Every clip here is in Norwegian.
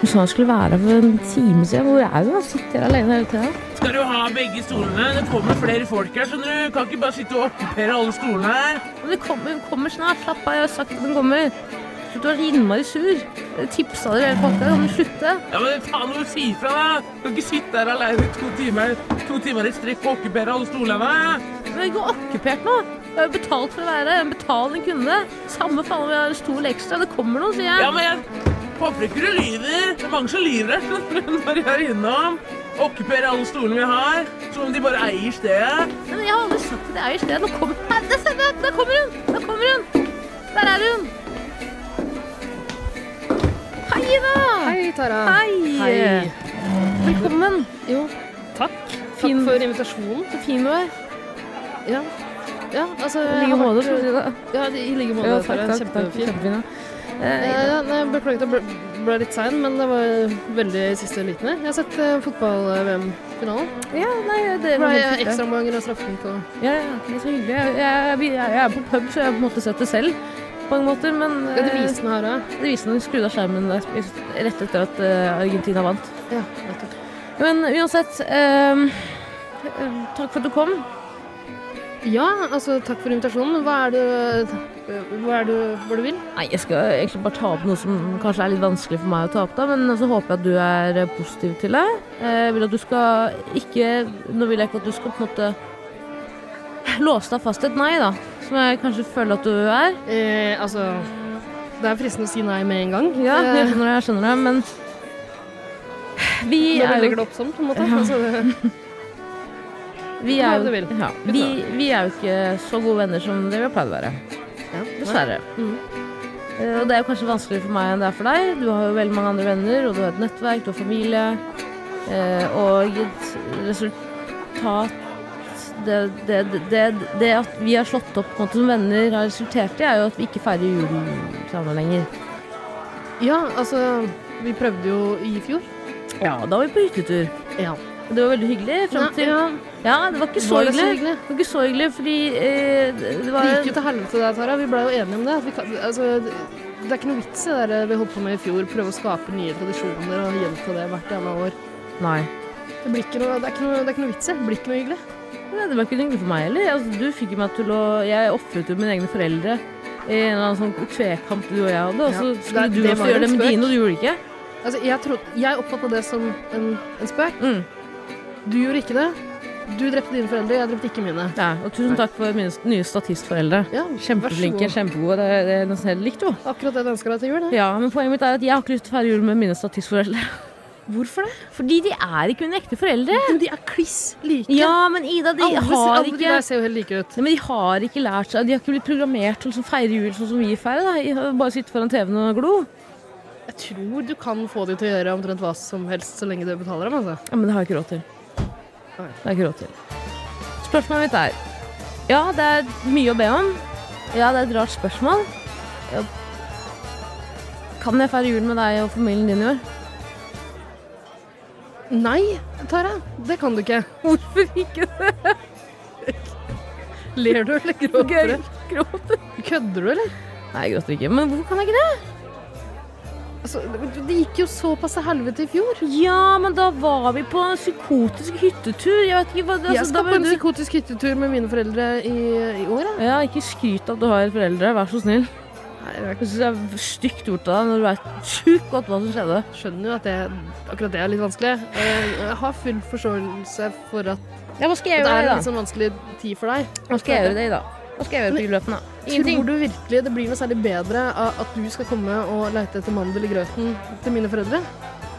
Du sa han skulle være her for en time siden. Hvor er hun? Jeg sitter her alene hele tida. Skal du ha begge stolene? Det kommer flere folk her, skjønner du. Kan ikke bare sitte og okkupere alle stolene her. Men det kommer, hun kommer snart. Slapp av, jeg har sagt at hun kommer. Slutt å være innmari sur. Jeg tipsa dere hele pakka. Kan du slutte? Ja, men faen, må du si fra, da. Du kan ikke sitte her alene i to timer, to timer i strekk og okkupere alle stolene. Men jeg er ikke okkupert nå. Jeg har jo betalt for å være her. En betalende kunde. Samme faen om jeg har en stol ekstra. Det kommer noen, sier jeg. Ja, men jeg håper ikke du lyver. Det er mange som lyver her, skjønner du, når jeg er innom. Okkupere alle stolene vi har, som om de bare eier stedet. Men jeg har aldri sagt at jeg er i sted. Nå kommer Nei, der ser jeg! Der kommer hun! Der kommer hun! Der er hun! Hei, Ida! Hei, Tara. Hei. Velkommen. Jo, takk. Fin- Takk for invitasjonen. Så fin du er. Ja. Ja, altså, I jeg like har måte. vært- for å si det. Ja, i like måte. Ja, Tara. takk, takk. takk. Kjempefin. Kjempefin. ja. Eh, Eh, Ja, nei, jeg beklager at jeg ble, ble litt sein, men det var veldig siste liten her. Jeg har sett eh, fotball-VM-finalen. Ja, nei, det Det var ble helt riktig. ekstraomganger og straffekonk og Ja, ja, det er så hyggelig. Jeg, jeg, jeg, jeg er på pub, så jeg har på en måte sett det selv. På mange måter, men Ja, det eh, viser den her òg. det viser når de skrudde av skjermen der, rett etter at eh, Argentina vant. Ja, nettopp. Men uansett, ehm, eh, takk for at du kom. ja, altså takk for invitasjonen. men Hva er det, hva er det hva du vil? Nei, jeg skal egentlig bare ta opp noe som kanskje er litt vanskelig for meg å ta opp, da, men så håper jeg at du er eh, positiv til det. Eh, Jeg vil at du skal ikke Nå vil jeg ikke at du skal på en måte låse deg fast i et nei, da, som jeg kanskje føler at du er. Eh, altså Det er fristende å si nei med en gang. Ja, jeg Eh, skjønner det, jeg skjønner det, men vi Når du er legger jo, det opp sånn, på en måte. Ja. Altså, det, vi er Hva jo, du vil. ja, vi, vi er jo ikke så gode venner som det vi har pleid å være. ja. Dessverre. Mhm. Mm. Eh, Og det er jo kanskje vanskeligere for meg enn det er for deg. Du har jo veldig mange andre venner, og du har et nettverk, du har familie. Eh, Og et resultat det, det, det, det at vi har slått opp på en måte, som venner, har resultert i, er jo at vi ikke feirer julen sammen lenger. Ja, altså Vi prøvde jo i fjor. Ja, da var vi på hyttetur. Ja. Og Det var veldig hyggelig Nei, fram til ja. Ja, det var ikke så Var det så hyggelig. hyggelig? Det var ikke så hyggelig fordi eh, det det Det var gikk jo til helvete der, Tara. Vi ble jo enige om det. At vi kan, altså, det er ikke noe vits i det der vi holdt på med i fjor. Prøve å skape nye tradisjoner og gjenta det hvert annet år. Nei. Det, blir ikke noe, det, er ikke noe, det er ikke noe vits i. Det blir ikke noe hyggelig. Nei, det var ikke noe hyggelig for meg heller. Altså, du fikk jo meg til å Jeg ofret jo mine egne foreldre i en eller annen sånn tvekamp du og jeg hadde, og Ja, så skulle det- du det også var jo gjøre det en med spøk. dine, og du gjorde det ikke. Altså, jeg, trodde- jeg oppfatta det som en, en spøk. Mm. Du gjorde ikke det. Du drepte dine foreldre, jeg drepte ikke mine. Ja, og tusen takk for mine s- nye statistforeldre. Ja, vær så Kjempeflinke, god. kjempegode. Det er- det er nesten helt likt, jo. Akkurat det du ønsker deg til jul, det. Ja, men poenget mitt er at jeg har ikke lyst til å feire jul med mine statistforeldre. Hvorfor det? Fordi de er ikke mine ekte foreldre. Men de er kliss like. Ja, men Ida, de alle, har alle de ikke der ser jo helt like ut. Nei, men de har ikke lært seg De har ikke blitt programmert til å feire jul sånn som vi feirer. Da. De har Bare sitte foran TV-en og glo. Jeg tror du kan få de til å gjøre omtrent hva som helst så lenge du betaler dem. altså. Ja, men det har jeg ikke råd til. Det Nei. har jeg ikke råd til. Spørsmålet mitt er Ja, det er mye å be om. Ja, det er et rart spørsmål. Ja. Kan jeg feire jul med deg og familien din i år? Nei, Tara, det kan du ikke. Hvorfor ikke det? Ler du eller gråter Gøy. du? Gråter. Kødder du, eller? Nei, jeg gråter ikke. Men hvorfor kan jeg ikke det? Altså, det- det gikk jo såpass til helvete i fjor. Ja, men da var vi på en psykotisk hyttetur. Jeg vet ikke hva det jeg altså, da skal var på en du- psykotisk hyttetur med mine foreldre i, i år. jeg. Ja, ikke skryt av at du har foreldre. Vær så snill. Nei, Jeg Jeg synes det er stygt gjort av deg når du vet sjukt godt hva som skjedde. skjønner jo at det, akkurat det er litt vanskelig. Eh, Jeg har full forståelse for at Ja, hva skal det jeg gjøre er i en dag? litt sånn vanskelig tid for deg. Hva skal jeg gjøre i dag? da? Hva skal jeg gjøre på julaften, da? Ingenting. Tror du virkelig det blir noe særlig bedre av at du skal komme og leite etter mandel i grøten til mine foreldre?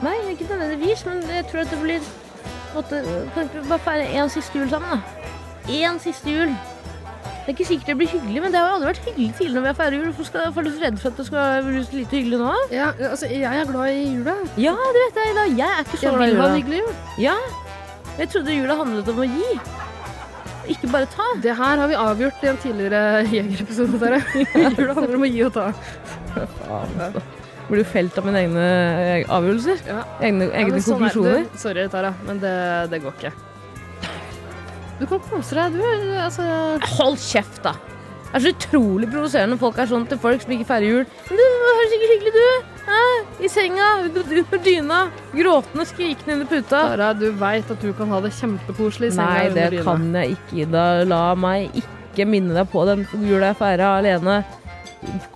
Nei, ikke nødvendigvis, men jeg tror at det blir måtte, Kan ikke vi bare feire én siste jul sammen, da? Én siste jul. Det er ikke sikkert det blir hyggelig, men det har jo aldri vært hyggelig tidligere når vi har feiret jul. Hvorfor skal er du så redd for at det skal bli så lite hyggelig nå? da? Ja, altså, jeg er glad i jula. Ja, det vet jeg, Ida. Jeg er ikke så Jeg glad i vil ha en jula. hyggelig jul. Ja. Jeg trodde jula handlet om å gi. Ikke bare ta. Det her har vi avgjort i en tidligere jegerepisode, dere. Jula handler om å gi og ta. Blir jo felt av mine egne eh, avgjørelser. Ja. Egne, Ja, egne men sånn er det. konklusjoner. Du- Sorry, Tara, men det, det går ikke. Du kan kose deg, du. Altså, Hold kjeft, da! Det er så utrolig provoserende når folk er sånn til folk som ikke feirer jul. Men du høres sikkert hyggelig ut, du! Hæ? I senga, ut ut med dyna, gråtende, skrikende under puta. Tara, du veit at du kan ha det kjempekoselig i senga. Nei, under det dyna. kan jeg ikke, Ida. La meg ikke minne deg på den jula jeg feira alene.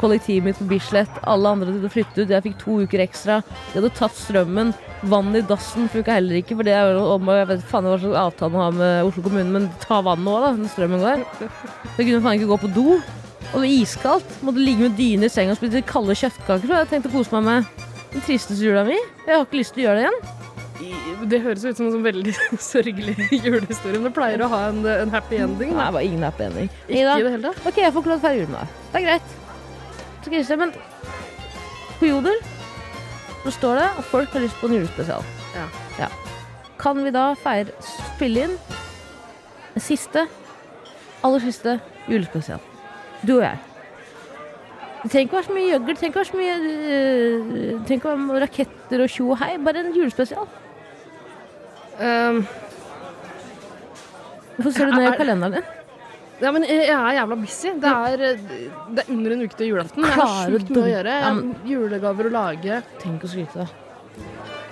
Kollektivet mitt på Bislett, alle andre hadde flyttet ut, jeg fikk to uker ekstra. De hadde tatt strømmen. Vann i dassen funka heller ikke, for det er jo om Jeg vet faen hva slags avtale man har med Oslo kommune, men ta vannet òg, da, når strømmen går. Så jeg kunne faen ikke gå på do. Og det var iskaldt. Måtte ligge med dyne i senga og spise kalde kjøttkaker. som Jeg tenkte å kose meg med den tristeste jula mi. Jeg har ikke lyst til å gjøre det igjen. I- Det høres ut som en sånn veldig sørgelig julehistorie, men det pleier å ha en, en happy ending. Nei, Da. det var ingen happy ending. Ikke i det hele tatt. Ok, jeg får ikke lov til å feire jul med deg. Det er greit. Så Christian, men på Jodel så står det at folk har lyst på en julespesial. Ja. Kan vi da feire spille inn en siste, aller siste julespesial? Du og jeg. Det trenger ikke være så mye gjøgl, det trenger ikke være så mye øh, det trenger ikke være raketter og tjo og hei. Bare en julespesial. Um, Hvorfor ser du ned Er- i kalenderen din? ja, men jeg jeg er jævla busy. Det er, det er under en uke til julaften. Jeg har Klarer sjukt du- mye å gjøre. Jeg Ja, har men- Julegaver å lage. Tenk å skryte deg.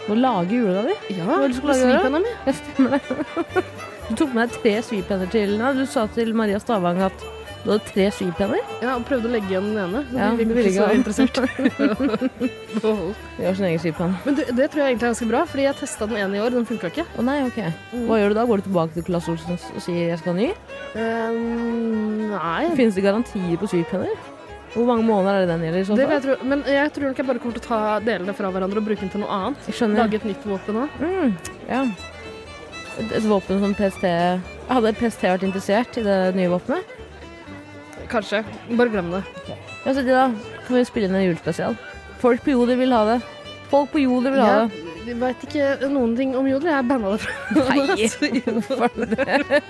Må lage julegaver. Ja, Hva er det du skal lage, da? svipenna mi. Jeg stemmer det. Du tok med deg tre svipenner til Nei, Du sa til Maria Stavang at du hadde tre svipenner. Ja, og prøvde å legge igjen den ene. Ja, Ja, vi det blir ville ikke så ikke interessert. Wow. Vi har sin egen svipenn. Men du, det tror jeg egentlig er ganske bra, fordi jeg testa den ene i år. Den funka ikke. Å nei, ok. Hva gjør du da? Går du tilbake til Klass Olsen og sier jeg skal ha ny? Ehm, nei. Finnes det garantier på svipenner? Hvor mange måneder er det den gjelder i så fall? Det vil jeg tro. Men jeg tror nok jeg bare kommer til å ta delene fra hverandre og bruke den til noe annet. Jeg skjønner. Lage et nytt våpen òg. Mm, ja. Et, et våpen som PST Hadde PST vært interessert i det nye våpenet? Kanskje. Bare glem det. Ja, så da kan vi spille inn en julespesial. Folk på jordet vil ha det. Folk på jordet vil ha det. Jeg veit ikke noen ting om jodel. Jeg banna det fra Nei, hvorfor det?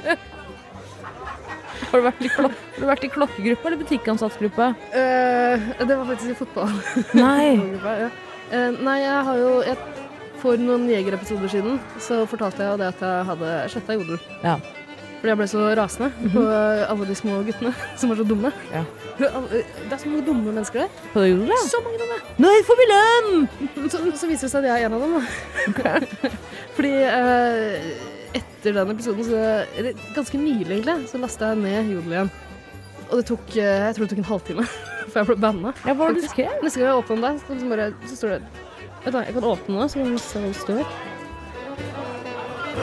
Har du vært i, klok har du vært i klokkegruppa eller butikkansattgruppa? Eh, Det var faktisk i fotball. Nei. Ja. Eh, nei, jeg har jo jeg, For noen jegerepisoder siden så fortalte jeg jo det at jeg hadde sletta jodel. Ja. Fordi jeg ble så rasende på alle de små guttene som er så dumme. Ja. Det er så mange dumme mennesker der. På det jordet? Så mange dumme! Nei, får vi lønn! Så, så viser det seg at jeg er en av dem. Da. Fordi eh, etter den episoden, så, eller ganske nylig egentlig, så lasta jeg ned jodel igjen. Og det tok eh, jeg tror det tok en halvtime før jeg ble banna. Ja, hva var det du skrev? Neste gang jeg åpner den der, så, liksom bare, så står det Vet du hva, jeg kan åpne den, så kan vi se hva det står.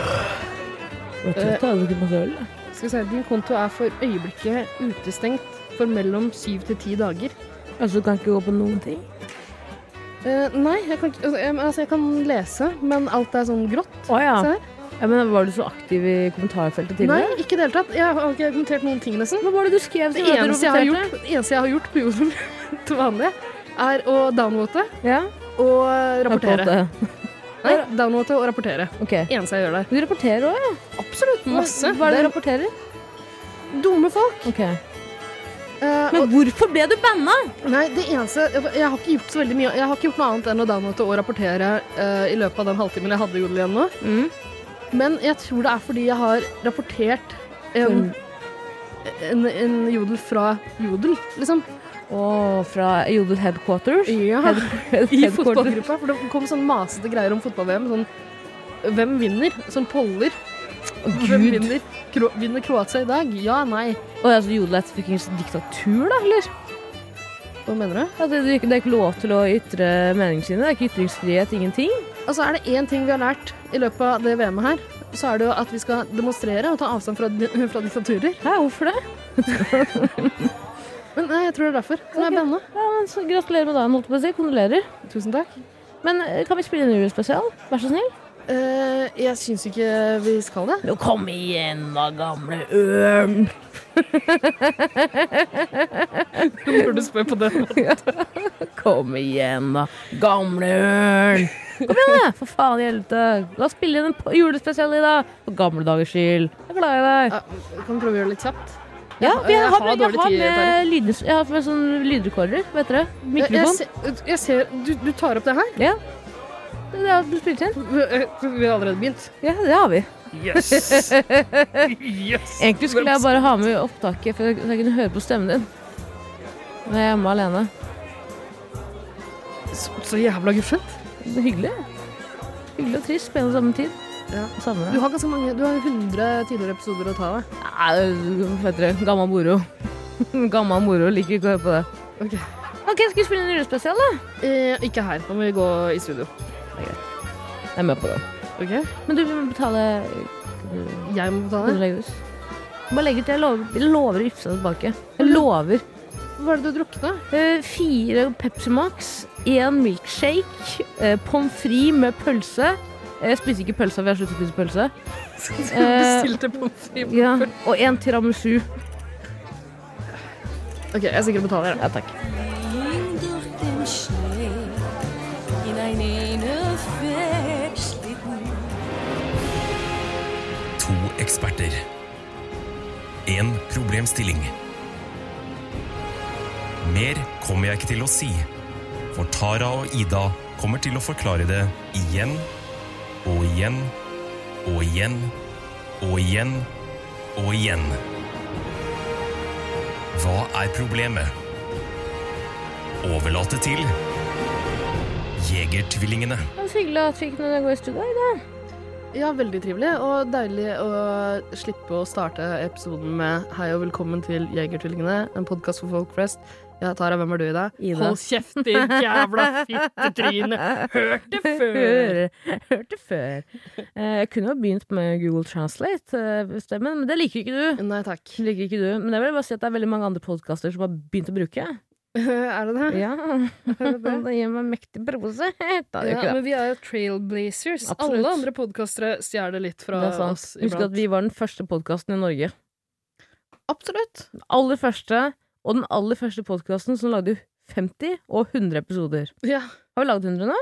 Jeg hadde drukket masse øl. jeg. Skal vi se, Din konto er for øyeblikket utestengt for mellom syv til ti dager. Altså, du kan ikke gå på noen ting? Eh, nei, jeg kan, ikke- altså, jeg, altså, jeg kan lese, men alt er sånn grått. Å ja. Se her. ja. Men var du så aktiv i kommentarfeltet Nei, tidligere? ikke i det hele tatt. Jeg har ikke kommentert noen ting, nesten. Hva var det du skrev? Det som du eneste jeg har rapporterte? gjort, det eneste jeg har gjort på jorden til vanlig, er å downvote Ja. og rapportere. Rapportere. Nei, downvote og rapportere. Ok. Det eneste jeg gjør der. Du rapporterer òg, ja? Absolutt masse. Hva er det du Det rapporterer? er dumme folk. Ok. Eh, Men hvorfor ble du banna? og, nei, det eneste Jeg har ikke gjort så veldig mye Jeg har ikke gjort noe annet enn å downvote og rapportere eh, i løpet av den halvtimen jeg hadde jodel igjen nå. Mm. Men jeg tror det er fordi jeg har rapportert en, en, en jodel fra jodel, liksom. Å, fra Jodel Headquarters? Ja. Head- head- I headquarters. fotballgruppa, for det kom sånn masete greier om fotball-VM. Sånn hvem vinner? Sånn poller. Hvem Gud. vinner? Kro vinner Kroatia i dag? Ja, nei. Og altså, Jodel er et fuckings diktatur, da, eller? Hva mener du? At det, det er ikke- det er ikke lov til å ytre meningene sine. Det er ikke ytringsfrihet, ingenting. Altså, er det én ting vi har lært i løpet av det VM-et her, så er det jo at vi skal demonstrere og ta avstand fra, di- fra diktaturer. Hæ, hvorfor det? Men nei, jeg tror det er derfor. Så Ok. jeg banna. Ja, men så Gratulerer med dagen, holdt jeg på å si. Kondolerer. Tusen takk. Men eh, kan vi spille en julespesial? Vær så snill? Eh, jeg syns ikke vi skal det. Jo, kom igjen da, gamle ørn. Du burde spørre på det. Kom igjen da, gamle ørn. Kom igjen, da! For faen i helvete. La oss spille inn en p- julespesial i dag. For gamle dagers skyld. Jeg er glad i deg. Ja, kan vi prøve å gjøre det litt kjapt? Ja, jeg- jeg, jeg har, har med- dårlig jeg, har tid, Tara. med lydnes- jeg har med sånn lydrekorder, vet dere. Jeg, jeg, Mikrofon. ser, jeg ser du, du tar opp det her? Ja. Det er det du spilte inn? Vi vi har allerede begynt. Ja, det har vi. Yes. yes. Egentlig skulle jeg bare ha med opptaket, for jeg- så jeg kunne høre på stemmen din. Når jeg er hjemme alene. Så, så jævla guffent. Det er hyggelig. Hyggelig og trist på en og samme tid. Ja. Savner Du deg. har ganske mange Du har 100 tidligere episoder å ta av. Nei, hva heter det? Gammal moro. Gammal moro. Liker ikke å høre på det. Ok. Ok, Skal vi spille en julespesial, da? Eh, ikke her. Nå må vi gå i studio. Jeg er med på det. OK? Men du vi må betale Jeg må ta Kan du det. legge ut? Bare legg ut. Jeg lover, jeg lover å gifte deg tilbake. Jeg lover. Hva er det du har drukket, da? Eh, fire Pepsi Max, én milkshake, eh, pommes frites med pølse. Eh, Jeg spiser ikke pølse, for jeg har sluttet å spise pølse. Du Eh, bestilte pommes frites. Ja, Og én tiramisu. OK, jeg er sikker på å betale her. Ja, takk. ging durch den Schnee in einen Festschlitten. To eksperter. En problemstilling. Mer kommer jeg ikke til å si, for Tara og Ida kommer til å forklare det igjen og igjen og igjen og igjen og igjen. Hva er problemet? Overlate til Jegertvillingene. Det var så hyggelig at vi kunne gå i studio i dag. Ja, veldig trivelig og deilig å slippe å starte episoden med Hei og velkommen til Jegertvillingene, en podkast for folk flest. Ja, Tara, hvem er du i dag? Ida. Hold kjeft, din jævla fittetryne! Hørte før! Hørte før. Eh, Jeg kunne jo begynt med Google Translate, eh, stemmen, men det liker ikke du. Nei takk. Det Liker ikke du. Men jeg vil bare si at det er veldig mange andre podkaster som har begynt å bruke. Er det det? Ja, Det gir meg mektig brose. Da gjør Ja, ikke det. men vi er jo trailblazers. Absolutt. Alle andre podkastere stjeler litt fra Det er sant. oss Husk at iblant. vi var den første podkasten i Norge. Absolutt. Den aller første, og den aller første podkasten som lagde 50 og 100 episoder. Ja. Har vi lagd 100 nå?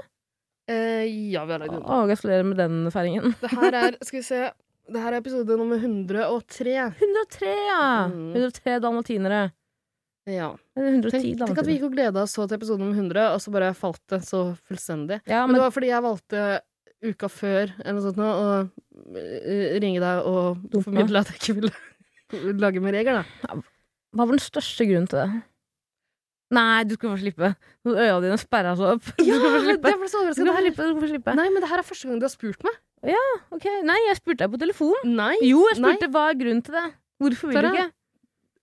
Eh, ja, vi har lagd den. Å, gratulerer med den feiringen. Det her er Skal vi se. Det her er episode nummer 103. 103, ja! Mm. 103 dalmatinere. Ja. Eller 110 Tenk, tenk at vi dalmatinere. gikk og gleda oss så til episode nummer 100, og så bare falt det så fullstendig. Ja, Men det var fordi jeg valgte uka før eller noe sånt nå, å eh, ringe deg og Dumpe meg. formidle at jeg ikke ville lage mer regler, da. Hva var den største grunnen til det? Nei, du skal få slippe. Nå Øya dine sperra seg opp. Du skal få slippe. jeg ble så Du skal overraska. få slippe, du skal få slippe. Nei, men det her er første gang du har spurt meg. Ok, Nei, jeg spurte deg på telefon. Nei. Jo, jeg Nei. spurte hva er grunnen til det. Hvorfor vil du Tara, ikke?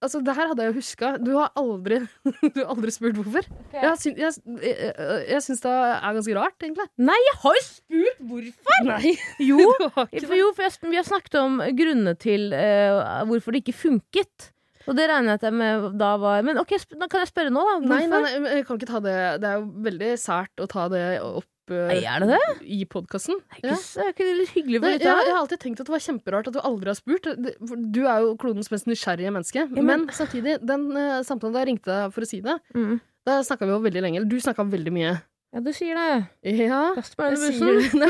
Altså, det her hadde jeg jo huska. Du har aldri, du har aldri spurt hvorfor. Jeg, har syn- jeg, jeg, eh, jeg syns det er ganske rart, egentlig. Jeg har jo spurt hvorfor! Nei, Jo, du har ikke for, det. jo, for jeg, vi har snakket om grunnene til eh, hvorfor det ikke funket. Og det regnet jeg med da var Men ok, sp da kan jeg spørre nå, da? Hvorfor? Nei, nei, nei, men jeg kan ikke ta det Det er jo veldig sært å ta det opp eh, Nei, er det det? i podkasten. Er ikke, s- er ikke det litt hyggelig for Nei, deg? jeg, jeg har alltid tenkt at det var kjemperart at du aldri har spurt. Det- for Du er jo klodens mest nysgjerrige menneske. Ja, men- men... samtidig, den eh, samtalen da jeg ringte deg for å si det, Mm. da snakka vi jo veldig lenge. Eller du snakka veldig mye. Ja, du sier det. Ja. Kast meg Jeg under bussen. sier-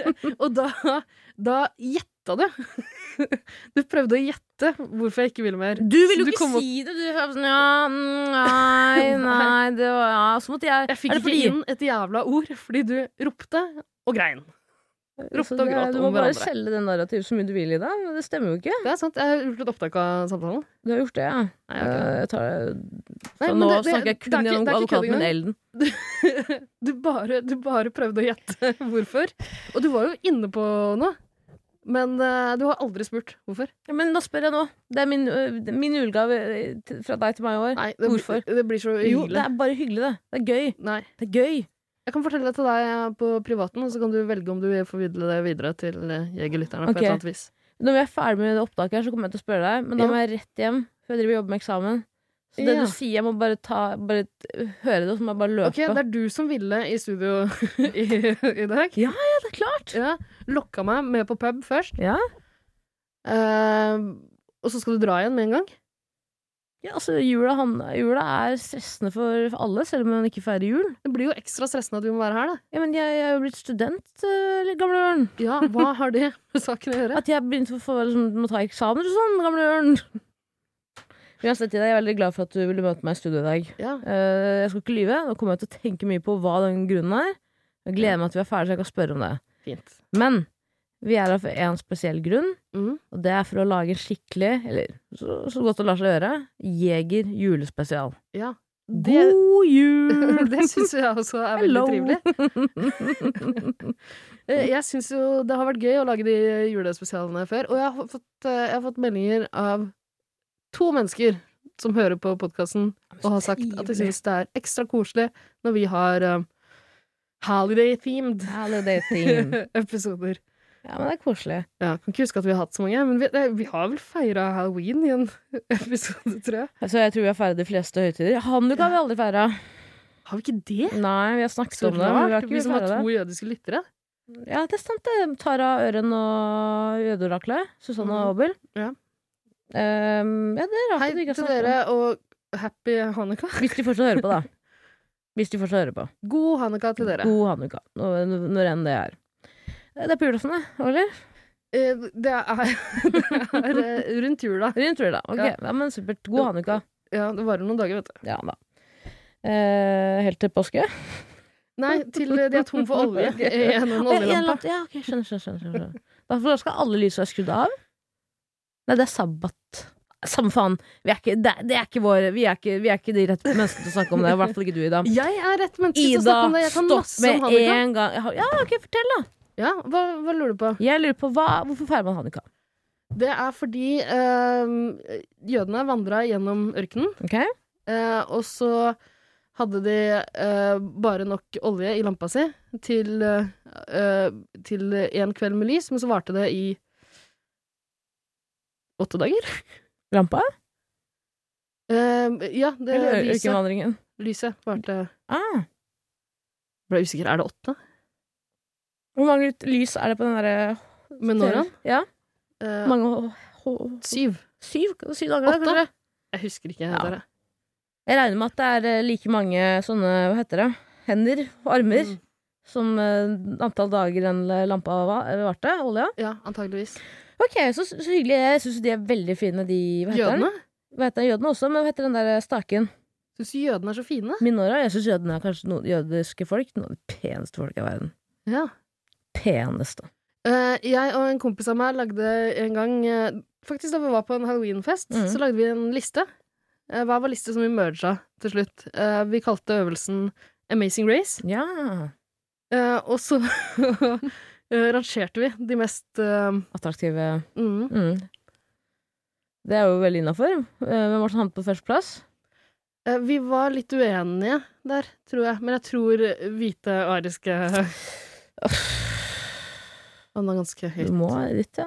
Nei, men- og da, da gjetta du. Du prøvde å gjette hvorfor jeg ikke ville mer. Du ville Så jo ikke kom opp- si det. Du var sånn ja, mm, nei, nei det var, ja. Så måtte jeg Jeg fikk ikke inn et jævla ord fordi du ropte og grein. ropte og gråt Du om må bare hverandre. selge det narrativet så mye du vil i deg. Men det stemmer jo ikke. Det er sant. Jeg har gjort et opptak av samtalen. Du har gjort det, ja. Nei, jeg har ikke det. Eh, Jeg tar det. Nei, Så men nå det- det- snakker jeg det er kun ikke- gjennom det er ikke advokaten kødd min, engang. Elden. du, bare, du bare prøvde å gjette hvorfor. Og du var jo inne på noe. Men eh, du har aldri spurt hvorfor. Ja, men da spør jeg nå. Det er min, øh, det er min julegave øh, til- fra deg til meg i år. Nei, det, Hvorfor? Det blir så Jo, det hyggelig. er bare hyggelig, det. Det er gøy. Nei. Det er gøy. Jeg kan fortelle det til deg eh, på privaten, og så kan du velge om du vil formidle det videre til eh, jegerlytterne. Ok. på et eller annet vis. Når vi er ferdig med det opptaket her, så kommer jeg til å spørre deg. Men da Ja. må jeg rett hjem, for jeg driver og jobber med eksamen. Så det Ja. du sier, jeg må bare, ta, bare t- høre det, og så må jeg bare løpe. Ok, Det er du som ville i studio i, i dag. Ja, det er klart! Ja, Lokka meg med på pub først. Ja. Eh, og så skal du dra igjen med en gang. Ja, altså jula, han, jula er stressende for for alle, selv om man ikke feirer jul. Det blir jo ekstra stressende at vi må være her, da. Ja, men jeg, jeg er jo blitt student, eh, lille gamle ørn. Ja, hva har det med saken å gjøre? At jeg begynte å få, liksom, må ta eksamener og sånn, gamle ørn. Uansett, Ida, jeg er veldig glad for at du ville møte meg i studio i dag. Ja. Eh, jeg skal ikke lyve. Nå kommer jeg til å tenke mye på hva den grunnen er. Jeg gleder meg til vi er ferdig, så jeg kan spørre om det. Fint. Men vi er her for én spesiell grunn, Mhm. og det er for å lage en skikkelig, eller så, så godt det lar seg gjøre, Jeger julespesial. Ja. Det, God jul! det syns jeg også er Hello. veldig trivelig. Eh, jeg syns jo det har vært gøy å lage de julespesialene før, og jeg har fått, eh, jeg har fått meldinger av to mennesker som hører på podkasten og har sagt at de syns det er ekstra koselig når vi har eh, holiday-themed Holiday theme. episoder. Ja, men det er koselig. Ja, kan ikke huske at vi har hatt så mange, men vi, eh, vi har vel feira halloween i en episode, tror jeg. Så jeg tror vi har feiret de fleste høytider. Hanukka har vi aldri feira. Har vi ikke det? Nei, vi har snakket Så om det. Men vi rart, har vi ikke som har feiret det. to jødiske lyttere. Ja, det er sant det. Tara Øren og Jødeoraklet. Susanne Mhm. Aabel. Ja. Ehm, ja, det er rart Hei at du ikke har til snakket om dere, og happy hanukka. det. Hvis de fortsatt hører på, da. Hvis de fortsatt hører på. God hanukka til dere. God hanukka, når, når enn det er. Det er på julaften, det. Eller? Eh, Det er, det er eh, rundt jula. Rundt jula. Ok, ja. Ja. men supert. God Jo. hanukka. Ja, det varer noen dager, vet du. Ja da. Eh, helt til påske? Nei, til eh, de er tom for olje Ok. eh, gjennom Å, ja, en oljelampa. lamp- Ja, ok, skjønner, skjønner. skjønner, skjønner. Da- For da skal alle lys være skrudd av? Nei, det er sabbat. Samme faen. Vi er ikke, det, det er ikke vår Vi er ikke, vi er ikke de rette menneskene til å snakke om det. I hvert fall ikke du, Ida. Jeg er rett menneske til å Ida, snakke om det. Jeg kan stopp masse om med hanukka. en gang. Jeg har- Ja, ok, fortell, da. Ja, hva, hva lurer du på? Jeg lurer på hva, Hvorfor feirer man hanukka? Det er fordi eh, jødene vandra gjennom ørkenen. Ok? Eh, og så hadde de eh, bare nok olje i lampa si til, eh, eh, til en kveld med lys, men så varte det i åtte dager. Rampa? Eh, ja, det, Eller lyset, ørkenvandringen? lyset varte Ah, Ble jeg usikker. Er det åtte? hvor mange lys er det på den derre Med Noran? Ja, Eh, mange hå- hå- syv? Syv? Syv dager, da, Åtte? kanskje? Jeg husker ikke. Ja. Dere. Jeg regner med at det er eh, like mange sånne, hva heter det, hender og armer Mm. som eh, antall dager den lampa va- varte, olja. Ja, antageligvis. Ok, så, så hyggelig. Jeg syns de er veldig fine, de hva heter Jødene? Den? Hva heter den? Jødene også, men hva heter den der eh, staken? Syns du jødene er så fine? Minora. Jeg syns jødene er kanskje noen jødiske folk. Noen av de peneste folk i verden. Ja. Peneste. Eh, jeg og en kompis av meg lagde en gang eh, Faktisk da vi var på en halloweenfest, Mhm. så lagde vi en liste. Eh, hver vår liste som vi merga til slutt. Eh, vi kalte øvelsen Amazing Race. Ja. Eh, og så eh, rangerte vi de mest eh, Attraktive. mm. Mm. Det er jo veldig innafor. Eh, Hvem var det som havnet på førsteplass? Eh, Vi var litt uenige der, tror jeg. Men jeg tror hvite ariske Han er ganske høyt. Du må dit, ja.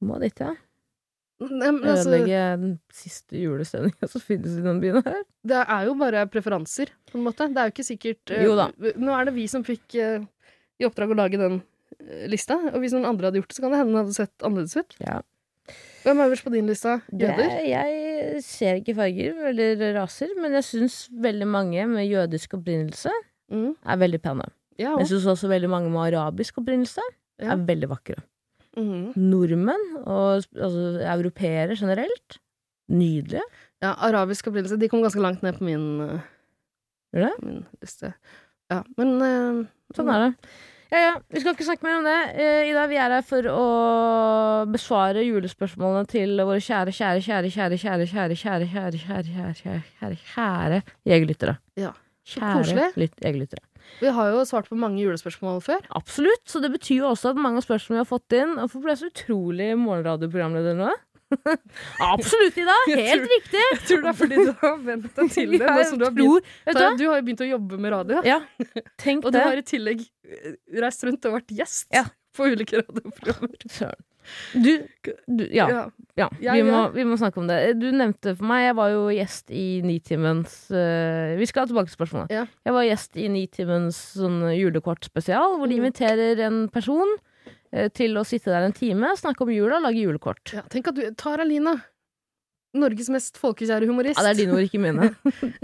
Du må dit, ja. Nei, men altså, Ødelegge den siste julestemninga som finnes i den byen her. det er jo bare preferanser, på en måte. Det er jo ikke sikkert eh, Jo da. Nå er det vi som fikk eh, i oppdrag å lage den eh, lista, og hvis noen andre hadde gjort det, så kan det hende den hadde sett annerledes ut. Ja. Hvem er øverst på din lista? Jøder? Jeg, jeg ser ikke farger eller raser, men jeg syns veldig mange med jødisk opprinnelse Mm. er veldig pene. Ja, Jeg og. syns også veldig mange med arabisk opprinnelse Ja. er veldig vakre. Mm. Nordmenn og sp- altså, europeere generelt nydelige. ja, arabisk opprinnelse. De kom ganske langt ned på min, eh, Gjør det? min liste. Ja, men eh, Sånn er det. Ja, ja, Vi skal ikke snakke mer om det. Eh, Ida, vi er her for å besvare julespørsmålene til våre kjære, kjære, kjære, kjære, kjære, kjære, kjære, kjære, kjære, kjære, kjære, kjære, kjære jegerlyttere. Ja. Så Kjære koselig. lyt- jegerlyttere. Vi har jo svart på mange julespørsmål før. Absolutt. Så det betyr jo også at mange av spørsmålene vi har fått inn Hvorfor ble jeg så utrolig morgenradioprogramleder nå? Absolutt, Ida! Jeg Helt riktig! Jeg tror det er fordi du har vent deg til det. nå Jeg som du, har tror- begynt, Vet du hva? du har jo begynt å jobbe med radio. Ja, tenk Og du det. har i tillegg eh, reist rundt og vært gjest Ja. på ulike radioprogrammer. Søren. Du, du Ja. Ja. Ja, Ja, vi, ja. må, vi må snakke om det. Du nevnte for meg, jeg var jo gjest i Nitimens øh, Vi skal tilbake til spørsmålet. Ja. Jeg var gjest i Nitimens sånn julekortspesial, hvor de Mhm. inviterer en person eh, øh, til å sitte der en time, snakke om jula, lage julekort. Ja, tenk at du Tara Lina. Norges mest folkekjære humorist. Ja, det er dine ord, ikke mine.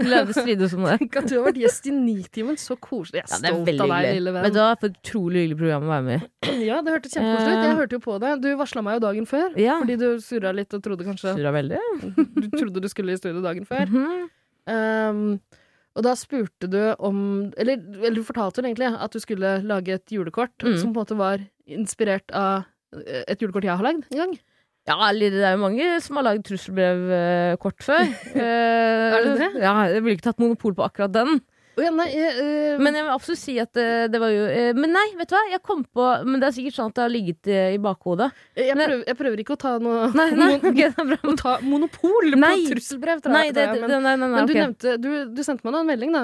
Lave strides om det. Tenk at du har vært gjest i Nitimen. Så koselig. Jeg er Ja, det er stolt veldig av deg, hyggelig. lille Men venn. det var et utrolig hyggelig program å være med i. Ja, det hørtes kjempekoselig ut. Jeg hørte jo på det. Du varsla meg jo dagen før. Eh. Ja. Fordi du surra litt og trodde kanskje Surra veldig. Mhm. Du trodde du skulle i studio dagen før. Um, og da spurte du om Eller, eller du fortalte vel egentlig at du skulle lage et julekort Mm. som på en måte var inspirert av eh, et julekort jeg har lagd en gang. Ja, eller det er jo mange som har lagd trusselbrevkort før. er det det? Ja, jeg ville ikke tatt monopol på akkurat den. Å ja, nei, jeg, eh, Men jeg vil absolutt si at eh, det var jo eh, Men nei, vet du hva? Jeg kom på Men det er sikkert sånn at det har ligget eh, i bakhodet. jeg, nei. prøver, jeg prøver ikke å ta noe Nei, nei, ok, det er bra. Å ta monopol på Nei. trusselbrev. tror jeg Nei, at det, er, men- det, nei, nei, nei Men du, ok. nevnte, du, du sendte meg da en melding da,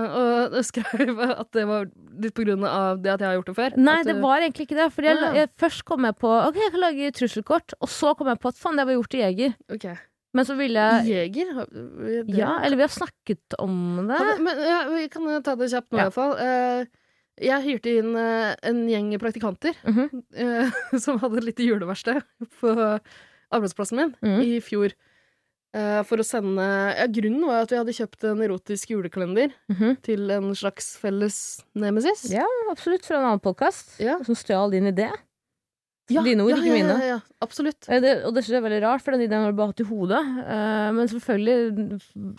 og skrev at det var litt på grunn av det at jeg har gjort det før. Nei, at det du- var egentlig ikke det. Fordi jeg, Ah. jeg, først kom jeg på Ok, jeg kan lage trusselkort. Og så kom jeg på at faen, det var gjort til jeger. Ok. Men så ville jeg Jeger? har- det- Ja, eller vi har snakket om det. Hadde- Men ja, vi kan eh, ta det kjapt nå, i Ja. hvert fall. Eh, Jeg hyrte inn eh, en gjeng praktikanter Mhm. eh, som hadde et lite juleverksted på arbeidsplassen min Mhm. i fjor. eh, For å sende ja, Grunnen var at vi hadde kjøpt en erotisk julekalender Mhm. til en slags felles nemesis. Ja, absolutt. Fra en annen podkast Ja. som stjal din idé. Dine ord, ikke mine. Ja, ja, absolutt. Eh, Det, og det synes jeg er veldig rart, for den ideen har du bare hatt i hodet. Eh, men selvfølgelig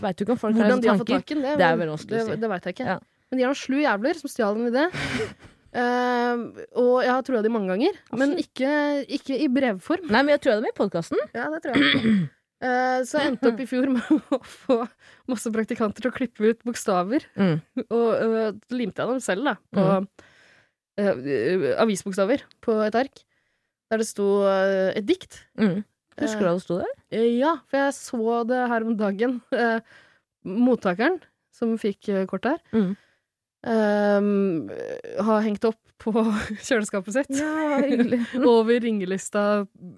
veit du ikke om folk har Hvordan de har fått tanker. tak i den, det, Det er vel vanskelig å det, si. det vet jeg ikke. Ja. Men de er noen slu jævler som stjal en idé. Eh, og jeg har trua de mange ganger, men ikke, ikke i brevform. Nei, men jeg tror jeg er med i podkasten. Ja, det tror jeg. Eh, så jeg endte opp i fjor med å få masse praktikanter til å klippe ut bokstaver. Mm. Og eh, limte jeg dem selv, da, på eh, avisbokstaver på et ark. Der det sto eh, et dikt. Mm. Husker du hva det sto der? Eh, Ja, for jeg så det her om dagen. Eh, mottakeren, som fikk eh, kortet her, Mm. eh, har hengt opp på kjøleskapet sitt hyggelig. over ringelista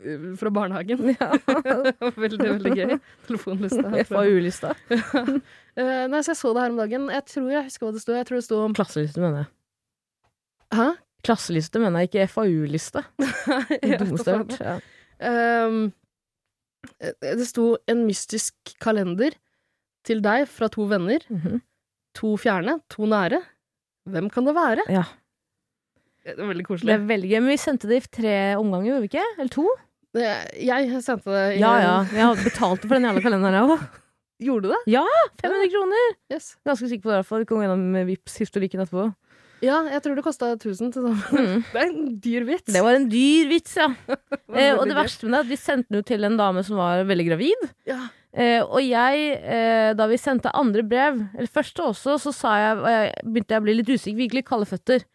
eh, fra barnehagen. det var veldig, veldig gøy. Telefonlista. her fra- FAU-lista. Eh, nei, så jeg så det her om dagen. Jeg tror jeg husker hva det sto. Jeg tror det sto om Klasseliste, mener jeg. Hæ? Klasseliste mener jeg, ikke FAU-liste. Det Jeg vet dummeste jeg da har faen. hørt. Ja. Ehm, eh, det sto en mystisk kalender til deg fra to venner. Mhm. To fjerne, to nære. Hvem kan det være? ja. Det er veldig Det koselig. er veldig gøy. Men vi sendte det i tre omganger, gjorde vi ikke? Eller to? Eh, Jeg sendte det i Ja ja. Jeg betalte for den jævla kalenderen, jeg òg. Gjorde du det? 500 kroner! Yes. Ganske sikker på det, i hvert fall. Kom gjennom vips historikken etterpå. Ja, jeg tror det kosta 1000 til sammen. Mm. Det er en dyr vits. Det var en dyr vits, ja. var Eh, og veldig det gøy. verste med det, er at vi sendte den jo til en dame som var veldig gravid. Ja. Eh, og jeg, eh, da vi sendte andre brev, eller første også, så sa jeg, og jeg begynte jeg å bli litt usikker, vi gikk litt kalde føtter.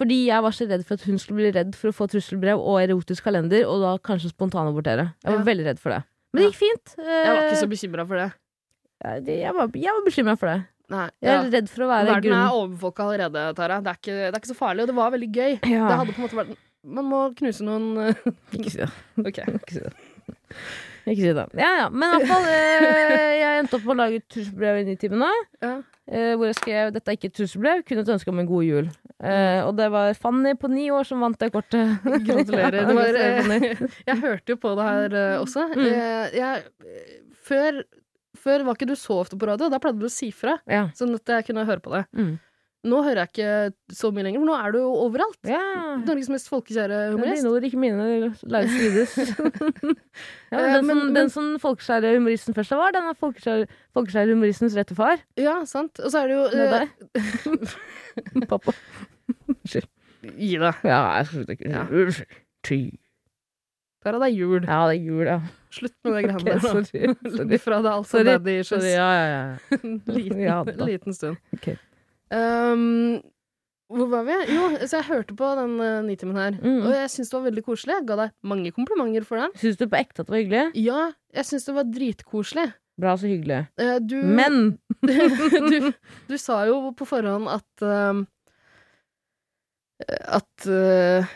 Fordi jeg var så redd for at hun skulle bli redd for å få trusselbrev og erotisk kalender, og da kanskje spontanabortere. Jeg var Ja. veldig redd for det. Men det gikk fint. Eh, Jeg var ikke så bekymra for det. jeg, jeg var, jeg var bekymra for det. Nei, Jeg ja. er redd for å være Verden er grunnen. overbefolka allerede, Tara. Det er, ikke, det er ikke så farlig, og det var veldig gøy. Ja. Det hadde på en måte vært Man må knuse noen Ikke si det. OK. Ikke si det. Ikke si det. Ja, ja. Men iallfall, eh, jeg endte opp med å lage et trusselbrev i Nitimene. Ja. Eh, hvor jeg skrev 'Dette er ikke et trusselbrev, kun et ønske om en god jul'. Eh, og det var Fanny på ni år som vant det kortet. Gratulerer. Det var, Gratulerer, Fanny. eh, jeg hørte jo på det her eh, Mm. også. Eh, Jeg, eh, før, før var ikke du så ofte på radio, da pleide du å si fra, ja. sånn at jeg kunne høre på det. Mm. Nå hører jeg ikke så mye lenger, for nå er du jo overalt. ja. Norges mest folkekjære Det er humorist. Dine ord, ikke mine. La oss strides. ja, men Eh, den som, men- den men- som folkeskjære humoristen først var, den er folkeskjære, folkeskjære humoristens rette far. Ja, sant. Og så er det jo Med eh, deg. Pappa. Gi deg. Ja, jeg slutter ikke. Ja. Unnskyld. Ty. Der er det jul. Ja, det er jul, ja. Slutt med Ok, det greiene der. nå. sorry. Legg sorry. fra deg altså, alt som Sorry. daddy issues. Sorry, ja, ja, ja. liten, Ja, da. liten stund. Ok. Um, hvor var vi? Jo, så jeg hørte på den eh, nitimen her, Mm. og jeg syns det var veldig koselig. Jeg ga deg mange komplimenter for den. Syns du på ekte at det var hyggelig? Ja, jeg syns det var dritkoselig. Bra, så hyggelig. Eh, du, Mm. Men du, du sa jo på forhånd at um, At uh,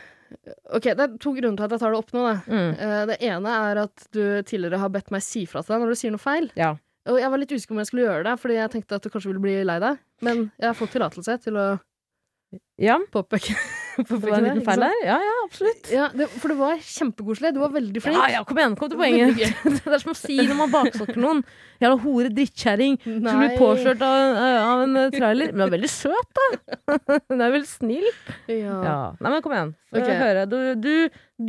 Ok, det er to grunner til at jeg tar det opp nå. Da. mm, Eh, det ene er at du tidligere har bedt meg si fra til deg når du sier noe feil. Ja. Og jeg var litt usikker på om jeg skulle gjøre det, fordi jeg tenkte at du kanskje ville bli lei deg. Men jeg har fått tillatelse til å mm. Ja. påpeke Det var en liten feil der. Ja, ja, absolutt. Ja, det, for det var kjempekoselig. Du var veldig flink. Ja, ja, kom igjen, kom til poenget. Det er som å si når man baksokker noen. Jævla hore drittkjerring som blir Nei. påkjørt av, av en eh, trailer. Men hun er veldig søt, da. Hun er veldig snill. Ja. Ja. Nei, men kom igjen. Få Ok. høre. Du, du,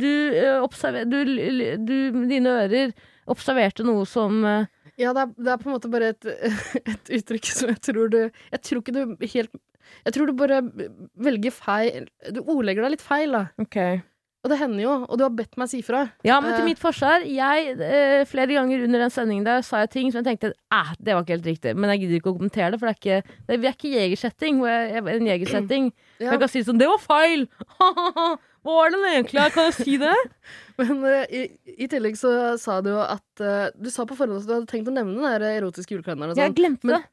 du, eh, observer, du, l- du Dine ører observerte noe som eh, Ja, det er, det er på en måte bare et, et uttrykk som jeg tror du Jeg tror ikke du helt Jeg tror du bare velger feil Du ordlegger deg litt feil, da. Og det hender jo. Og du har bedt meg si fra. Ja, men til Eh. mitt forsvar, jeg eh, flere ganger under den sendingen der sa jeg ting som jeg tenkte eh, det var ikke helt riktig, men jeg gidder ikke å kommentere det, for det er ikke, det er ikke jegersetting. Hvor jeg, jeg- en jegersetting. Ja. Jeg kan si sånn 'det var feil'! Hva var det egentlig? Kan jeg si det? Men eh, i, i tillegg så sa du jo at eh, Du sa på forhånd at du hadde tenkt å nevne den der erotiske julekalenderen og Jeg sånn. glemte Men- det.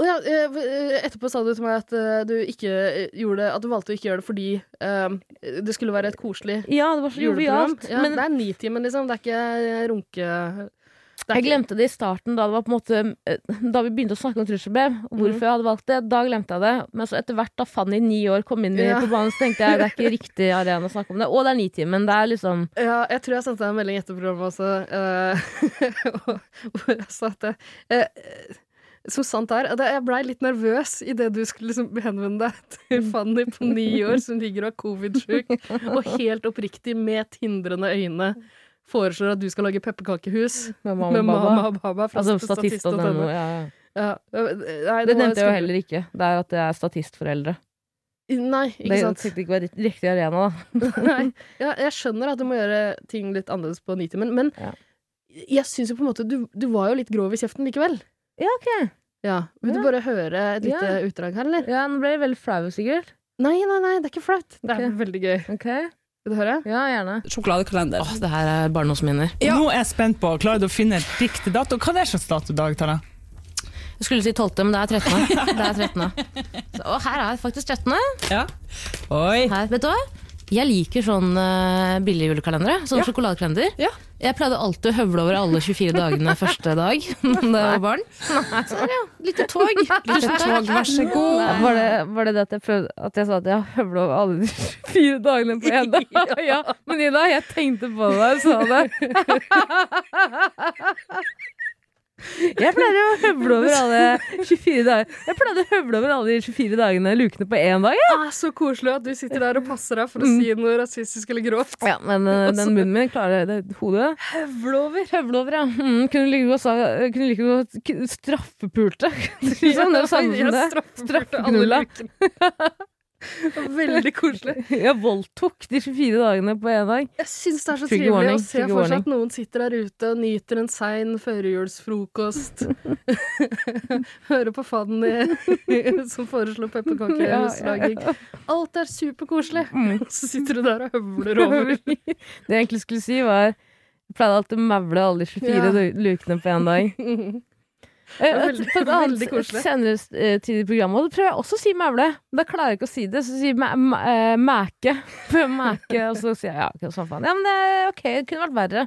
Og ja, eh, v- eh, etterpå sa du til meg at eh, du ikke eh, gjorde det At du valgte å ikke gjøre det fordi eh, det skulle være et koselig Ja, det var så juleprogram. jovialt. Ja, men det er Nitimen, liksom. Det er ikke runke... det er jeg ikke- glemte det i starten, da, det var på en måte, eh, da vi begynte å snakke om trusselbrev. Mhm. og Hvorfor jeg hadde valgt det. Da glemte jeg det. Men så etter hvert da Fanny, ni år, kom inn i- Ja. på banen, så tenkte jeg det er ikke riktig arena å snakke om det. Og det er Nitimen. Det er liksom Ja, jeg tror jeg sendte deg en melding etter programmet også, eh, hvor jeg sa at jeg, eh, så sant det er, at jeg blei litt nervøs idet du skulle liksom henvende deg til Fanny på ni år som ligger og er covid-sjuk, og helt oppriktig med tindrende øyne foreslår at du skal lage pepperkakehus med mamma med og baba. Mama og Baba fra Altså Statist statist og og Tønne. noe, ja, ja. Ja, eh, nei, E. Det var nevnte jeg jo skummelt. heller ikke. Det er at jeg er statistforeldre. Nei, Det ikke sant. tenkte ikke var rikt- riktig arena, da. Nei, ja, jeg skjønner at du må gjøre ting litt annerledes på nitimen, men Ja. jeg syns jo på en måte du, du var jo litt grov i kjeften likevel. Ja, ok. Ja. Vil Ja. du bare høre et lite Ja. utdrag her, eller? Ja, nå ble jeg veldig flau, Sigurd. Nei, nei, nei, det er ikke flaut. Det er Ok. veldig gøy. Ok? Vil du høre? Ja, gjerne. Sjokoladekalender. det her er barndomsminner. Nå Nå er jeg spent på, klarer du å finne riktig dato? Hva er det slags dato i dag, Tara? Jeg skulle si 12., men det er 13. Det er 13. Så, og her er faktisk 13. Ja. Oi. Her, vet du hva? Jeg liker sånn uh, billige julekalendere. Sånn sjokoladekalender. Ja. Jeg pleide alltid å høvle over alle 24 dagene første dag da jeg var barn. Så her, ja. Lite tog. Lite tog, vær så god. Var det, var det det at jeg, prøvde, at jeg sa at jeg høvla over alle de 24 dagene på én dag? ja. Men Ida, jeg tenkte på det da jeg sa det. Jeg pleier å høvle over alle 24 dager Jeg pleide å høvle over alle de 24 dagene lukene på én dag. Det er Ah, så koselig at du sitter der og passer deg for å si noe rasistisk eller grovt. Ja, men eh, den munnen min klarer det hodet. Høvle over. Høvle over, ja. Mm, kunne like godt sa- kunne like godt k- straffepulte. Sånn, det er det samme som eh, det. Straffeknulla. Veldig koselig. Jeg voldtok de 24 dagene på én dag. Jeg syns det er så Trigger trivelig warning, å se trigger for seg warning. at noen sitter der ute og nyter en sein førjulsfrokost. Hører på Fanny som foreslo pepperkakehuslaging. Alt er superkoselig. Og Så sitter du der og høvler over. Mm. det jeg egentlig skulle si, var Jeg pleide alltid å mevle alle de 24 Ja. lu- lukene på én dag. Eh, var et- veldig- på et annet veldig koselig. et senere eh, tid i programmet og da prøver jeg også å si mævle. Men Da klarer jeg ikke å si det, så sier jeg mæ- mæ- eh, mæke. Prøver mæke, og så sier jeg ja, ikke sånn faen. Ja, men det er ok, det kunne vært verre.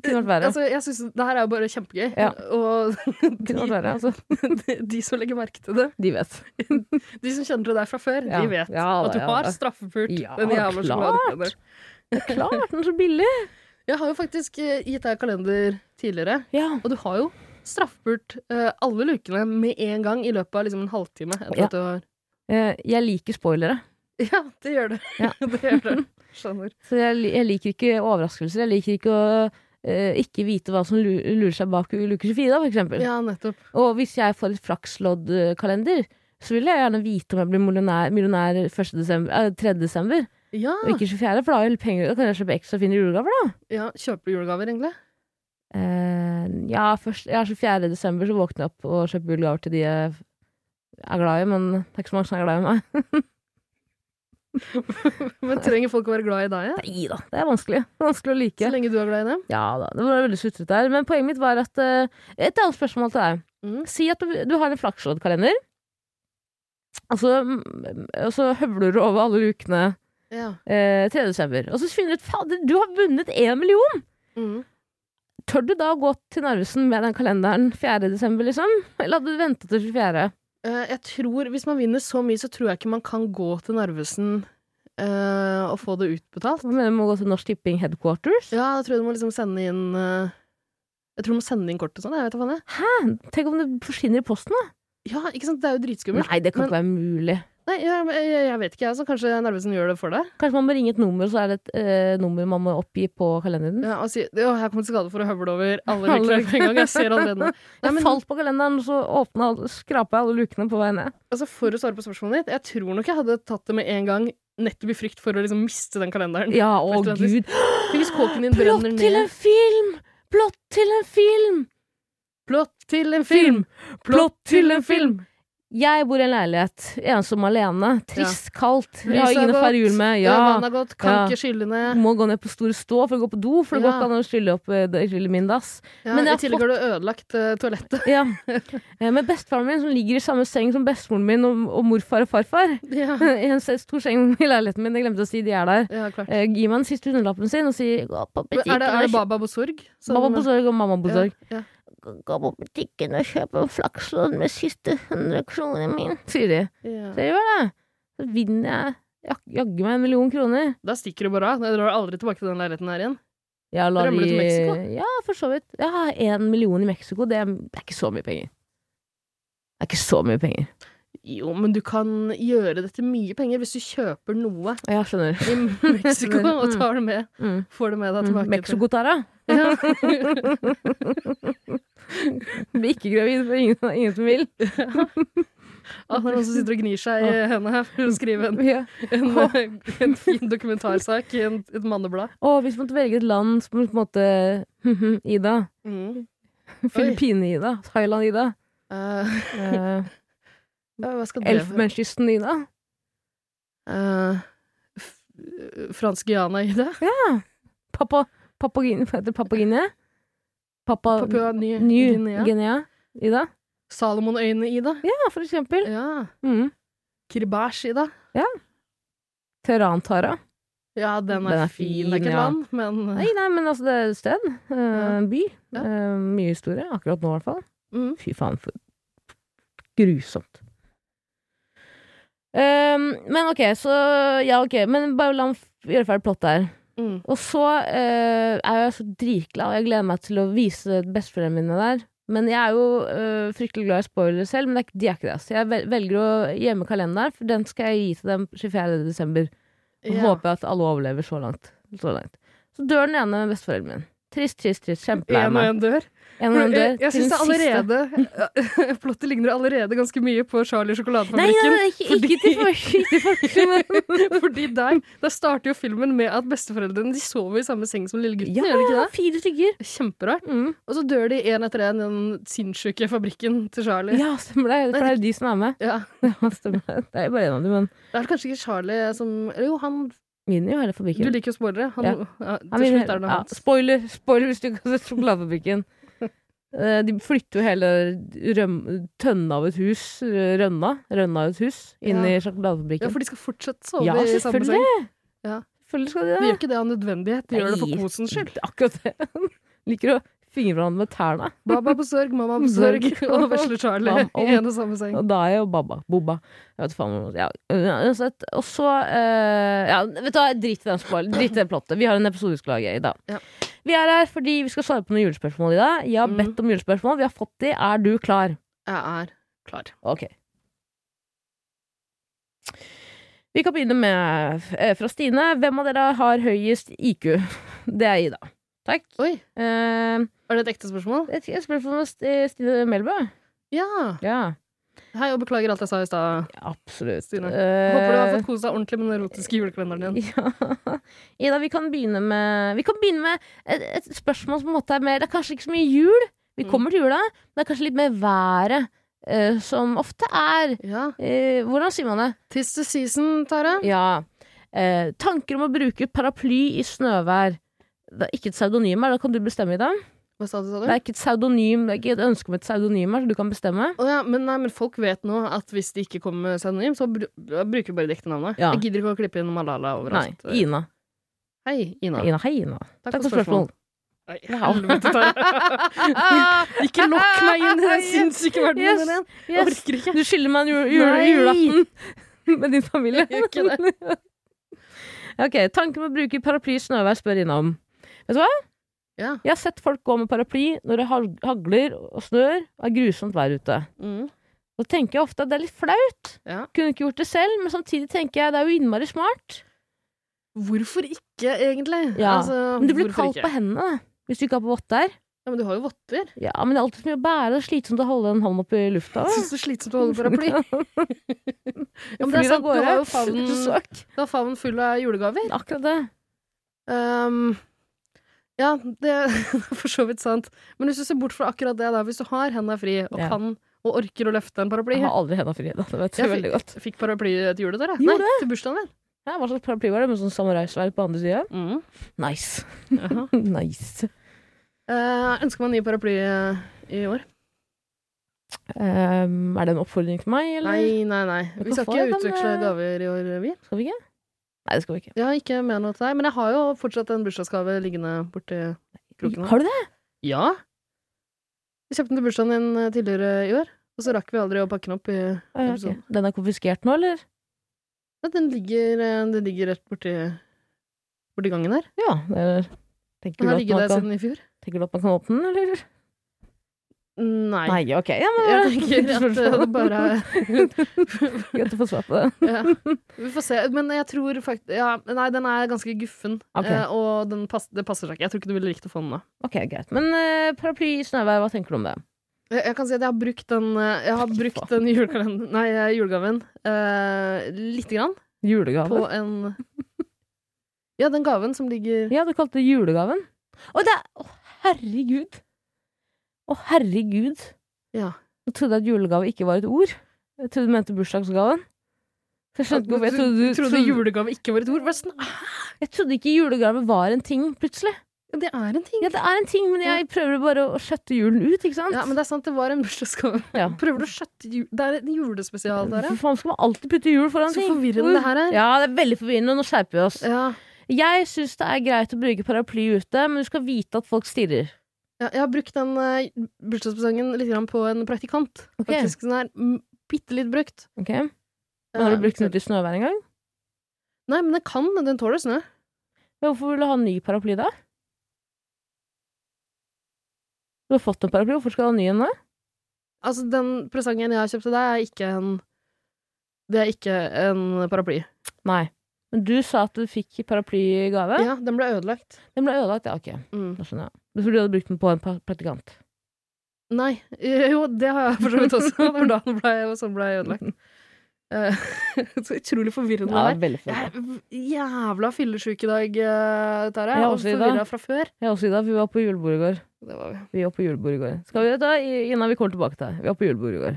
Det kunne vært verre. Altså, jeg synes Det her er jo bare kjempegøy. Ja. Og Det kunne vært verre altså. de, de som legger merke til det, De vet. de som kjenner deg fra før, Ja. de vet Ja, da, at du ja, har da. straffepult. Ja, den klart. jævla sjokoladekalenderen. Klart, den er så billig. Jeg har jo faktisk eh, gitt deg kalender tidligere. Ja. Og du har jo straffburt eh, alle lukene med en gang i løpet av liksom en halvtime. Etter Ja. at du har... Eh, Jeg liker spoilere. ja, det gjør det. Ja. det gjør det. Skjønner. Så jeg, li- jeg liker ikke overraskelser. Jeg liker ikke å eh, ikke vite hva som lu- lurer seg bak luke 24, da, for eksempel. Ja, nettopp. Og hvis jeg får et flaksloddkalender, så vil jeg gjerne vite om jeg blir millionær, millionær 1. Desember, eh, 3. desember, Ja, og ikke 24., for da har jeg penger, da kan jeg kjøpe ekstra fine julegaver, da. ja Kjøper du julegaver, egentlig? Eh, ja, først, ja, 24. desember så våkner jeg opp og kjøper julegaver til de jeg er glad i, men det er ikke så mange som er glad i meg. Men Trenger folk å være glad i deg? Ja? Nei da, det er vanskelig. Det er vanskelig å like. Så lenge du er glad i dem? Ja da, det var veldig sutret der. Men poenget mitt var at eh, Et annet spørsmål til deg. Mm. Si at du, du har en flaksloddkalender, og så, og så høvler du over alle ukene Ja. eh, 3. desember. Og så finner du ut Fader, du har vunnet én million! Mm. Tør du da gå til Narvesen med den kalenderen 4. desember, liksom? Eller hadde du venta til 24.? Eh, jeg tror, Hvis man vinner så mye, så tror jeg ikke man kan gå til Narvesen eh, og få det utbetalt. Hva mener du med å gå til Norsk Tipping Headquarters? Ja, jeg tror du må liksom sende inn eh, Jeg tror du må sende inn kort og sånn. Jeg vet da faen, jeg. Tenk om det forsvinner i posten, da? Ja, ikke sant? Det er jo dritskummelt. Nei, det kan Men- ikke være mulig. Nei, jeg, jeg, jeg vet ikke, jeg. Så kanskje Narvesen gjør det for deg. Kanskje man må ringe et nummer, og så er det et eh, nummer man må oppgi på kalenderen. Ja, og si Å, her kom til skade for å høvle over alle Mm. Alle. reklær på en gang. Jeg ser allerede nå. Nei, Jeg men- falt på kalenderen, og så åpna, skrapa jeg alle lukene på vei ned. Altså, For å svare på spørsmålet ditt, jeg tror nok jeg hadde tatt det med en gang, nettopp i frykt for å liksom miste den kalenderen. Ja, å Først og fremst. gud. For Hvis kåken din Plott brenner til en ned film! Plott til en film! Plott til en film! Plott til en film! Jeg bor i en leilighet, ensom alene. Trist, kaldt. Jeg har Lyset er ingen å feire godt. jul med. Ja. Vannet Ja. er godt, kan Ja. ikke skylle ned. Må gå ned på stor stå for å gå på do, for det går Ja. ikke an å skylle opp eh, det- skylle min dass. Ja, Men jeg I har tillegg har du ødelagt eh, toalettet. Ja. Eh, Men bestefaren min, som ligger i samme seng som bestemoren min og, og morfar og farfar Ja, I en se- stor seng i leiligheten min, jeg glemte å si de er der. ja klart. Eh, Gi meg den siste hundrelappen sin og si gå på Men butikken Er det, er det og kjøp- Baba Bosorg? som- Mamma på sorg og mamma på sorg. Ja, ja. Gå på butikken og kjøp en flakslodd med siste 100 kroner min, sier de. Ja. Så jeg gjør det. Så vinner jeg jak- jaggu meg en million kroner. Da stikker du bare av. Da drar du aldri tilbake til den leiligheten her igjen. Jeg lar Rømmer du de- til Mexico? Ja, for så vidt. Jeg har én million i Mexico. Det er, det er ikke så mye penger. Det er ikke så mye penger. Jo, men du kan gjøre det til mye penger hvis du kjøper noe Ja, skjønner. i Mexico og tar det med. Mm. Får det med deg Mm. tilbake. Mexico-Tara. Til. Ja. Blir ikke gravid, for ingen, ingen som vil. At det er noen som sitter og gnir seg i hendene her for å skrive en, Ja. en, en fin dokumentarsak i en, et manneblad. Og hvis vi måtte velge et land som på en måte Ida. Mm. Filippinene-Ida. Thailand-Ida. Eh, Eh, hva skal det være? Elfenbenskysten-Ida. Eh, f- franske Jana i det? Pappa, Papagin, hva heter det? Papaginia? Papa, Papua New Ny-Guinea? Guinea? Ida? Salomonøyene i det? Ja, for eksempel. Ja. Mm. Kiribæsj i det? Terrantara. Ja, den er, Den er fin. Det er fin, ikke et ja. land, men eh, Nei, nei, men altså, det er et sted. eh, Ja. By. Ja. Eh, mye historie. Akkurat nå, i hvert fall. Mm. Fy faen, for grusomt. Um, men ok, så Ja, ok, men bare la meg f- gjøre ferdig plottet her. Mm. Og så eh, er jeg så dritglad, og jeg gleder meg til å vise besteforeldrene mine der. Men jeg er jo eh, fryktelig glad i spoilere selv, men det er, ikke- de er ikke det. Så jeg vel- velger å gjemme kalenderen, for den skal jeg gi til dem 24. desember. Og Ja. håper at alle overlever så langt. Så, langt. så dør den ene besteforelderen min. Trist, trist, trist. Kjempelei En og meg. en dør. En og en dør. eh, jeg jeg til syns det den siste. allerede Plottet ligner allerede ganske mye på Charlie og Nei, nei, sjokoladefabrikken. nei, ikke, ikke til folk- ikke til folk. Fordi der, der starter jo filmen med at besteforeldrene de sover i samme seng som lille gutten. Ja, gjør de ikke ja, det? fire stykker. Kjemperart. Mm. Og så dør de én etter én i den sinnssyke fabrikken til Charlie. Ja, stemmer det. For det er jo de som er med. Ja. Ja, stemmer det. Det er jo bare en av dem, men Det er vel kanskje ikke Charlie som Eller jo, han vinner jo hele fabrikken. Du liker jo spoilere. Han, Ja. ja, Han til vil- slutt er det noe ja, annet. spoiler, spoiler hvis du ikke har sett sjokoladefabrikken. Eh, De flytter jo hele røm, tønna av et hus, eh, rønna, rønna av et hus, inn Ja. i sjokoladefabrikken. Ja, for de skal fortsatt sove Ja, i samme selvfølgelig. seng. Selvfølgelig skal de De det. gjør ikke det av nødvendighet, de gjør det for Nei. kosens skyld. Akkurat det. Liker å fingre hverandre med tærne. Baba på sorg, mamma på sorg og vesle Charlie Bam, om. i en og samme seng. Og Dae og Baba. Boba. Jeg vet faen hva- ja, Uansett. Og så eh, Ja, vet du hva, drit i den spoil- drit i det plottet. Vi har en episode vi skal lage i dag. Ja. Vi er her fordi vi skal svare på noen julespørsmål i dag. Jeg har Mm. bedt om julespørsmål. Vi har fått de. Er du klar? Jeg er klar. Ok. Vi kan begynne med eh, fra Stine. Hvem av dere har høyest IQ? Det er Ida. Takk. Oi, Eh, er det et ekte spørsmål? jeg jeg spør for St- Stine Melbø. Ja. Ja, Hei, og beklager alt jeg sa i stad. absolutt. Stine. Eh, Håper du har fått kose deg ordentlig med den erotiske julekalenderen din. ja. Ida, vi kan begynne med, vi kan begynne med et, et spørsmål som på en måte er mer Det er kanskje ikke så mye jul. Vi Mm. kommer til jula. Men det er kanskje litt mer været, eh, som ofte er Ja. eh, Hvordan sier man det? Tis the season, Tara. Ja. Eh, tanker om å bruke paraply i snøvær. Det er ikke et pseudonym her, da kan du bestemme i det. Hva sa du, sa Det du? er ikke et pseudonym, det er ikke et ønske om et pseudonym her, så du kan bestemme. Å ja, men, nei, men folk vet nå at hvis de ikke kommer med pseudonym, så br da bruker vi bare de ekte navnene. Ja. Jeg gidder ikke å klippe inn Malala Nei, overalt. Ina. Hei, Ina. Ina. Hei, Ina. Takk, Takk for for spørsmålet. spørsmålet. Nei, helvete, Tara. ikke lokk meg inn i den sinnssyke Yes, verdenen din igjen. Jeg yes. orker ikke. Du skylder meg en jul, jul, Nei. julaften med din familie. Jeg gjør ikke Ok, Tanken med å bruke paraply i snøvær spør Ina om. Vet du hva? Ja. Jeg har sett folk gå med paraply når det hag- hagler og snør og er grusomt vær ute. Mm. Da tenker jeg ofte at det er litt flaut. Ja. Kunne ikke gjort det selv, men samtidig tenker jeg det er jo innmari smart. Hvorfor ikke, egentlig? Ja. Altså, Men du blir hvorfor kaldt ikke? på hendene da, hvis du ikke har på votter. Ja, men du har jo votter. Ja, men det er alltid så mye å bære. Det er slitsomt å holde en hånd opp i lufta. Jeg synes det er slitsomt å holde paraply. ja, men det er sant, du har jo favnen, du har favnen full av julegaver. Akkurat det. Ehm, ja, det er for så vidt sant. Men hvis du ser bort fra akkurat det, da, hvis du har henda fri og Ja. kan og orker å løfte en paraply Jeg har aldri henda fri. da, Det vet Jeg du veldig godt. Fikk paraply til julet der, jeg. Gjorde Nei, til bursdagen min. Ja, hva slags paraply var det? Med sånn samuraisverd på andre sida? Nice. Jaha. nice. Eh, ønsker meg en ny paraply eh, i år. Ehm, er det en oppfordring til meg, eller? Nei, nei, nei. Vi skal Hvorfor ikke er den, utveksle eh, gaver i år, vi. Skal vi ikke? Nei, det skal vi ikke. Jeg har ikke med noe til deg, men jeg har jo fortsatt en bursdagsgave liggende borti kroken. her. Har du det? Ja. Vi kjøpte den til bursdagen din eh, tidligere i år, og så rakk vi aldri å pakke den opp. I Å, ja, ok. episoden. Den er konfiskert nå, eller? Ja, den, ligger, eh, den ligger rett borti, borti gangen her. Ja. Det er, tenker, Den du har at ligget man der kan, siden i fjor. tenker du at man kan åpne den, eller? Nei. Nei, ok. Ja, men Jeg tenker at eh, det Spørsmål. bare Greit å få svar på det. ja. Vi får se. Men jeg tror faktisk ja, Nei, den er ganske guffen, Ok. eh, og den pass, det passer seg ikke. Jeg tror ikke du ville likt å få den nå. Ok, greit. Men eh, paraply i snøvær, hva tenker du om det? Jeg, jeg kan si at jeg har brukt den, eh, jeg har brukt den julekalenderen Nei, eh, julegaven eh, lite grann. Julegave? På en Ja, den gaven som ligger Ja, du kalte det julegaven. Å, det er Å, herregud! Å, herregud! Ja. Nå trodde jeg at julegave ikke var et ord. Jeg trodde du mente bursdagsgaven. Så jeg skjønte ikke hvorfor jeg trodde du trodde julegave ikke var et ord? Hva er det sn- Jeg trodde ikke julegave var en ting, plutselig. Det er en ting. Ja, det er en ting, men jeg prøver bare å skjøtte julen ut, ikke sant? Ja, men det er sant, det var en bursdagsgave. Ja. Prøver du å skjøtte jul... Det er en julespesial, dere. Hvorfor faen skal man alltid putte jul foran Så ting? forvirrende det her er. Ja, det er veldig forvirrende, og nå skjerper vi oss. Ja. Jeg syns det er greit å bruke paraply ute, men du skal vite at folk stirrer. Ja, jeg har brukt den eh, bursdagspresangen litt grann på en praktikant. Ok. Faktisk, den er mm, bitte litt brukt. Ok? Men har Eh, du brukt den ute i snøvær en gang? Nei, men den kan, den tåler snø. Men Hvorfor vil du ha en ny paraply da? Du har fått en paraply, hvorfor skal du ha en ny en da? Altså, den presangen jeg har kjøpt til deg, er ikke en Det er ikke en paraply. Nei. Men du sa at du fikk paraply i gave. Ja, den ble ødelagt. Den ble ødelagt, ja, ok. Mm. Nå skjønner jeg. Du trodde du hadde brukt den på en pa- praktikant. Nei. eh, Jo, det har jeg for så vidt også. Det var da den ble, og sånn ble jeg ødelagt. Eh, så utrolig forvirrende Ja, det er. veldig Jeg forvirrende. er v- jævla fyllesyk i dag, eh, Tara. Jeg er Og også i dag. forvirra fra før. Jeg også, Ida, vi var på julebord i går. Det var vi. Vi var på julebord i går. Skal vi da, i- Innan vi kommer tilbake til det. Vi var på julebord i går.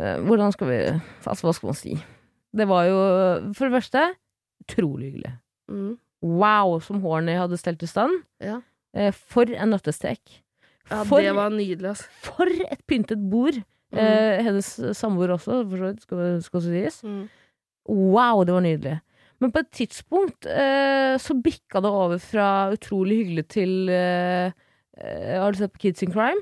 Eh, hvordan skal vi Altså, hva skal man si? Det var jo, for det første, utrolig hyggelig. Mm. Wow, som Horny hadde stelt i stand. Ja. Eh, for en nøttestek. Ja, for, det var nydelig, altså. Mm. for et pyntet bord. Eh, hennes samboer også, for så vidt, skal, skal sies. Mm. Wow, det var nydelig. Men på et tidspunkt eh, så bikka det over fra utrolig hyggelig til eh, eh, Har du sett på Kids in Crime?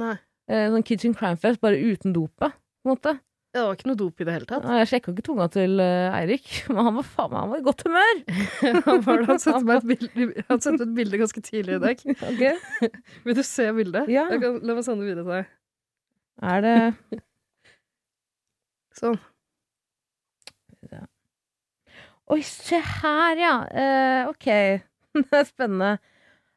Nei. Eh, sånn Kids in Crime-fest, bare uten dopet. På en måte. Ja, Det var ikke noe dop i det hele tatt. Ja, Jeg sjekka ikke tunga til eh, Eirik, men han var faen meg han var i godt humør! Han, var det. han, sendte meg et bilde, han sendte et bilde ganske tidlig i dag. Ok. Vil du se bildet? Ja. Jeg kan, la meg sende det videre til deg. Er det Sånn. Oi, se her, ja! Eh, ok, det er spennende.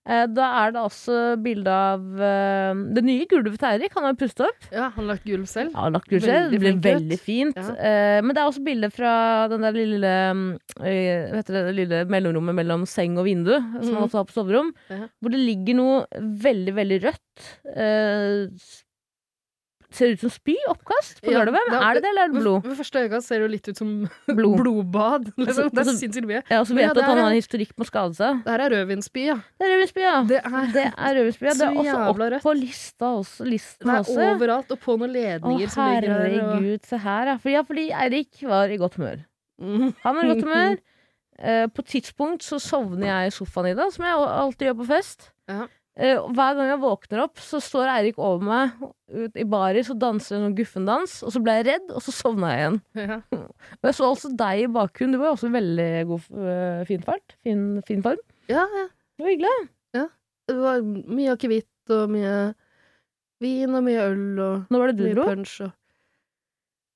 Eh, da er det altså bilde av eh, det nye gulvet til Eirik. Han har pustet opp. Ja, han har lagt gulv selv. Ja, lagt kurset. Det blir Veldig flink gutt. veldig fint. Ja. Eh, men det er også bilder fra den der lille, mm, eh, hva heter det, det lille mellomrommet mellom seng og vindu, som Mhm. man også har på soverom, Ja. hvor det ligger noe veldig, veldig rødt. eh, s- ser ut som spy, oppkast, på Ja, gulvet. Men det er- er det det, eller er det blod? Ved, ved første øyekast ser det jo litt ut som Blod. blodbad. Liksom. Det er Altså, sinnssykt mye. Jeg har også Men ja, vet det at han er- har en historikk med å skade seg. Det her er rødvinsby, ja. Det er rødvinsspy, ja. Det er, Det er rødvinsspy. Ja. Det Så er også opp jævla rødt. på lista også. Listen det er også. overalt, og på noen altså Å, ledninger som ligger her. Og... herregud, se her, ja. For, ja. Fordi Eirik var i godt humør. Mm. Han var i godt humør. Eh, på et tidspunkt så sovner jeg i sofaen i dag, som jeg alltid gjør på fest. Ja. Eh, og hver gang jeg våkner opp, så står Eirik over meg ut i baris og danser en sånn guffendans. Og så ble jeg redd, og så sovna jeg igjen. Ja. Og jeg så altså deg i bakgrunnen. Du var jo også i veldig god, eh, fin fart. Fin, fin form. ja, ja. Det var hyggelig. Det var mye akevitt og mye vin og mye øl og Nå var det du mye dro. punch og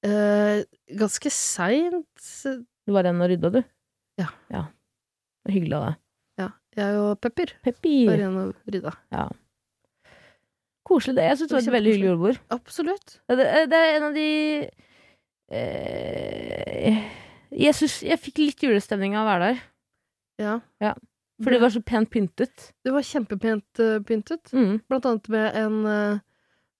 Eh, Ganske seint. eh, Du var igjen og rydda, du. Ja. Det var Hyggelig av deg. Ja, jeg og Pepper Peppi. var igjen og rydda. Koselig det. Jeg synes det var et veldig hyggelig julebord. Absolutt. Ja, Det, det er en av de eh, Jeg synes jeg fikk litt julestemning av å være der. Ja. For det var så pent pyntet. Det var kjempepent eh, pyntet. Mm. Blant annet med en, eh,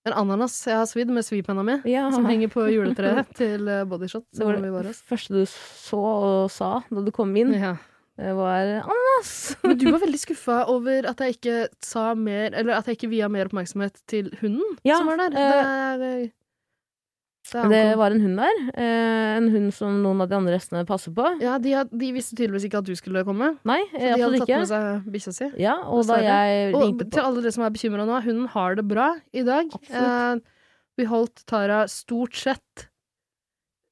en ananas jeg har svidd med svipenna mi, Ja. som henger på juletreet til eh, Bodyshot. Det var Som vi var det hos. første du så og sa da du kom inn, Ja. det var ananas! Men du var veldig skuffa over at jeg ikke sa mer Eller at jeg ikke via mer oppmerksomhet til hunden Ja, som var der. eh, det, er, eh, det, er Det ankom- var en hund der. eh, En hund som noen av de andre restene passer på. ja, de, had, de visste tydeligvis ikke at du skulle komme. Nei, Så de hadde absolutt tatt ikke. med seg bikkja si. Ja, og da Dessverre. jeg Og ringte til på alle dere som er bekymra nå, hunden har det bra i dag. Eh, Absolutt. vi holdt Tara stort sett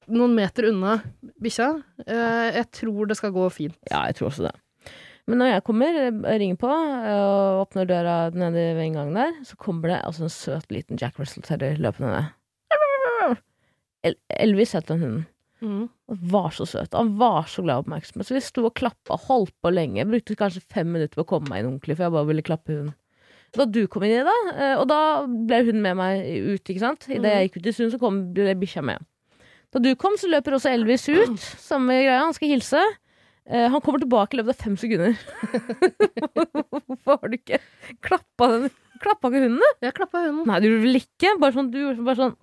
noen meter unna bikkja. Eh, jeg tror det skal gå fint. Ja, jeg tror også det. Men når jeg kommer, jeg ringer på og åpner døra nede ved inngangen der, så kommer det altså en søt liten Jack Russell Terrier løpende ned. El Elvis het den hunden. Han var så søt. Han var så glad i oppmerksomhet. Så vi sto og klappa og holdt på lenge. Jeg brukte kanskje fem minutter på å komme meg inn ordentlig, for jeg bare ville klappe hunden. Da du kom inn i det, eh, og da ble hun med meg ut, ikke sant. Idet jeg gikk ut i stuen, så kom ble bikkja med. Da du kom, så løper også Elvis ut. Samme greia, han skal hilse. Eh, han kommer tilbake i løpet av fem sekunder. Hvorfor har du ikke klappa den? Klappa ikke hunden? da? Jeg klappa hunden. Nei, du gjorde vel ikke? Bare sånn, du gjorde bare sånn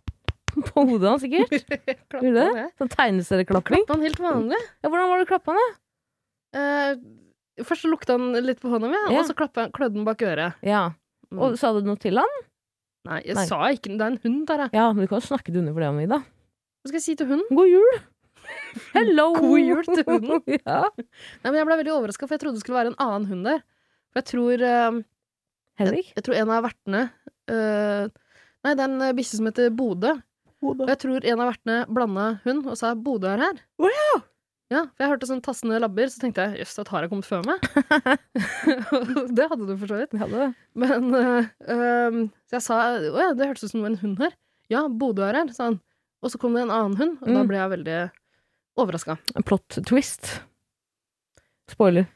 på hodet hans, sikkert. Klappa Gjorde han, det? jeg. Sånn tegneserieklapping. Klappa han helt vanlig. Ja, hvordan var det du klappa han, da? Eh, først så lukta han litt på hånda mi, Ja. og så klappa han- klødde han bak øret. Ja. Mm. Og sa du noe til han? Nei, jeg Nei. sa ikke Det er en hund, Tara. Ja, men du kan jo snakke det under for det, Amida. Hva skal jeg si til hunden? God jul! Hello! God jul til hunden. ja. Nei, men jeg ble veldig overraska, for jeg trodde det skulle være en annen hund der. For jeg tror eh, Henrik? Jeg tror en av vertene øh, Nei, det er en øh, bikkje som heter Bodø. Og jeg tror en av vertene blanda hund og sa 'Bodø er her'. Wow! Ja, For jeg hørte sånn tassende labber, så tenkte jeg 'jøss, da har jeg kommet før meg'. det hadde du for så vidt. Ja, det. Men øh, øh, Så jeg sa 'å ja, det hørtes ut som det var en hund her'. 'Ja, Bodø er her', sa han. Og så kom det en annen hund, og da Mm. ble jeg veldig overraska. En plot twist. Spoiler.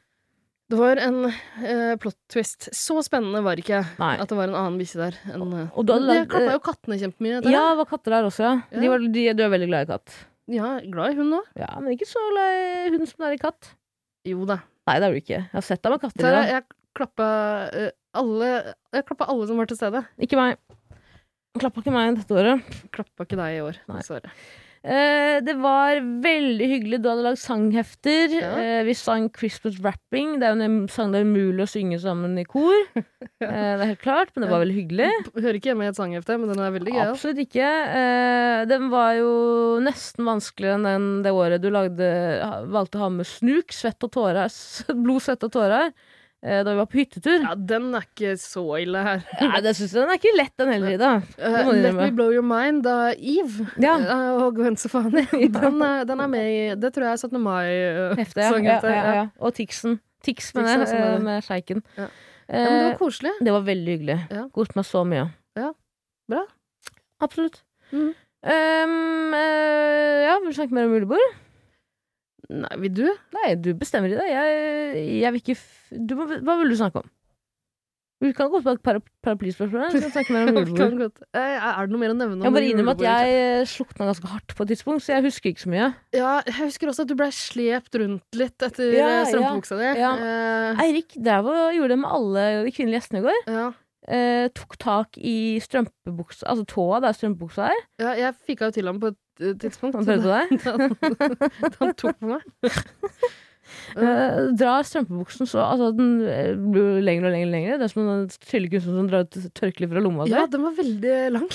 Det var en øh, plot twist. Så spennende var ikke Nei. at det var en annen bikkje der. enn, øh, Og du hadde men de lagd- klappa jo kattene kjempemye. Tara. Ja, det var katter der også, ja. Ja. De var, de, du er veldig glad i katt. Ja, glad i hund òg. Ja, men ikke så glad i hund som du er i katt. Jo da. Nei, det er du ikke. Jeg har sett deg med katter. i Tara, dag. jeg klappa eh, alle Jeg klappa alle som var til stede. Ikke meg. Klappa ikke meg dette året. Klappa ikke deg i år, Nei. dessverre. Eh, det var veldig hyggelig. Du hadde lagd sanghefter. Ja. Eh, vi sang Christmas Wrapping. Det er jo en sang det er umulig å synge sammen i kor. eh, det er helt klart, men det var veldig hyggelig. P- Hører ikke hjemme i et sanghefte, men den er veldig gøy. altså. Absolutt ikke. Eh, den var jo nesten vanskeligere enn den- det året du lagde, ha- valgte å ha med snuk, svett og tårer. s- Blod, svett og tårer. eh, Da vi var på hyttetur. Ja, den er ikke så ille her. Nei, det synes jeg den er ikke lett, den heller, Ida. Eh, må du Let innrømme. me blow your mind av Eve Ja. eh, og Gwen Stefani. Den, er- den er med i Det tror jeg er eh. 17. Hefte, ja. Ja, mai-sanghefte. ja, ja. Og Tixen. Tix, Tix er mener også jeg, eh, med der. med sjeiken. Ja. Eh, men det var koselig. det var veldig hyggelig. Ja. Koste meg så mye. Ja. Bra. Absolutt. Mhm. Um, eh, ja, vil du snakke mer om julebord? Nei, vil du? Nei, du bestemmer i det. Jeg, jeg vil ikke f du, må- Hva vil du snakke om? Vi kan gå på et para- paraplyspørsmål. Vi kan snakke mer om julebord. Kan godt. Eh, er det noe mer å nevne? om Jeg må bare innrømme at julebordet? jeg eh, slukna ganske hardt på et tidspunkt, så jeg husker ikke så mye. Ja, jeg husker også at du blei slept rundt litt etter Ja, eh, strømpebuksa di. ja. Eh, Eirik drev og gjorde det med alle de kvinnelige gjestene i går. ja. Eh, tok tak i strømpebuksa, altså tåa der strømpebuksa er. Sånn, Ja, jeg fika jo til ham på et eh, tidspunkt. Han prøvde det. Da han tok på meg. Eh, drar strømpebuksen så altså, den eh, blir jo lengre og lengre. og lengre. Det er som en tryllekunstner som drar ut tørkleet fra lomma. si. Ja, den var veldig lang.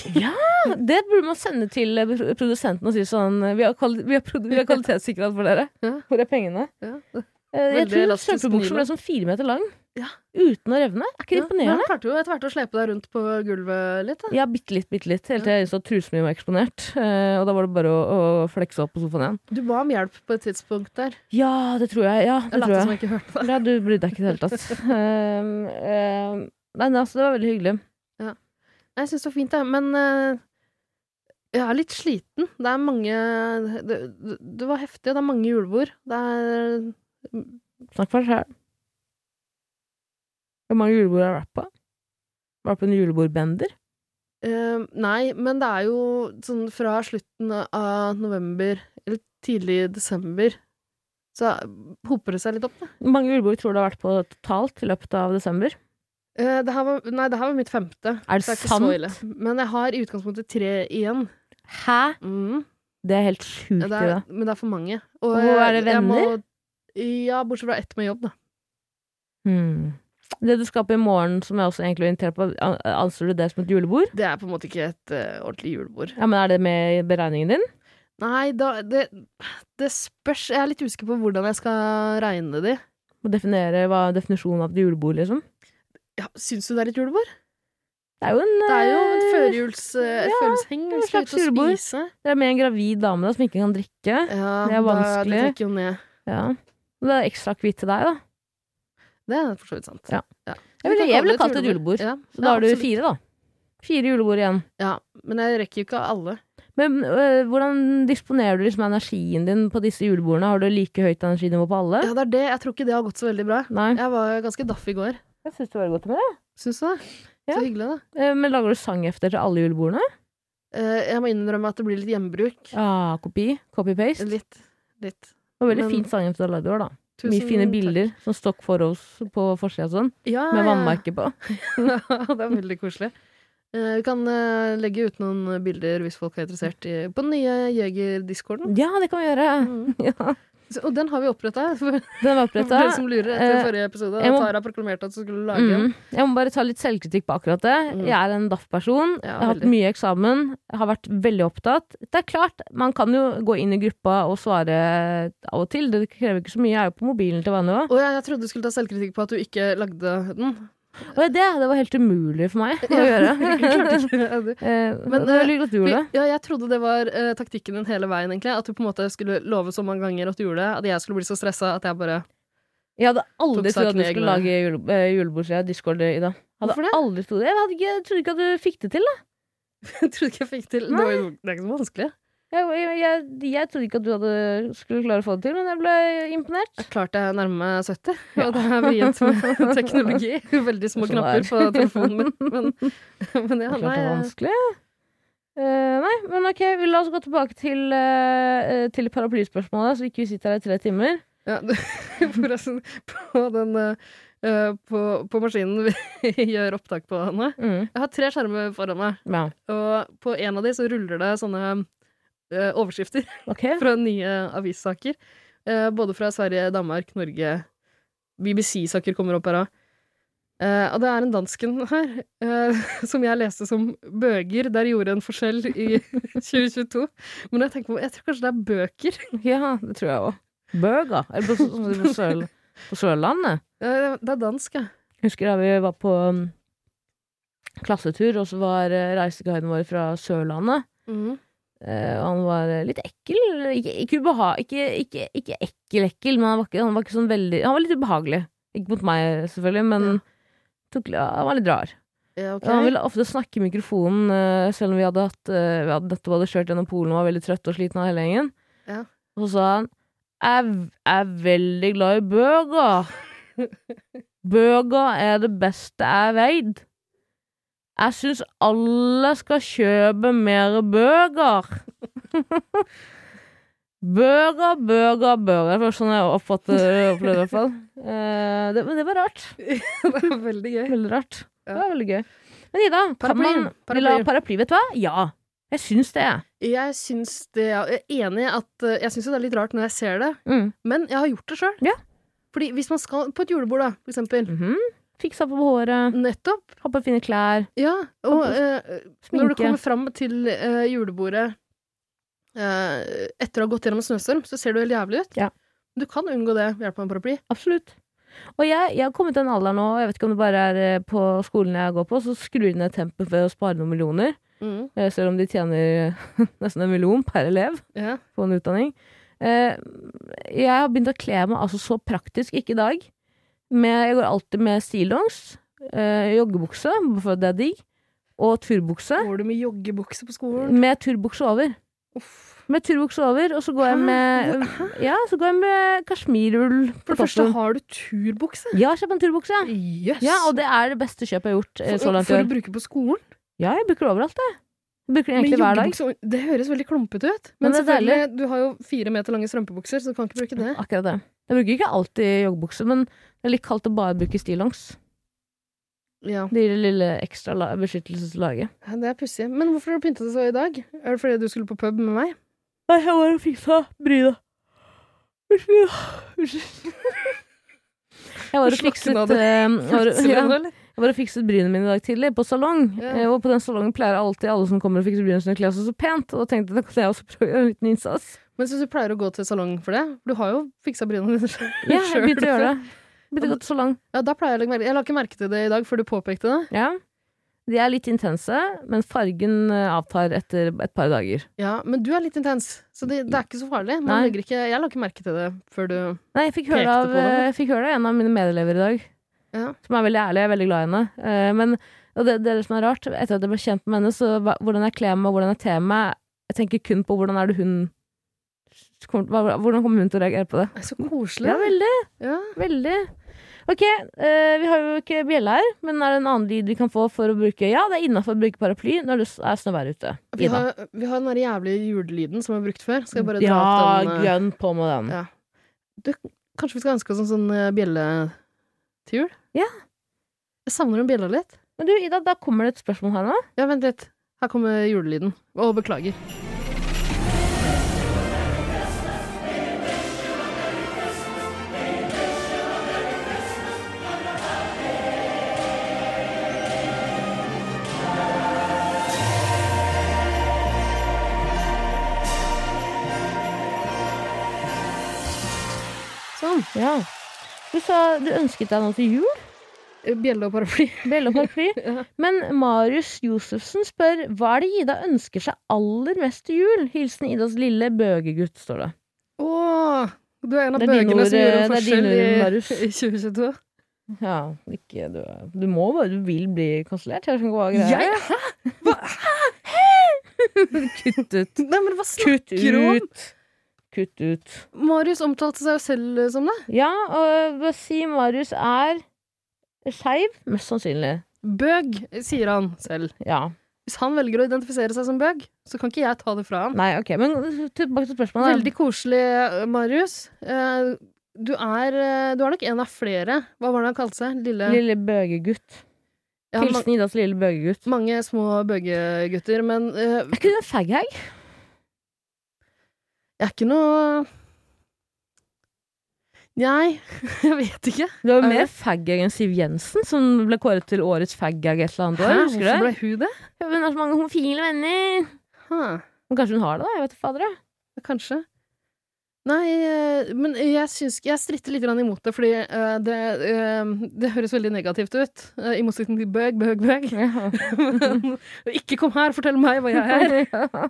Det burde man sende til eh, pro- produsenten og si sånn eh, Vi har, kvali vi har, produ- vi har kvalitetssikkerhet for dere. Ja. Hvor er pengene? Ja. Eh, Jeg Veldig tror elastisk strømpebuksen nylon. ble sånn fire meter lang. Ja. Uten å revne. Er ikke det Men imponerende? han klarte jo etter hvert å slepe deg rundt på gulvet litt. Da. Ja, bitte litt, bitte litt. Helt til jeg innså at trusen min var eksponert. eh, Og da var det bare å, å flekse opp på sofaen igjen. Du ba om hjelp på et tidspunkt der. Ja, det tror jeg. Ja, det Jeg tror lot jeg. som jeg ikke hørte det. Ja, du brydde deg ikke i det hele tatt. Ehm, ehm, nei, nei, altså, det var veldig hyggelig. Nei, Jeg syns det var fint, jeg. Men eh, jeg er litt sliten. Det er mange Det, det- det var heftig. Det er mange julebord. Det er Snakk for deg sjæl. Hvor mange julebord har du vært på? Vært på en julebordbender? eh, Nei, men det er jo sånn fra slutten av november eller tidlig desember så hoper det seg litt opp, da. Hvor mange julebord tror du har vært på totalt i løpet av desember? Eh, det her var, nei, det her var mitt femte. Er det Så det er ikke sant? så ille. Men jeg har i utgangspunktet tre igjen. Hæ? Mm. Det er helt sjukt, Ja, Det det. er, men det er for mange. Og Og jeg- er det jeg må- ja, bortsett fra ett med jobb, da. Hmm. Det du skal på i morgen, som jeg også egentlig orienterer på, an- anser du det som et julebord? Det er på en måte ikke et eh, ordentlig julebord. Ja, men Er det med i beregningen din? Nei, da det, det spørs. Jeg er litt usikker på hvordan jeg skal regne de. Å definere hva er definisjonen av et julebord, liksom? Ja, Syns du det er et julebord? Det er jo en, Det er jo en eh, førjuls, eh, et ja, førjulsheng. er Vi et skal ut slags julebord. og spise. Det er med en gravid dame da, som ikke kan drikke. Ja, Det er da- vanskelig. Det trekker jo ned. Ja. Og det er ekstra akevitt til deg, da. Det er for så vidt sant. Ja. Vi Jeg ville- kan jeg ville kalle kalt det et julebord. Ja, Så da ja, har du absolutt. fire, da. Fire julebord igjen. Ja, men jeg rekker jo ikke alle. Men øh, hvordan disponerer du liksom energien din på disse julebordene? Har du like høyt energinivå på alle? Ja, det er det. Jeg tror ikke det har gått så veldig bra. Nei. Jeg var ganske daff i går. Jeg syns du var godt med det. Syns du det? Ja. Så hyggelig, da. Eh, Men lager du sang efter til alle julebordene? Eh, Jeg må innrømme at det blir litt gjenbruk. Ja, kopi. Copy-paste. Det Litt. Litt. var veldig men- fint sang efter du har lagd i år, da. Tusen Mye fine takk. bilder som stokk for oss på forsida og sånn, Ja, med ja. vannmerke på. det er veldig koselig. Eh, Vi kan eh, legge ut noen bilder hvis folk er interessert i, på den nye Jeger-discorden. Ja, det kan vi gjøre! Mm. Ja, Så- Og den har vi oppretta, for den var for oppretta. dere som lurer etter eh, forrige episode. jeg At må- Tara proklamerte at hun skulle lage en. Mm. Jeg må bare ta litt selvkritikk på akkurat det. Mm. Jeg er en DAF-person. Ja, jeg har hatt veldig. mye eksamen. Jeg har vært veldig opptatt. Det er klart, man kan jo gå inn i gruppa og svare av og til. Det krever ikke så mye. Jeg er jo på mobilen til vanlig òg. Og jeg, jeg trodde du skulle ta selvkritikk på at du ikke lagde den. Og det, det var helt umulig for meg å Jeg klarte gjøre. ikke det. Eh, Men, det var eh, veldig godt du gjorde det. Ja, jeg trodde det var eh, taktikken din hele veien, egentlig. At du på en måte skulle love så mange ganger at du gjorde det, at jeg skulle bli så stressa at jeg bare Jeg hadde aldri tok trodd at du saken i egne skulle lage jule, eh, julebordsida Discord i dag. Hadde Hvorfor det? aldri trodd det. Jeg, hadde ikke, jeg trodde ikke at du fikk det til. Da. Jeg trodde ikke jeg fikk til det, var, jo- det er ikke så vanskelig. Jeg, jeg, jeg, jeg trodde ikke at du hadde, skulle klare å få det til, men jeg ble imponert. Det er klart jeg nærmer meg 70, og det er vrient med teknologi. Veldig små Sånn knapper er. på telefonen min. Men, men ja, Det er nei, klart det er jeg- vanskelig. Eh, nei, men ok, vi la oss gå tilbake til, eh, eh, til paraplyspørsmålet, så ikke vi sitter her i tre timer. ja, du- Forresten, på den eh, på, på maskinen vi gjør opptak på nå Mm, Jeg har tre skjermer foran meg, ja. og på en av de så ruller det sånne eh, overskrifter. Ok, fra nye avissaker. Eh, både fra Sverige, Danmark, Norge. BBC-saker kommer opp her òg. Eh, og det er en dansken her eh, som jeg leste som bøger. Der gjorde en forskjell i 2022. Men jeg tenker på, jeg tror kanskje det er bøker. ja, det tror jeg også. Bøga, eller på, som de på, Sør, på Sørlandet. Eh, det er dansk, ja. Husker da vi var på mm, klassetur, og så var eh, reiseguiden vår fra Sørlandet. Mhm. Eh, og han var eh, litt ekkel. Ikke, ikke, ubeha ikke, ikke, ikke ekkel ekkel, men han var, ikke, han var ikke sånn veldig Han var litt ubehagelig. Ikke mot meg, selvfølgelig, men Ja. tok, ja, han var litt rar. Ja, ok. Og Han ville ofte snakke i mikrofonen, eh, selv om vi hadde hatt eh, Vi hadde nettopp hadde kjørt gjennom Polen og var veldig trøtt og sliten av hele gjengen. Ja. Og så sa han Jeg er veldig glad i bøger. bøger er det beste jeg veit. Jeg syns alle skal kjøpe mer bøker. Bøger, bøger, bøger. Det var sånn jeg oppfatter opplevde det, i hvert fall. Eh, det, men det var rart. det var veldig gøy. Veldig rart. Ja. Det var veldig gøy. Men Ida, kan Paraplyer, man vil du ha paraplyer. paraply? Vet du hva? Ja. Jeg syns det. Jeg syns det Jeg er enig i at eh, Jeg syns jo det er litt rart når jeg ser det, Mm. men jeg har gjort det sjøl. Ja. Fordi hvis man skal på et julebord, da, for eksempel. Mhm. Fiksa på håret, Nettopp. ha på fine klær, Ja, og eh, når du sminke. kommer fram til eh, julebordet eh, etter å ha gått gjennom en snøstorm, så ser du helt jævlig ut. Ja. Du kan unngå det ved hjelp av en paraply. Absolutt. Og jeg, jeg har kommet til en alder nå, jeg vet ikke om det bare er eh, på skolen jeg går på, så skrur de ned tempoet for å spare noen millioner. Mm. eh, Selv om de tjener nesten en million per elev Ja. på en utdanning. Eh, Jeg har begynt å kle meg altså så praktisk, ikke i dag. Men jeg går alltid med stillongs, eh, joggebukse, bare for at det er digg, og turbukse. Går du med joggebukse på skolen? Med turbukse over. Uff. Med turbukse over, og så går jeg Hæ? med Ja, så går jeg med kasjmirrull på For det første toppen. har du turbukse. Ja, kjøp en turbukse. ja. Jøss! Ja, og det er det beste kjøpet jeg har gjort eh, så for, langt i for å år. bruke på skolen? Ja, jeg bruker det overalt, jeg. Jeg bruker det Men egentlig hver dag. joggebukse- Det høres veldig klumpete ut. Men Men, det er selvfølgelig, du har jo fire meter lange strømpebukser, så du kan ikke bruke det. Akkurat det. Jeg bruker ikke alltid joggebukse, men det er litt kaldt å bare bruke stillongs. Ja, Det gir det lille ekstra la- beskyttelseslaget. Det er pussig. Men hvorfor har du pynta deg så i dag? Er det fordi du skulle på pub med meg? Nei, jeg var og fiksa bryna. Unnskyld. Unnskyld. Jeg var og fikset, Slakna du? eh, var, Plutselig, ja, eller? jeg var og fikset brynene mine i dag tidlig, på salong. Ja. Eh, Og på den salongen pleier alltid alle som kommer og fikser brynene sine, å kle seg så pent. Og da tenkte jeg da kan jeg også prøve å gjøre en liten innsats. Men syns du pleier å gå til salong for det? For du har jo fiksa bryna dine sjøl. Ja, jeg begynte å gjøre det. Begynte å gå til salong. Ja, da pleier jeg å legge merke Jeg la ikke merke til det i dag før du påpekte det. Ja. De er litt intense, men fargen eh, avtar etter et par dager. Ja, Men du er litt intens, så det, det er ikke så farlig. Man Nei. legger ikke, jeg la ikke merke til det før du Nei, jeg fikk høre, Pekte av, på det, da. eh, jeg fikk høre det av en av mine medelever i dag. Ja. Som er veldig ærlig, jeg er veldig glad i henne. Eh, Men og det, det er det som er rart, etter at jeg ble kjent med henne, så hva- hvordan jeg kler meg, hvordan jeg ter meg Jeg tenker kun på hvordan er det hun kommer- hva- Hvordan kommer hun til å reagere på det? Nei, Så koselig. Ja, veldig. Ja. Veldig. Ok, eh, vi har jo ikke bjelle her, men er det en annen lyd vi kan få for å bruke Ja, det er innafor å bruke paraply når det s- er snøvær ute. Vi, Ida. har, vi har den der jævlige julelyden som vi har brukt før. Skal jeg bare dra Ja, opp den? eh, grønn på med den. Ja. Kanskje vi skal ønske oss en sånn eh, bjelle til jul? Ja. Jeg savner den bjella litt. Men du, Ida, da kommer det et spørsmål her nå. Ja, vent litt. Her kommer julelyden. Å, beklager. Sånn. Ja. Du sa du ønsket deg noe til jul. Bjelle og paraply. Bjelle og paraply. Men Marius Josefsen spør hva er det Ida ønsker seg aller mest til jul? Hilsen Idas lille bøgegutt, står det. Åh, du er en av Det er dine bøkene ord, som eh, det gjør er en forskjell dine ord, Marius. i, i 2022. Ja, ikke du er- Du må bare Du vil bli kansellert. Jeg skjønner ikke hva greia Jeg? er. Kutt ut. Nei, men hva snakker Kutt du om? ut. Kutt ut. Marius omtalte seg jo selv eh, som det. Ja, og hva si Marius er skeiv? Mest sannsynlig. Bøg, sier han selv. Ja. Hvis han velger å identifisere seg som bøg, så kan ikke jeg ta det fra han. Nei, ok. Men tilbake til spørsmålet. Veldig koselig, eh, Marius. Eh, Du er, eh, du er nok en av flere. Hva var det han kalte seg? Lille, Lille bøgegutt. ja, ma Hilsen Idas lille bøgegutt. mange små bøgegutter, men eh, Er ikke du en faghag? jeg er ikke noe Nei, jeg vet ikke. Det var jo Er mer det? faggag enn Siv Jensen, som ble kåret til årets faggag et eller annet år. Hæ? Husker Hvorfor du det? ble hun det? Ja, Hun har så mange homofile venner. Huh. Men kanskje hun har det, da? Jeg vet ikke fader. jeg. Kanskje. Nei, eh, men jeg, syns, jeg stritter litt grann imot det, fordi eh, det, eh, det høres veldig negativt ut. eh, I motsetning til bøg, bøg, bøg. Men, ikke kom her og fortell meg hva jeg er!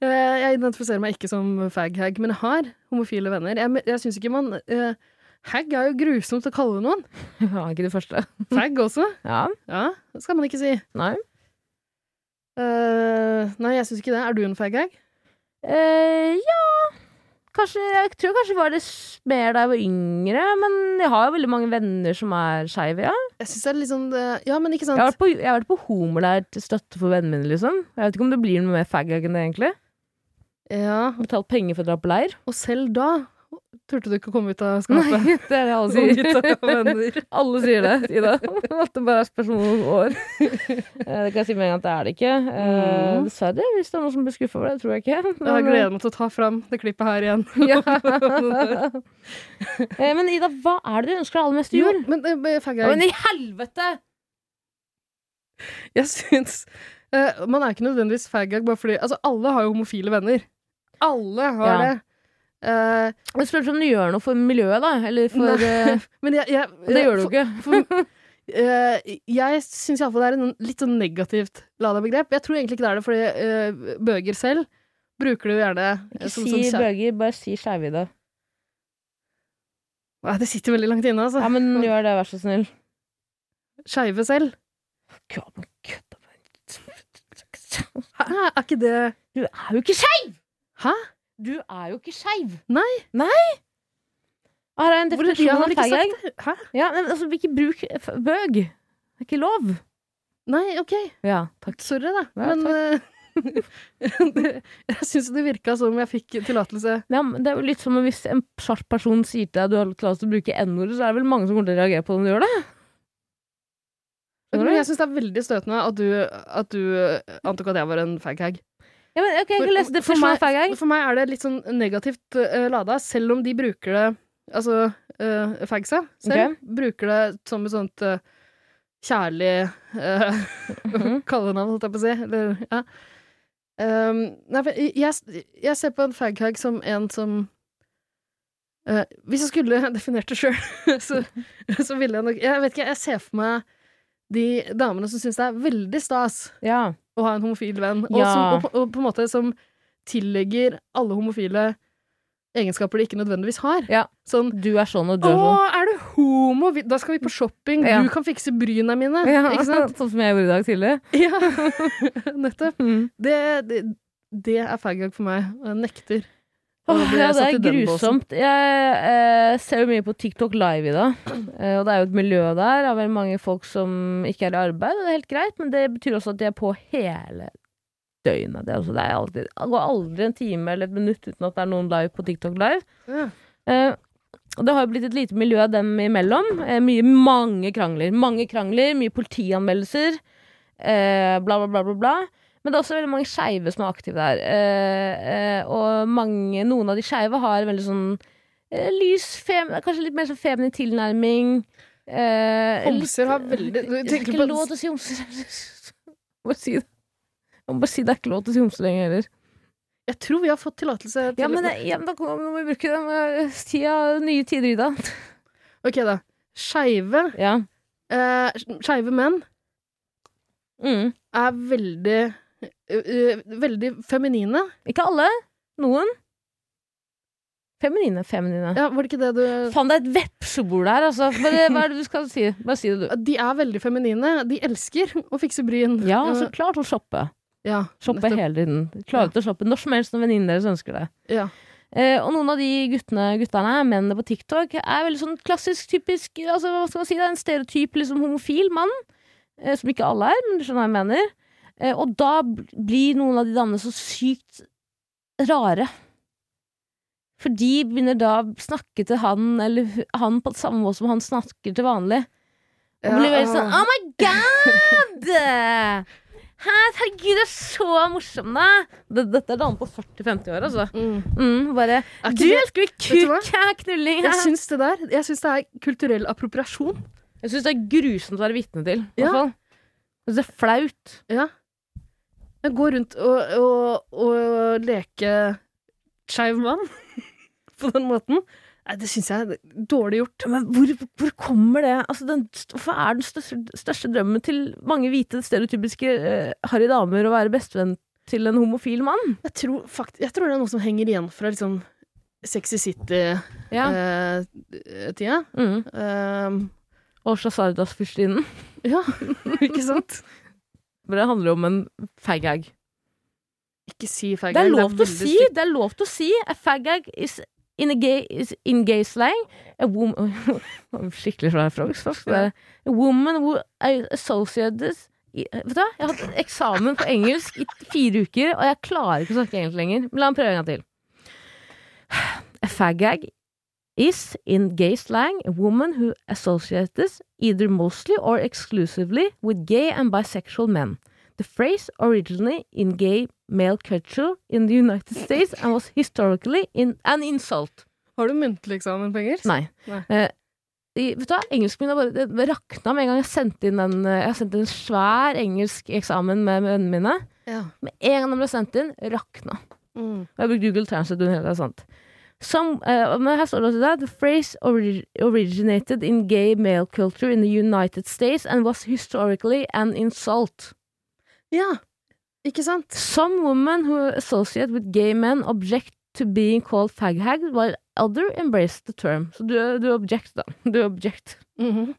Eh, jeg identifiserer meg ikke som faghag, men jeg har homofile venner. Jeg, men- jeg syns ikke man eh, Hag er jo grusomt å kalle noen. Ja, ikke det første. Fag også. Ja. Ja, det skal man ikke si. Nei. Eh, nei, jeg syns ikke det. Er du en faghag? Eh, ja Kanskje, Jeg tror kanskje det var det s- mer da jeg var yngre, men jeg har jo veldig mange venner som er skeive, ja. Jeg syns det er litt sånn eh, Ja, men ikke sant? Jeg har vært på, jeg har vært på homoleir til støtte for vennene mine, liksom. Jeg vet ikke om det blir noe mer faghag enn det, egentlig. Ja, Betalt penger for å dra på leir. Og selv da turte du ikke å komme ut av skapet. Det er det alle Som sier. gutta og venner. Alle sier det, Ida. At det bare er spørsmål om år. Eh, Det kan jeg si med en gang at det er det ikke. Eh, Mm. Dessverre, hvis det er noen som blir skuffa over det. Det tror jeg ikke. Men, Jeg gleder meg til å ta fram det klippet her igjen. ja. Eh, Men Ida, hva er det du ønsker deg aller mest til jul? men eh, fag Ja, men jeg, i helvete! jeg syns eh, Man er ikke nødvendigvis faggag bare fordi Altså, alle har jo homofile venner. Alle har Ja. det. Eh, Du spurte om du gjør noe for miljøet, da. Eller for eh, men jeg, jeg, Og det gjør du ikke. For, eh, jeg syns iallfall det er en litt sånn negativt lada begrep. Jeg tror egentlig ikke det er det, fordi eh, bøger selv bruker det jo gjerne eh, Ikke som si sånn kjær- bøger, bare si skeividde. Nei, Det sitter veldig langt inne, altså. Ja, men gjør det, vær så snill. Skeive selv. Ja, men kødda meg. Nei, er ikke det Du er jo ikke skeiv! Hæ? Du er jo ikke skeiv! Nei. Nei! Her er en Hvor- jeg definisjon har av ikke feigag. sagt det. Hæ? Ja, men altså, ikke bruk f- bøg. Det er ikke lov. Nei, ok. Ja, takk. Sorry, da. Ja, men eh, det, jeg syns det virka som jeg fikk tillatelse. Ja, men det er jo litt som om hvis en sharp person sier til deg at du har tillatelse til å bruke n-ordet, så er det vel mange som kommer til å reagere på det om du gjør det? Skjønner Men du? jeg syns det er veldig støtende at du, at du eh, antok at jeg var en faghag. Ja, men ok, jeg kan lese definisjonen av feigag. for meg er det litt sånn negativt eh, lada, selv om de bruker det Altså uh, fagsa selv bruker det som et sånt eh, kjærlig uh, Mhm. kallenavn, holdt jeg på å si. Eller, ja. um, nei, for jeg, jeg ser på en faghag som en som eh, Hvis jeg skulle definert det sjøl, så, så ville jeg nok Jeg vet ikke, jeg ser for meg de damene som syns det er veldig stas Ja. å ha en homofil venn. Og, Ja. som, og, på- og på en måte som tillegger alle homofile egenskaper de ikke nødvendigvis har. Ja. Sånn Du er sånn, og du er Å, sånn. er du homo? Vi- Da skal vi på shopping. Ja. Du kan fikse bryna mine. Ja, Ikke sant? Sånn som jeg gjorde i dag tidlig. Ja, nettopp. Mm. Det, det, det er faggag for meg. og Jeg nekter. Og Åh, da blir ja, jeg det satt er i den båsen. grusomt. Jeg eh, ser jo mye på TikTok live i dag. Eh, og det er jo et miljø der av veldig mange folk som ikke er i arbeid, og det er helt greit, men det betyr også at de er på hele døgnet. Det, er også, det, er alltid, det går aldri en time eller et minutt uten at det er noen live på TikTok live. Ja. Eh, og det har jo blitt et lite miljø dem imellom. Eh, mye, mange krangler. Mange krangler, mye politianmeldelser. Eh, bla, bla, bla, bla, bla. Men det er også veldig mange skeive som er aktive der. Eh, eh, og mange, noen av de skeive har veldig sånn eh, lys, fem, Kanskje litt mer sånn feminin tilnærming. Eh, Homser har litt- veldig du Det er tenker ikke på- lov til å si homser. Bare si det. Jeg må bare si det er ikke lov til å si homse lenger heller. Jeg tror vi har fått tillatelse til Ja, men, det- ja, men da kan- nå må vi bruke den eh, tida, nye tider i dag. Ok, da. Skeive Ja. eh, skeive menn Mm. er veldig eh, eh, Veldig feminine. Ikke alle. Noen. Feminine. Feminine. Ja, var det ikke det du Faen, det er et vepsebol her, altså. Bare, hva er det du skal si? Bare si det, du. De er veldig feminine. De elsker å fikse bryn. Ja, Eh, så klart å shoppe. ja, Shoppe nettopp. hele tiden. Klare til å shoppe når som helst når venninnen deres ønsker det. Ja. Eh, og noen av de guttene, gutterne, mennene på TikTok, er veldig sånn klassisk, typisk altså, Hva skal man si? Det er en stereotyp liksom, homofil mann. Eh, som ikke alle er, men du skjønner hva jeg mener. Eh, og da bl- blir noen av de damene så sykt rare. For de begynner da å snakke til han eller hu- han på samme måte som han snakker til vanlig. Og Ja, blir veldig ah. sånn Oh my god! Hæ, herregud, du er så morsom, da! D- Dette er dame på 40-50 år, altså. Mm. Mm, bare Er ikke Du det- elsker jo du hva? kuk, hæ, knulling, Jeg hæ. syns det der Jeg syns det er kulturell appropriasjon. Jeg syns det er grusomt å være vitne til. i hvert Ja. fall. Jeg synes det er flaut. Ja. Jeg går rundt og, og, og leke skeiv mann på den måten. Nei, det syns jeg er dårlig gjort. Men hvor, hvor kommer det altså, den, st- Hvorfor er den største, største drømmen til mange hvite, stereotypiske uh, harry damer å være bestevenn til en homofil mann? Jeg tror, fakt jeg tror det er noe som henger igjen fra liksom Sexy City-tida. Eh, tida. Mm. Ehm, Og Shazardas fyrstinnen. ja, ikke sant? Det handler om en fag-hag. Ikke si feil. Det er lov til å veldig si! stygt. Det er lov til å si A fag-hag is in, a gay, is in gay slang a woman Skikkelig svær frogs, faktisk. det er. A woman who I associated i- Vet du hva? Jeg har hatt eksamen på engelsk i fire uker, og jeg klarer ikke å snakke engelsk lenger. Men la meg prøve en gang til. A fag-hag is in gay slang a woman who associates either mostly or exclusively with gay and bisexual men. The phrase originally in gay male culture in the United States and was historically in an insult. Har du muntlig eksamen på engelsk? Nei. Nei. Eh, i- vet du hva, engelsken min har bare det rakna med en gang jeg sendte inn en, eh, jeg sendte inn en svær engelsk eksamen med, med vennene mine. Ja. Med en gang den ble sendt inn, rakna. Og Mm. jeg har brukt Google Translate under hele, det er sant. Some, eh, men her står det også der The phrase ori originated in gay male culture in the United States and was historically an insult. Ja, ikke sant? Some women who associate with gay men object to being called faghag, while other embrace the term. Så du, du object, da. Du object. Mhm.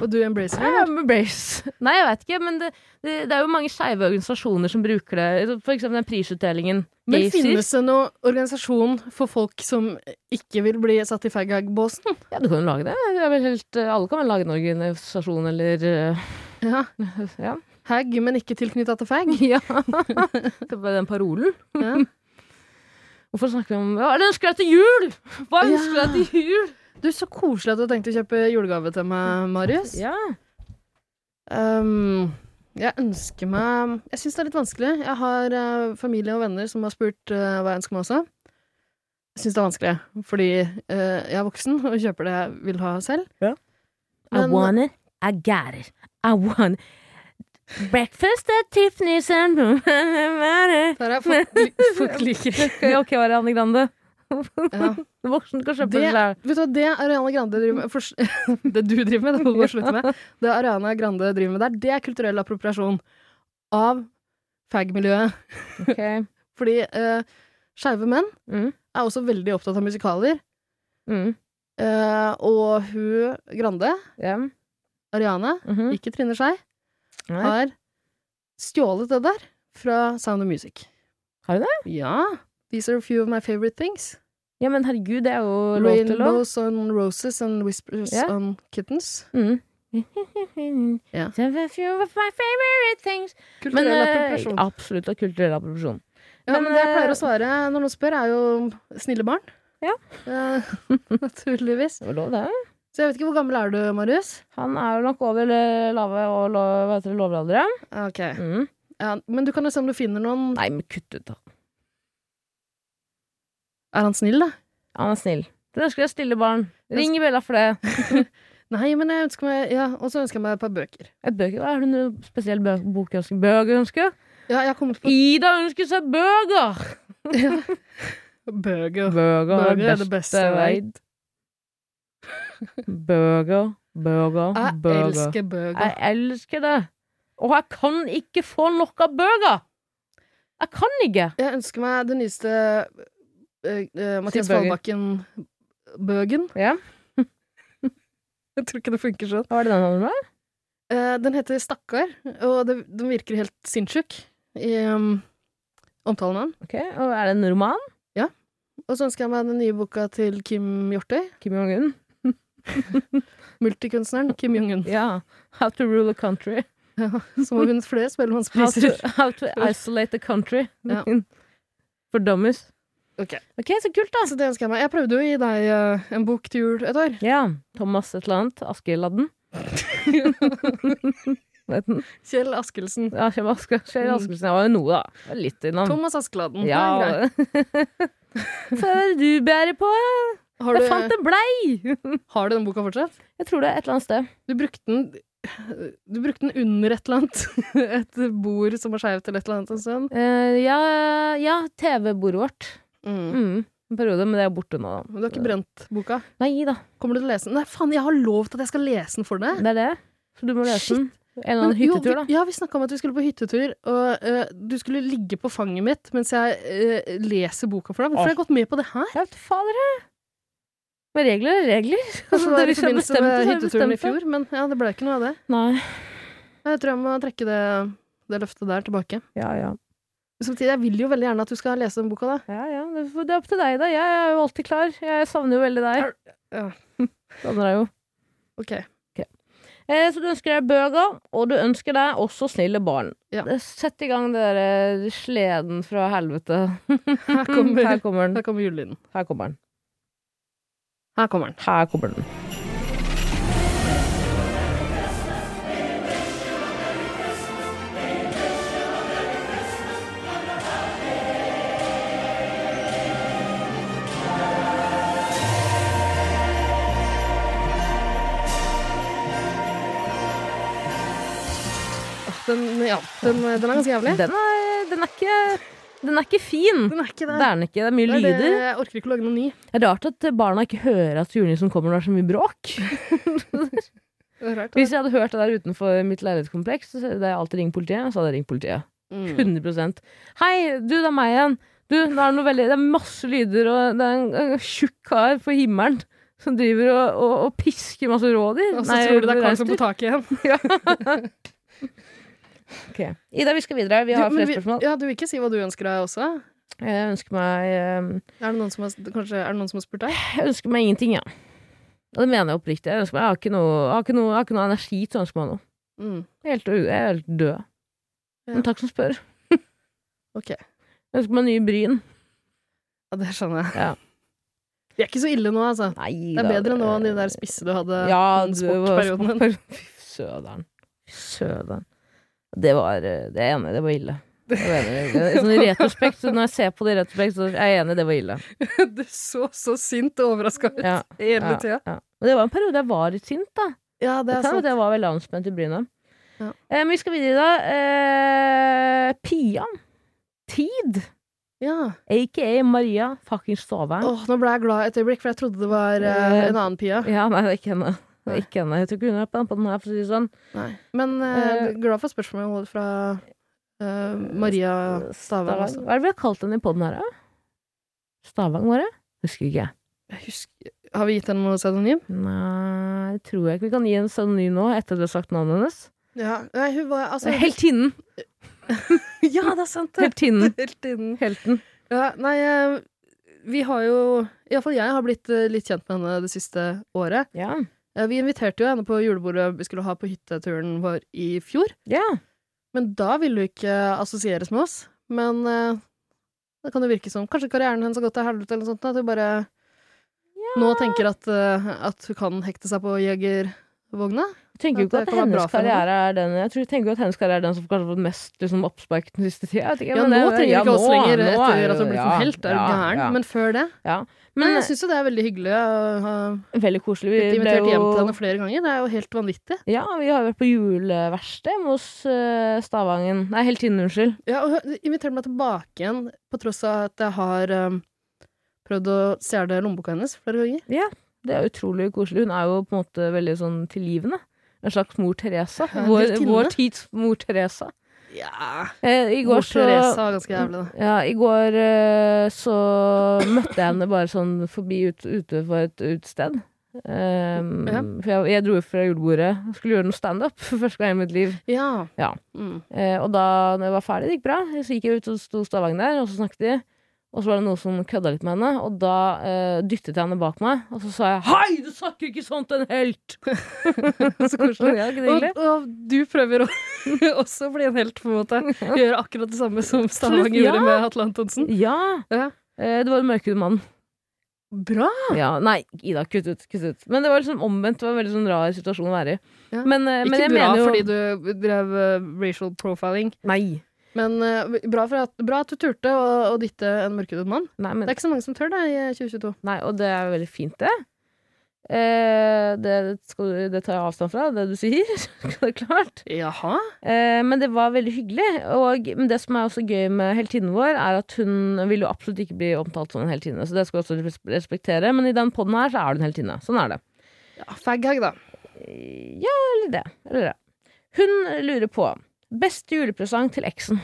Og du embracer det? Ja, embrace. Nei, jeg vet ikke, men det, det, det er jo mange skeive organisasjoner som bruker det. For eksempel den prisutdelingen. Men Gaysir. finnes det noen organisasjon for folk som ikke vil bli satt i faghag-båsen? Ja, du kan jo lage det. det er vel helt, eh, alle kan vel lage en organisasjon eller eh, Ja. Ja. Hag, men ikke tilknytta til fag? ja. det var den parolen. Ja. Hvorfor snakker vi om Hva er det ønsker deg til jul?! Hva Ja. ønsker du deg til jul?! Du, så koselig at du tenkte å kjøpe julegave til meg, Marius. Ja. Ehm, jeg ønsker meg Jeg syns det er litt vanskelig. Jeg har eh, familie og venner som har spurt eh, hva jeg ønsker meg også. Jeg syns det er vanskelig, fordi eh, jeg er voksen og kjøper det jeg vil ha selv. Ja. I Men- want it, I got it. I want breakfast at Tiffany's and Tara, folk, li- folk liker det. Ok, var det Anne Grande? Ja. Voksen sånn kan kjøpe Det- det selv. Vet du hva, det Ariana Grande driver med fors- Det du driver med, det må du bare slutte med. Det Ariana Grande driver med der, det er kulturell appropriasjon av fag-miljøet. Ok. Fordi uh, skeive menn Mm. er også veldig opptatt av musikaler. Mm. Eh, og hun Grande, Ja. Ariana, mhm. ikke Trine Skei, Nei. har stjålet det der fra Sound of Music. Har hun det? Ja. These are a few of my favorite things. Ja, men herregud, det er jo lov til lov. Rainbows on roses and whispers Ja. on kittens. Mm. Ja. So Mm. a few of my favorite things. Men Kulturell eh, appropriasjon. absolutt av kulturell appropriasjon. Ja, men Men, det jeg eh, pleier å svare når noen spør, er jo snille barn. Ja. Eh, naturligvis. Det var lov, det. Så jeg vet ikke hvor gammel er du, Marius? Han er jo nok over eh, lave og lo, hva heter det, lovaldre. Ok. Mm. Ja, men du kan jo se om du finner noen Nei, men kutt ut, da. Er han snill, da? Han er snill. Du ønsker deg stille barn. Ring Bella for det. Nei, men jeg ønsker meg Ja, og så ønsker jeg meg et par bøker. Et bøker. Hva Er det noe spesiell bø bokønske? Bøgerønske? Ja, jeg har kommet på Ida ønsker seg bøger! Bøker. Bøger Bøger er det beste jeg vet. Bøger, bøger, Jeg bøger. elsker bøker. Jeg elsker det. Og jeg kan ikke få nok av bøker! Jeg kan ikke! Jeg ønsker meg det nyeste eh, eh, Mathias Sier bøker. Fallbakken-bøgen. Ja. Jeg tror ikke det funker sånn. Hva var det den handlet om? Eh, den heter Stakkar, og det, den virker helt sinnssyk i um, omtalen av den. Ok, og Er det en roman? Og så ønsker jeg meg den nye boka til Kim Hjortøy. Kim Jong-un? Multikunstneren Kim Jong-un. Ja. How to rule a country. Som har vunnet How flere to, Spellemannspriser. how to isolate a country. Ja. For dummies. Ok. Ok, så kult, da. Så det ønsker jeg meg. Jeg prøvde jo å gi deg eh, en bok til jul et år. Ja. Thomas et eller annet. Askeladden. Vet den. Kjell Askelsen. Ja, Kjell Aske- Kjell Mm. Askelsen. Jeg var jo noe, da. Jeg var Litt innom. Thomas Askeladden. Det er greit. Mm. Ja. Før du bærer på. Har, Jeg fant du, en blei! har du den boka fortsatt? Jeg tror det er et eller annet sted. Du brukte den du brukte den under et eller annet. Et bord som var skeivt eller et eller annet en stund. Eh, ja, ja TV-bordet vårt. Mm. En periode, men det er borte nå, da. Men du har ikke brent boka? Nei da, Kommer du til å lese den? Nei, faen, jeg har lovt at jeg skal lese den for deg! det er det. Så du må lese Shit. den. En eller annen Men jo, hyttetur, da. Vi, ja, vi snakka om at vi skulle på hyttetur, og eh, du skulle ligge på fanget mitt mens jeg eh, leser boka for deg. Hvorfor har jeg gått med på det her? Jeg vet fader, jeg. Men regler er regler. Altså, det er i hvis jeg forbindelse bestemte, med så har jeg hytteturen i bestemt det. fjor, men ja, det ble ikke noe av det. Nei. Jeg tror jeg må trekke det, det løftet der tilbake. Ja, ja. Samtidig, jeg vil jo veldig gjerne at du skal lese den boka, da. ja, ja. Det får- det er opp til deg, da. Jeg er jo alltid klar. Jeg savner jo veldig deg. Ja. Savner deg jo. Ok. Eh, så du ønsker deg bøker, og du ønsker deg også snille barn. Ja. Eh, Sett i gang dere sleden fra helvete. Mm, Her kommer, Her kommer den. her kommer julelyden. Her kommer den. Her kommer den. Her kommer den. Den, ja, den, den er ganske jævlig. Ah. Den er, den er ikke Den er ikke fin. Den er ikke Det det. er den ikke. Det er mye Det er det- lyder. Jeg orker ikke å lage noen ny. Det er rart at barna ikke hører at julenissen kommer når det er så mye bråk. Det er rart. altså. Hvis jeg hadde hørt det der utenfor mitt leilighetskompleks, så hadde jeg alltid ringt politiet. Så hadde jeg ringt politiet. Mm. 100 Hei, du, det er meg igjen. Du, det er, noe veldig, det er masse lyder, og det er en, en tjukk kar på himmelen som driver og, og, og pisker masse rådyr. Og så Nei, tror du det er Karl som reinsdyr. får tak i igjen. Ok. Ida, vi skal videre. Vi Du, har men flere vi- spørsmål. Ja, du vil ikke si hva du ønsker deg også? Jeg ønsker meg eh, Er det noen som har, kanskje, er det noen som har spurt deg? Jeg ønsker meg ingenting, ja. Og det mener jeg oppriktig. Jeg, ønsker meg, jeg, har, ikke noe, jeg, har, ikke noe, jeg har ikke noe energi til å ønske meg noe. Mm. Jeg er helt, u- jeg er helt død. Ja. Men takk som spør. Ok. Jeg ønsker meg nye bryn. Ja, det skjønner jeg. Ja. Vi er ikke så ille nå, altså. Nei, Det er bedre nå enn de der spisse du hadde Ja, den det var sportperioden. sportperioden. Fy søderen. Fy søderen. Det var eh, Det er jeg enig i, det var ille. Jeg var enig, i det. sånn I retrospekt, så når jeg ser på det i retrospekt, så er jeg enig, det var ille. Du så så sint og overraska ut Ja, hele ja, tida. ja. Men det var en periode jeg var litt sint, da. Ja, det Det er sant. Jeg var veldig anspent i bryna. Ja. Eh, men vi skal videre, da. Eh, Pian. Tid. Ja. Aka Maria fuckings Stavern. Åh, nå ble jeg glad et øyeblikk, for jeg trodde det var eh, en annen Pia. Ja, nei, det er ikke henne. Det er ikke henne. Jeg tror ikke hun er på den, på den her, for å si det sånn. Nei. Men eh, glad for spørsmålet fra eh, Maria Stavang. Stavang. også. Hva er det vi har kalt henne i poden her, da? Stavang, var det? Husker ikke. Jeg husker, har vi gitt henne noe pseudonym? Nei, det tror jeg ikke. Vi kan gi en pseudonym nå, etter at du har sagt navnet hennes. Ja. Nei, hun var altså Heltinnen! Ja, det er sant! det. Heltinnen. Heltinnen. Helten. Ja, nei, eh, vi har jo Iallfall jeg har blitt eh, litt kjent med henne det siste året. Ja. Eh, Vi inviterte jo henne på julebordet vi skulle ha på hytteturen vår i fjor, ja. men da ville hun ikke assosieres med oss. Men eh, det kan jo virke som kanskje karrieren hennes har gått til helvete eller noe sånt, at hun bare nå tenker at, eh, at hun kan hekte seg på jegervogna. Jeg tenker jo At det ikke at kan være bra hennes for henne. karriere er den Jeg tror, jeg tenker jo at hennes karriere er den som kanskje har fått mest liksom, oppspark den siste tida. Jeg vet ikke, Ja, men nå det- trenger ja, hun ikke oss nå- lenger nå er etter jo- at hun har blitt ja, en helt, er hun ja, gæren? ja. Men før det Ja. Men Men jeg syns jo det er veldig hyggelig å ha veldig koselig. Vi blitt ble invitert hjem til jo henne flere ganger. Det er jo helt vanvittig. Ja, vi har vært på juleverksted hjemme hos eh, Stavangen Nei, Heltinnen, unnskyld. Ja, og hun inviterte meg tilbake igjen, på tross av at jeg har eh, prøvd å stjele lommeboka hennes flere ganger. Det er utrolig koselig. Hun er jo på en måte veldig sånn tilgivende. En slags mor Teresa. Ja, en Vår, heltinne. vår tids mor Teresa. Ja. Eh, I går Mor så Teresa var ganske jævlig, da. ja, I går eh, så møtte jeg henne bare sånn forbi ut, ute for et utested. Ehm, Ja. For jeg, jeg dro jo fra julebordet. Jeg Skulle gjøre noe standup for første gang i mitt liv. Ja. Ja. Mm. Eh, og da når jeg var ferdig, det gikk bra. Så gikk jeg ut, og sto Stavang der, og så snakket de. Og så var det noen som kødda litt med henne, og da eh, dyttet jeg henne bak meg. Og så sa jeg 'Hei, du snakker ikke sånn til en helt!' Så koselig. Ja, ikke det Og, hyggelig? og du prøver å også bli en helt, på en måte. Gjøre akkurat det samme som Stavang Absolutt, ja. gjorde med Atle Antonsen. Ja. Ja. Eh, det var den mørkhudede mannen. Bra! Ja, nei, Ida, kutt ut, kutt ut. Men det var liksom omvendt. Det var en veldig sånn rar situasjon å være i. Ja. Men, eh, men Ikke jeg bra mener jo fordi du drev eh, racial profiling, Nei. men eh, bra, for at, bra at du turte å, å dytte en mørkhudet mann. Nei, Det men, er ikke så mange som tør det i eh, 2022. nei, og det er jo veldig fint, det. Eh, det, skal, du- det tar jeg avstand fra, det du sier. det er klart. Jaha? Eh, men det var veldig hyggelig. Og men det som er også gøy med heltinnen vår, er at hun vil jo absolutt ikke bli omtalt som en heltinne. Så det skal vi også res- respektere. Men i den poden her så er du en heltinne. Sånn er det. Ja, Faghag, da. Ja, eller det. Eller det. Hun lurer på beste julepresang til eksen.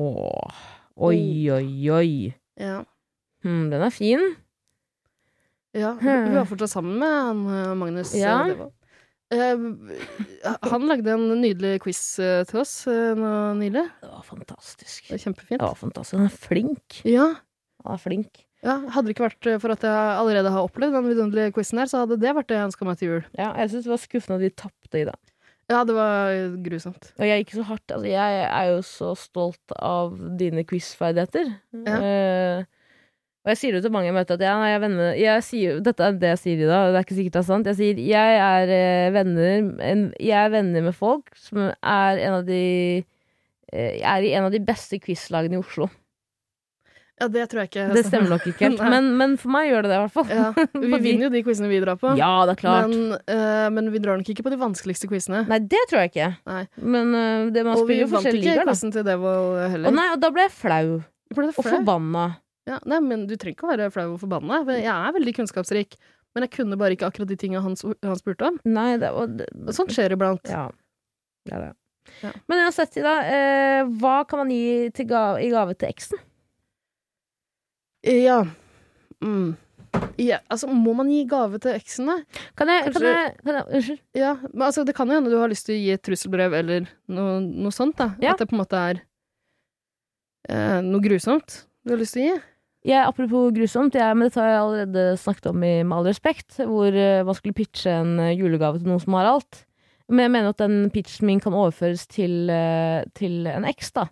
Åh. Oi, oi, oi. Ja. Hm, den er fin. Ja, hun hun var fortsatt sammen med han, eh, Magnus. Ja. eh, Devold. Eh, han lagde en nydelig quiz eh, til oss eh, nå nylig. Det var fantastisk. Det Det var kjempefint. var fantastisk. Han er flink. Ja. Han er flink. ja. Hadde det ikke vært eh, for at jeg allerede har opplevd den vidunderlige quizen her, så hadde det vært det jeg ønska meg til jul. Ja, jeg syns det var skuffende at vi tapte i det. Ja, det var eh, grusomt. Og jeg gikk så hardt. Altså, jeg er jo så stolt av dine quizferdigheter. Ja. Eh, og jeg sier det til mange jeg møter, at jeg, nei, jeg er venner med- jeg sier, Dette er det jeg sier i dag, og det er ikke sikkert det er sant. Jeg sier jeg er eh, venner en, Jeg er venner med folk som er en av de eh, jeg er i en av de beste quizlagene i Oslo. Ja, det tror jeg ikke. Det stemmer nok ikke helt, Nei. men, men for meg gjør det det, i hvert fall. Ja, vi Fordi- vinner jo de quizene vi drar på. Ja, det er klart. Men, eh, men vi drar nok ikke på de vanskeligste quizene. Nei, det tror jeg ikke. Nei. Men øh, det man Og vi spiller jo vant forskjellige ikke ligaer, da. quizen til Devold Å heller. nei, og da ble jeg flau. Ble du Og flau? forbanna. Ja, nei, men du trenger ikke å være flau og forbanna. for Jeg er veldig kunnskapsrik. Men jeg kunne bare ikke akkurat de tinga han, s- han spurte om. Nei, det, og det, Og sånt skjer iblant. Ja. Det er det. Ja. Men uansett, Ida, eh, hva kan man gi til ga i gave til eksen? Ja. Mm. ja. Altså, må man gi gave til eksen, da? Kan jeg, kan Kanskje- jeg, kan jeg Unnskyld. Ja, men altså, det kan jo hende du har lyst til å gi et trusselbrev eller noe, noe sånt, da. Ja. At det på en måte er eh, noe grusomt du har lyst til å gi. Jeg, apropos grusomt, jeg, men dette har jeg allerede snakket om i Med all respekt, hvor eh, man skulle pitche en eh, julegave til noen som har alt. Men jeg mener at den pitchen min kan overføres til, eh, til en eks, da.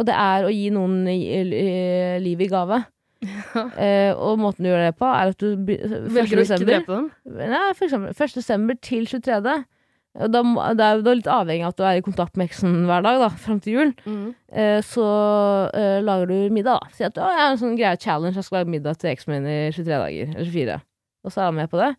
Og det er å gi noen i- i- i- livet i gave. Eh, og måten du gjør det på, er at du by- 1. Velger å ikke desember- drepe dem. Nei, for eksempel 1. desember til 23. Og Da, må- det er jo da litt avhengig av at du er i kontakt med eksen hver dag, da, fram til jul. Mm. Eh, så eh, lager du middag, da. Si at «Å, jeg har en sånn greie challenge, jeg skal lage middag til eksen min i 23 dager. Eller 24. Og så er han med på det.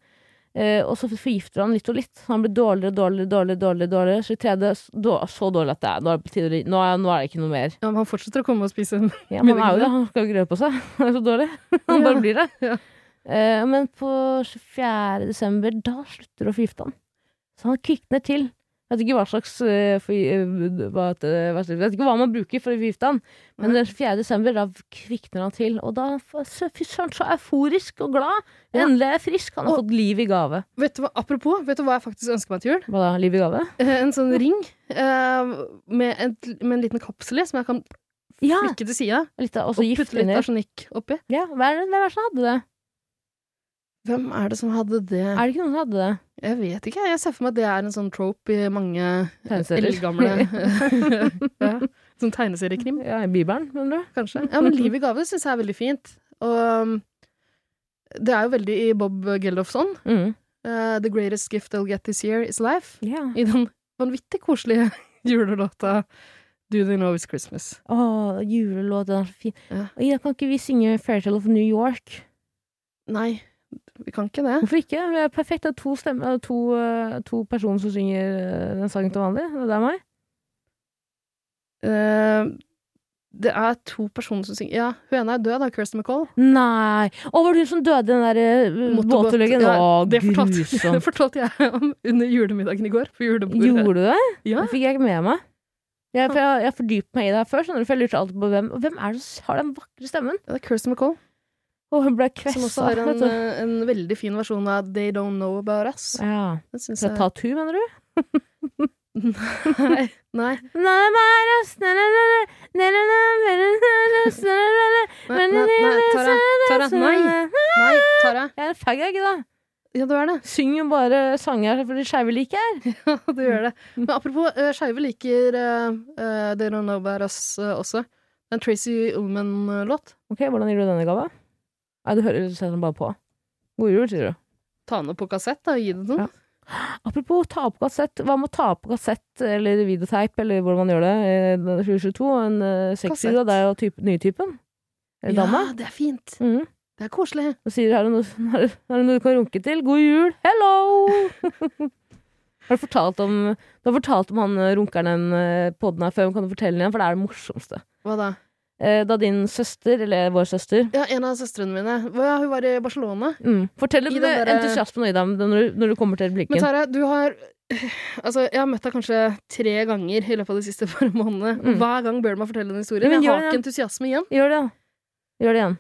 Eh, og så forgifter han litt og litt. Han blir dårligere og dårligere, dårligere, dårligere, dårligere. Så i tredje, s- dår- så dårlig at det er. Nå er det, på tide å ri- nå er, nå er det ikke noe mer. Ja, men han fortsetter å komme og spise den. Ja, men han er jo det. Han skal jo ikke røre på seg. Han er så dårlig. Han Ja. bare blir det. Ja. Eh, men på 24. desember, da slutter det å forgifte han. Så han kvikner til. Jeg vet ikke hva slags eh, for, eh, hva heter det- hva slags- Jeg vet ikke hva man bruker for å forgifte han, men den 4. desember, da kvikner han til. Og da f- så- Fy søren, så euforisk og glad! Ja. Endelig er jeg frisk! Han har Og- fått liv i gave. Vet du hva, apropos, vet du hva jeg faktisk ønsker meg til jul? Hva da? Liv i gave? Eh, en sånn ring eh, med, en, med en liten kapsel i, som jeg kan Ja! flikke til sida. Litt, av- også Og gift putte litt inni. arsenikk oppi. Ja, hvem er det hvem er det som hadde det? Hvem er det som hadde det? Er det ikke noen som hadde det? Jeg vet ikke. Jeg ser for meg at det er en sånn trope i mange Tegneserier. eldgamle ja. Sånn tegneseriekrim, Ja, i Bibelen, mener du? kanskje. Ja, men Liv i gave syns jeg er veldig fint. Og um, det er jo veldig i Bob Geldofsson. Mm. Uh, The greatest gift I'll get this year is life. Ja. I den vanvittig koselige julelåta Do They Know It's Christmas. Åh, julelåt, den er så fin. Ja. Og Ida, kan ikke vi synge Fairytale of New York? Nei, vi kan ikke det. Hvorfor ikke? Vi er perfekt. Det er to, stemmer, to, eh, to personer som synger eh, den sangen til vanlig. Det er meg. Uh, det er to personer som synger Ja, hun ene er død, da. Kirsten MacColl. Nei! Å, var det hun som døde i den der eh, Motorbåt. båtulykken? Ja, Å, det fortalte, det grusomt. fortalte jeg om under julemiddagen i går. På julebordet. Gjorde du det? Ja. Det fikk jeg ikke med meg. Jeg, for jeg, jeg fordypet meg i det her før, skjønner du, for jeg lurte alltid på hvem, hvem er det som har den vakre stemmen. Ja, det er Kirsten MacColl, Og hun ble som kvessa. også har en, vet du. eh, en veldig fin versjon av They Don't Know About Us. ja. Den syns Fra jeg Tattoo, mener du? Nei. Nei. Nei, bare oss, nei, nei, nei, nei, nei, nei, nei, nei, nei, nei, nei. Nei, nei, nei, Tara. Tara. Nei. Nei, Tara. Jeg er en fag, jeg, ikke da? Ja, du er det. Syng jo bare sanger for de skeive liker jeg. Ja, du gjør det. Men apropos, uh, skeive liker eh, eh, They Don't Know About Us eh, også. Det er en Tracy Ullman-låt. Ok, hvordan gir du denne gave? Nei, du hører du setter den bare på. God jul, sier du. Ta den opp på kassett da, og gi den til Ja. noen. Apropos ta på kassett, hva med å ta på kassett eller videoteip, eller hvordan man gjør det, i 2022? En eh, sexy, da, Kassett. det er jo typ, nye typen. Eller dama. det er fint. Mhm. Det er koselig. Og sier har du, noe, har, du- har du noe du kan runke til? God jul! Hello! har du fortalt om Du har fortalt om han eh, runkeren den poden her før, men kan du fortelle den igjen? For det er det morsomste. Hva da? Eh, Da din søster, eller vår søster Ja, en av søstrene mine. Hva- Ja, hun var i Barcelona. mm. Fortell litt I om den der- entusiasmen i deg når, du- når du kommer til Men blikken. Tara, du har Altså, jeg har møtt deg kanskje tre ganger i løpet av de siste par månedene. Mm. Hver gang ber du meg fortelle en historie. Ja, men jeg gjør har det, ikke entusiasme igjen. Gjør det, da. Gjør det igjen.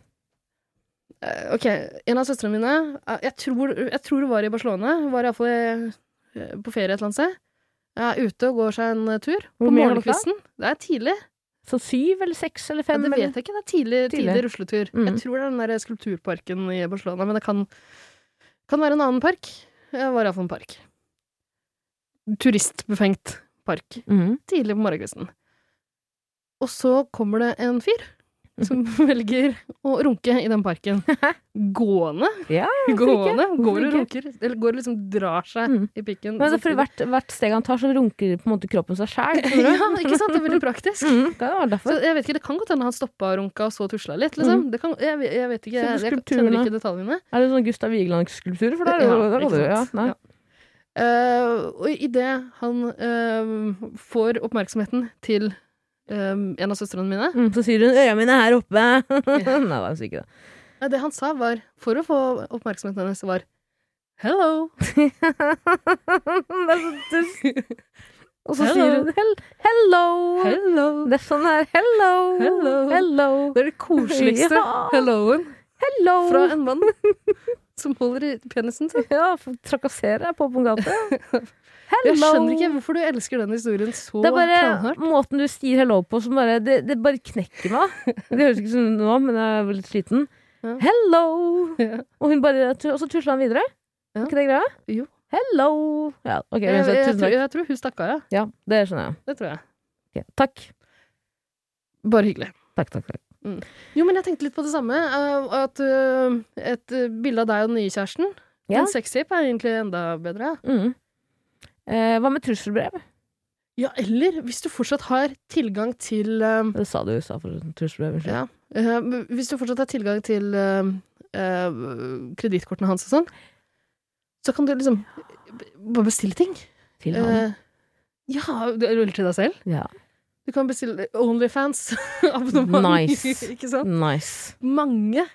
Eh, Ok, en av søstrene mine eh, Jeg tror, jeg tror hun var i Barcelona. Hun var iallfall på ferie et eller annet sted. Jeg er ute og går seg en eh, tur. Hvor På mye er klokka? morgenkvisten. Det er tidlig. Så syv eller seks eller Ja, fem? det vet eller? jeg ikke. Det er tidlig, tidlig. Tidlig. rusletur. Mm. Jeg tror det er den der skulpturparken i Barcelona, men det kan, kan være en annen park. Det var iallfall en park. Turistbefengt park. Mhm. tidlig på morgenkvisten. Og så kommer det en fyr som velger å runke i den parken. Gående. Ja, gående. Går og Hvorfor runker. Eller går og liksom drar seg Mm. i pikken. Sånn. Men det er fordi hvert, hvert steg han tar, så runker på en måte kroppen seg sjæl. Ja, ikke sant? Det er veldig praktisk. Mm, det var Så derfor. jeg vet ikke, Det kan godt hende han stoppa og runka og så tusla litt. liksom. Mm. Det kan, jeg, jeg vet Se på ikke, jeg, jeg kjenner skulpturene. ikke detaljene. Er det sånn Gustav Vigeland-skulpturer? For det er jo Ja, der ikke hadde du- ja, sant. nei. Ja. Eh, og idet han eh, får oppmerksomheten til um, en av søstrene mine. Mm, så sier hun 'øra mine er her oppe'. Nei, det er sikkert ikke det. Nei, Det han sa, var for å få oppmerksomheten hennes, var Hello! det er så dust. Og så Hello. sier hun hell, 'hello'. Hello! Det er sånn her. Hello. Hello. Hello. Det er det koseligste Ja. helloen hello. fra en mann som holder i penisen sin. Ja, for trakasserer deg på åpen gate. Hello. Jeg skjønner ikke hvorfor du elsker den historien så Det er bare knallhardt. måten du sier hello på som bare Det, det bare knekker meg. Det høres ikke sånn ut nå, men jeg er veldig sliten. Ja. Hello! Ja. Og, hun bare, og så tusla han videre. Ja. Er ikke det greia? Jo. Hello! Ja, ok, Jeg, uansett, jeg, tusen tror, takk. jeg tror hun stakk av, ja. Ja, det skjønner jeg. Det tror jeg. Ok, Takk. Bare hyggelig. Takk, takk, takk. Jo, men jeg tenkte litt på det samme. eh, At eh, et eh, bilde av deg og den nye kjæresten Ja. En sextape er egentlig enda bedre. Mm. Eh, hva med trusselbrev? Ja, eller hvis du fortsatt har tilgang til eh, Det sa du i stad, forresten. Trusselbrev. Unnskyld. Ja. eh, Hvis du fortsatt har tilgang til uh, kredittkortene hans og sånn, så kan du liksom b- bare bestille ting. Til han. Eh, ja, du- eller til deg selv. Ja. Du kan bestille Onlyfans-abonnement. Nice. Ikke sant? Nice. Mange.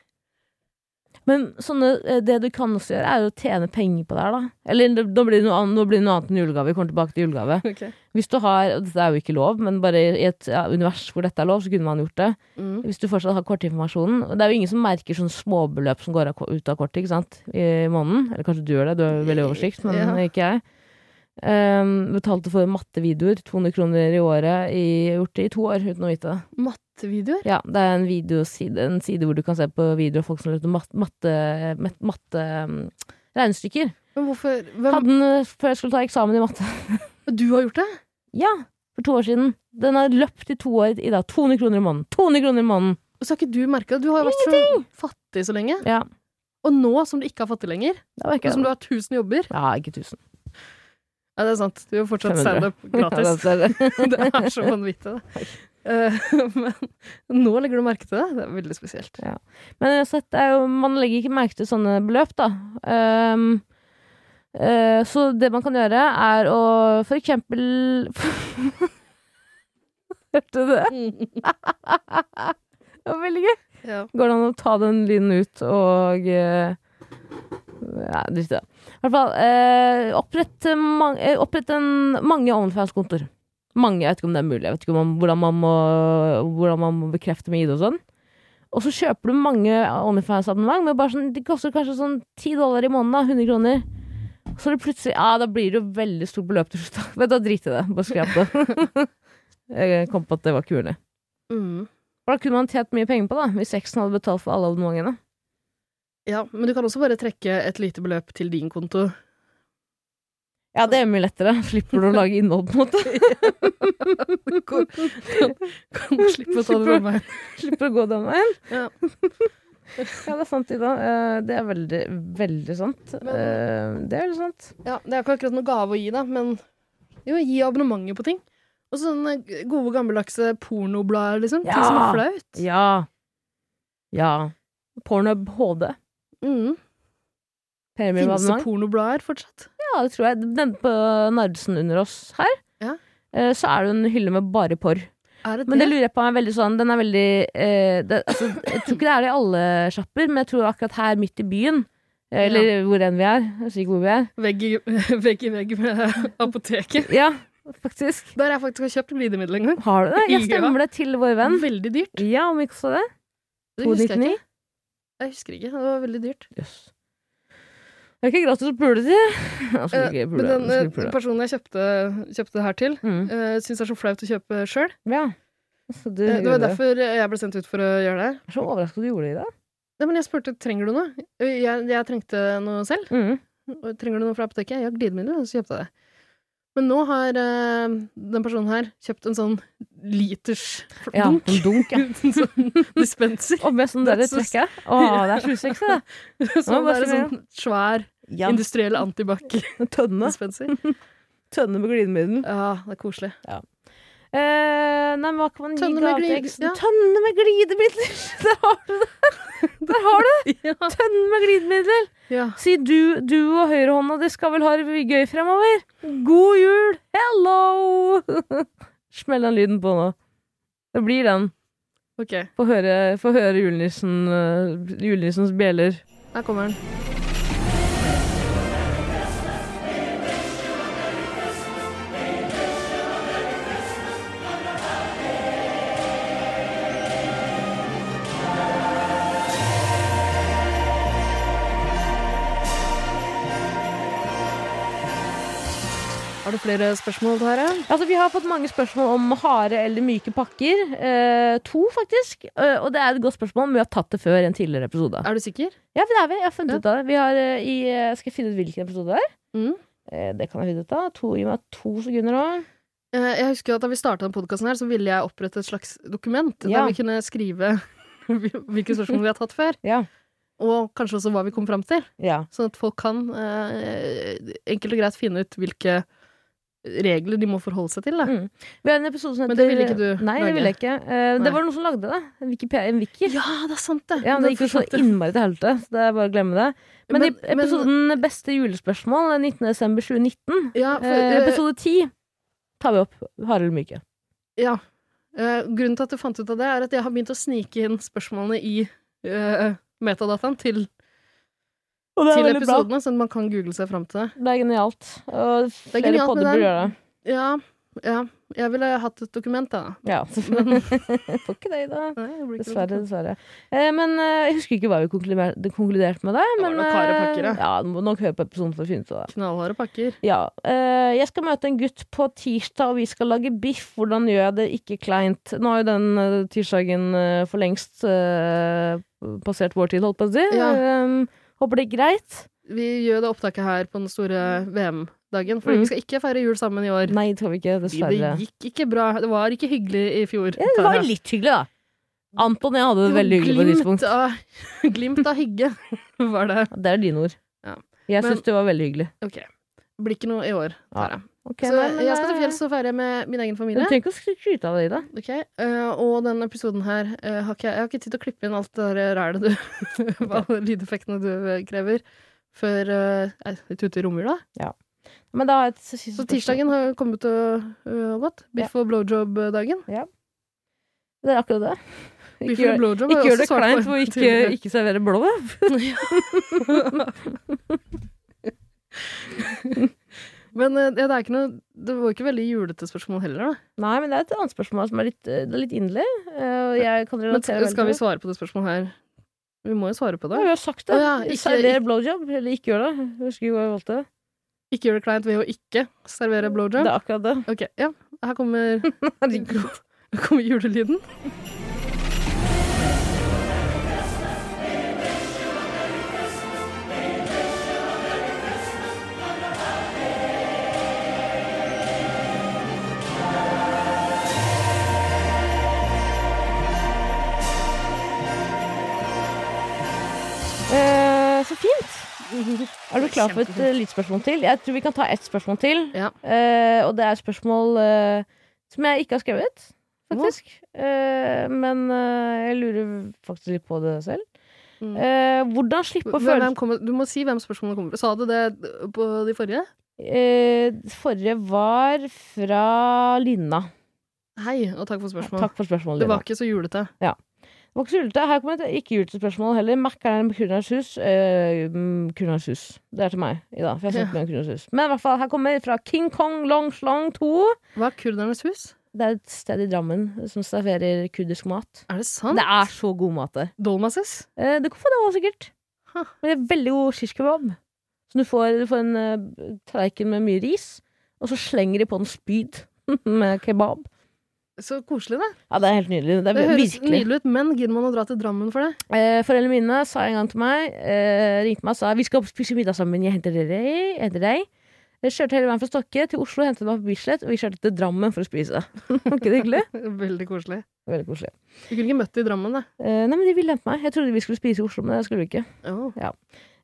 Men sånne, eh, det du kan også gjøre, er jo å tjene penger på det her, da. Eller det- nå blir det noe annet, nå blir det noe annet enn julegave. Vi kommer tilbake til julegave. Hvis du har, og dette er jo ikke lov, men bare i et ja, univers hvor dette er lov, så kunne man gjort det. Mm. Hvis du fortsatt har kortinformasjonen. og Det er jo ingen som merker sånne småbeløp som går av, ut av kortet, ikke sant, i måneden. Eller kanskje du gjør det, du har veldig oversikt, men Ja. ikke jeg. Ehm, betalte for mattevideoer, 200 kroner i året, i, gjort det i to år uten å vite det. Mattevideoer. Ja, det er en videoside, en side hvor du kan se på videoer av folk som løser matte, matte, mat- matte mm, regnestykker. Men hvorfor hvem, Hadde den eh, før jeg skulle ta eksamen i matte. Du har gjort det? Ja, for to år siden. Den har løpt i to år i dag. 200 kroner i måneden. 200 kroner i måneden. Og så har ikke du merka det? Du har jo vært så fattig så lenge. Ja, Og nå som du ikke er fattig lenger, det var og ikke som du det. har 1000 jobber Ja, ikke 1000. Ja, det er sant. Du gjør fortsatt 500. standup gratis. Ja, det er det. Det er så vanvittig, det. Eh, men nå legger du merke til det. Det er veldig spesielt. Men uansett, det er jo, man legger ikke merke til sånne beløp, da. Ehm, eh, så det man kan gjøre, er å for eksempel Hørte du det? Det var veldig gøy. Ja. Går det an å ta den lyden ut og eh, Nei, drit i det. I hvert fall, eh, opprett, man, eh, opprett en, mange OnlyFans-kontoer. Mange, Jeg vet ikke om det er mulig. Jeg vet ikke om man, hvordan, man må, hvordan man må bekrefte med ID og sånn. Og så kjøper du mange OnlyFans-abonnement, men bare sånn, de koster kanskje sånn 10 dollar i måneden. da, 100 kroner. Så det plutselig, ja, da blir det jo veldig stort beløp til slutt. da. Vet du, hva, Drit i det. Bare skrap det. jeg kom på at det var ikke mulig. Mm. For Da kunne man tjent mye penger på da, hvis sexen hadde betalt for alle abonnementene. ja, men du kan også bare trekke et lite beløp til din konto. Ja, det er mye lettere. Slipper du å lage innhold, på en måte. Kan, kan du slippe å ta det den veien. Slipper å gå den veien. Ja. Ja, det er sant, Ida. Eh, Det er veldig, veldig sant. Eh, Det er veldig sant. Ja, det er ikke akkurat noe gave å gi, da, men jo, gi abonnementer på ting. Og sånne gode, gammeldagse pornoblader, liksom. Ja. Ting som er flaut. Ja. Ja. Pornhub HD. Mm. Finnes det Premiumabonnement. pornoblader fortsatt? Ja, det tror jeg. Den på Narvesen under oss her, Ja. eh, så er det en hylle med bare porr. Er det Men det det? lurer jeg på er veldig sånn Den er veldig eh, det, altså, Jeg tror ikke det er det i alle sjapper, men jeg tror akkurat her midt i byen, eh, eller hvor enn vi er Jeg sier ikke hvor vi er. Vegg i, vegg i vegg med apoteket. Ja, faktisk. Der jeg faktisk har kjøpt glidemiddel en gang. Har du det? Jeg Ja. stemmer det til vår venn. Veldig dyrt. Ja, om ikke så det. Det husker jeg 299. ikke. Jeg husker ikke. Det var veldig dyrt. Jøss. Det er ikke gratis å pule til. Jeg skulle Eh, ikke Men Altså, pule. den Jeg eh, skulle pule. personen jeg kjøpte, kjøpte det her til, Mm. uh, syns det er så flaut å kjøpe sjøl. Ja. Så du, det var gjorde- derfor jeg ble sendt ut for å gjøre det. Jeg er så overraska du gjorde det i dag. Nei, men jeg spurte trenger du noe. Eh, Jeg, jeg trengte noe selv. Mm. Og Trenger du noe fra apoteket? Jeg har glidemiddel, og så kjøpte jeg det. Men nå har eh, den personen her kjøpt en sånn liters fl- Ja, dunk. en dunk, ja. en sånn dispenser. Og med sånn der Det er så- trekke. Å, det er så usexy, det. Som bare er en så sånn svær Ja. industriell antibac-dispenser. En tønne. Tønne med glidemiddel. Ja, det er koselig. Eh, nei, men hva kan man gi Tønne med gave til glid- eksen? ja. Tønne med glidemidler! Der har du det! Der har du Ja. det! Tønne med glidemidler! Ja. Si du, du og høyrehånda di skal vel ha det gøy fremover. God jul! Hello! Smell den lyden på nå. Det blir den. Ok, Få høre, få høre julenissen, eh, julenissens bjeller. her kommer den. Har du flere spørsmål, Tare? Altså, vi har fått mange spørsmål om harde eller myke pakker. Eh, to, faktisk. Eh, og det er et godt spørsmål, men vi har tatt det før i en tidligere episode. Er du sikker? Ja, for det er vi. Jeg har funnet Ja. ut av det. Vi har, eh, i, eh, skal jeg finne ut hvilken episode det er? Mm. Eh, det kan jeg finne ut av. To, gi meg to sekunder nå. Eh, Jeg husker at Da vi starta podkasten, ville jeg opprette et slags dokument Ja. der vi kunne skrive hvilke spørsmål vi har tatt før, Ja. og kanskje også hva vi kom fram til. ja. Sånn at folk kan eh, enkelt og greit finne ut hvilke regler de må forholde seg til. Da. Mm. Vi har en episode som heter Men det ville ikke du Nei, lage. det ville jeg ikke. Eh, Nei. det var noen som lagde det. En Wikipedia- En wiki. Ja, det er sant, det! Ja, men det gikk jo så innmari til helvete, så det er bare å glemme det. Men, Men- i episoden Beste julespørsmål, 19.12.2019, ja, for, eh, eh, episode 10, tar vi opp Harald Myke. ja. Eh, grunnen til at du fant ut av det, er at jeg har begynt å snike inn spørsmålene i eh, metadataen til, Og til episodene, sånn at man kan google seg fram til det. Det er genialt. Og er flere genialt, men podder det er- burde gjøre det. Ja, ja. Jeg ville hatt et dokument, da. Ja, selvfølgelig. Får ikke det i dag. Nei, det blir ikke noe Dessverre, dessverre. Eh, men eh, jeg husker ikke hva vi konklumer- det konkluderte med der. Det var Men, nok harde pakker, eh, ja. ja, du må nok høre på episoden for å finne ut av det. Knallharde pakker. Ja, eh, jeg skal møte en gutt på tirsdag, og vi skal lage biff. Hvordan gjør jeg det ikke kleint? Nå har jo den eh, tirsdagen eh, for lengst eh, passert vår tid, holdt på å si. Ja. Eh, håper det er greit. Vi gjør det opptaket her på den store VM-dagen, for Mm. vi skal ikke feire jul sammen i år. Nei, det tror vi ikke, dessverre. Det gikk ikke bra. Det var ikke hyggelig i fjor. Ja, det var litt hyggelig, da. Anton og jeg hadde det veldig hyggelig på et tidspunkt. glimt av, glimt av hygge var det. Det er dine ord. Ja. Jeg Men- syns det var veldig hyggelig. Ok. Blir ikke noe i år, Tara. Ok, Så nei, men eh, jeg skal til det- fjells og feire med min egen Du familie. trenger ikke å skryte av det, Ida. Ok, eh, Og denne episoden her eh, har ikke, Jeg har ikke tid til å klippe inn alt det der eh, rælet du Alle lydeffektene du eh, krever. Før eh, nei, vi tuter i romjula. Men da har jeg et siste Så spørsmål. tirsdagen har kommet og eh, gått. Biff og blowjob-dagen. Det er akkurat det. Ikke Biff og gjør, blowjob har ikke jeg gjør det også svart kleint på for å ikke, tidligere. ikke servere blå. Men eh, ja, det er ikke noe Det var ikke veldig julete spørsmål heller, da. Nei, men det er et annet spørsmål som er litt, eh, det er litt inderlig. eh, og Jeg kan Men relatere skal, skal vi svare? svare på det spørsmålet her? Vi må jo svare på Ja, vi det. har sagt det. Å ja, ikke- Server blowjob, eller ikke gjør det. Jeg Husker ikke hva jeg valgte. Ikke gjør det kleint ved å ikke servere Det blowjob. er akkurat det. Ok, ja. Her kommer, her kommer julelyden. Eh, så fint! Er du klar for et eh, lydspørsmål til? Jeg tror vi kan ta ett spørsmål til. Ja. Eh, og det er et spørsmål eh, som jeg ikke har skrevet, faktisk. Eh, men eh, jeg lurer faktisk litt på det selv. Mm. Eh, hvordan slippe å Hvem, føle hvem kommer, du må si hvem spørsmålet kommer fra. Sa du det på de forrige? Eh, Forrige var fra Lina. Hei, og takk for spørsmålet. Takk for spørsmålet, Det Lina. var ikke så julete. Det var ikke så julete. Her kommer et ikke julete spørsmål heller. Mækkern med kurnashus. Eh, mm, kurnashus. Det er til meg i dag, for jeg har Ja. sett meg en kurnashus. Men i hvert fall, her kommer fra King Kong Long Slong 2. Hva er kurdernes hus? Det er et sted i Drammen som serverer kurdisk mat. Er det sant? Det er så god mat der. Dolmases? Eh, det kan få det òg, sikkert. Huh. Men det er veldig god shish kebab. Så du får, du får en uh, tallerken med mye ris, og så slenger de på en spyd med kebab. Så koselig, det. Ja, det er helt nydelig. Det er Det høres virkelig. nydelig ut, men gidder man å dra til Drammen for det? Eh, foreldrene mine sa en gang til meg, eh, ringte meg og sa vi skal spise middag sammen, jeg henter dere. Jeg henter deg. Jeg kjørte hele veien fra Stokke til Oslo, hentet meg på Bislett, og vi kjørte til Drammen for å spise. Var ikke det hyggelig? Veldig koselig. Veldig koselig. Du kunne ikke møtt det i Drammen, da. Eh, nei, men de ville hente meg. Jeg trodde vi skulle spise i Oslo, men det skulle vi ikke. Åh.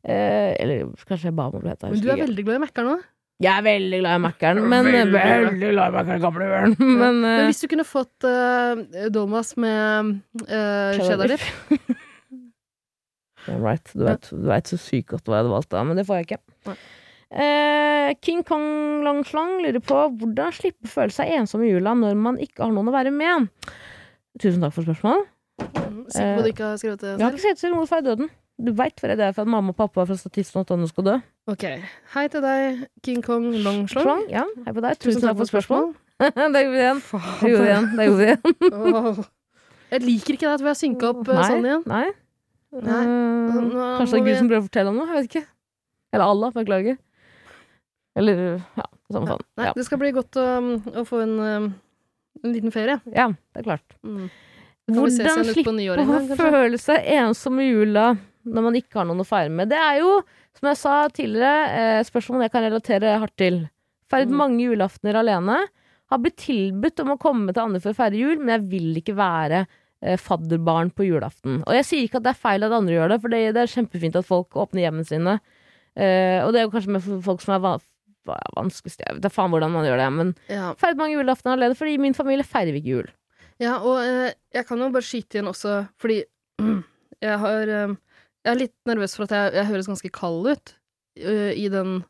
Eh, eller kanskje jeg ba om å bli henta. Men du er veldig glad i Mækkern nå. Jeg er veldig glad i Mækkern, men veldig, glad i Mækkern, gamle ørn. Men, Men eh, hvis du kunne fått eh, Dolmas med uh, Cheddar cheddar dip Yeah, right. Du vet, du vet så sykt godt hva jeg hadde valgt da, men det får jeg ikke. Nei. Eh, King Kong Long Slong lurer på hvordan slippe å føle seg ensom i jula når man ikke har noen å være med. Tusen takk for spørsmålet. Mm, Eh, Sikker på at du ikke har skrevet det Jeg har selv? ikke sett selv hvorfor jeg er døden. Du veit vel det er for at mamma og pappa er fra statisten og at han skal dø? Ok. Hei til deg, King Kong Longshlong. Slang? Ja, hei på deg. Tusen takk for spørsmål. Der gjorde vi det igjen. Der gjorde vi det igjen. Der gjorde vi det igjen. Åh. Jeg liker ikke det at vi har synka opp eh, sånn igjen. Nei. Nei. Eh, Nå må kanskje det er vi- Gud som prøver å fortelle ham noe? Jeg vet ikke. Eller Allah, beklager. Eller ja, samme faen. Nei, Ja. Det skal bli godt å, å få en, um, en liten ferie. ja, det er klart. Mm. Kan vi se Hvordan seg litt slippe på nyåret en gang, å kanskje? føle seg ensom i jula når man ikke har noen å feire med? Det er jo, som jeg sa tidligere, eh, spørsmål jeg kan relatere hardt til. Feiret Mm. mange julaftener alene. Har blitt tilbudt om å komme til andre for å feire jul, men jeg vil ikke være eh, fadderbarn på julaften. Og jeg sier ikke at det er feil at andre gjør det, for det, det er kjempefint at folk åpner hjemmene sine. Eh, og det er jo kanskje med folk som er va va- vanskeligst Jeg vet da faen hvordan man gjør det, men Ja. feiret mange julaftener alene, fordi i min familie feirer vi ikke jul. ja, og eh, jeg kan jo bare skyte igjen også, fordi jeg har eh, Jeg er litt nervøs for at jeg, jeg høres ganske kald ut eh, i den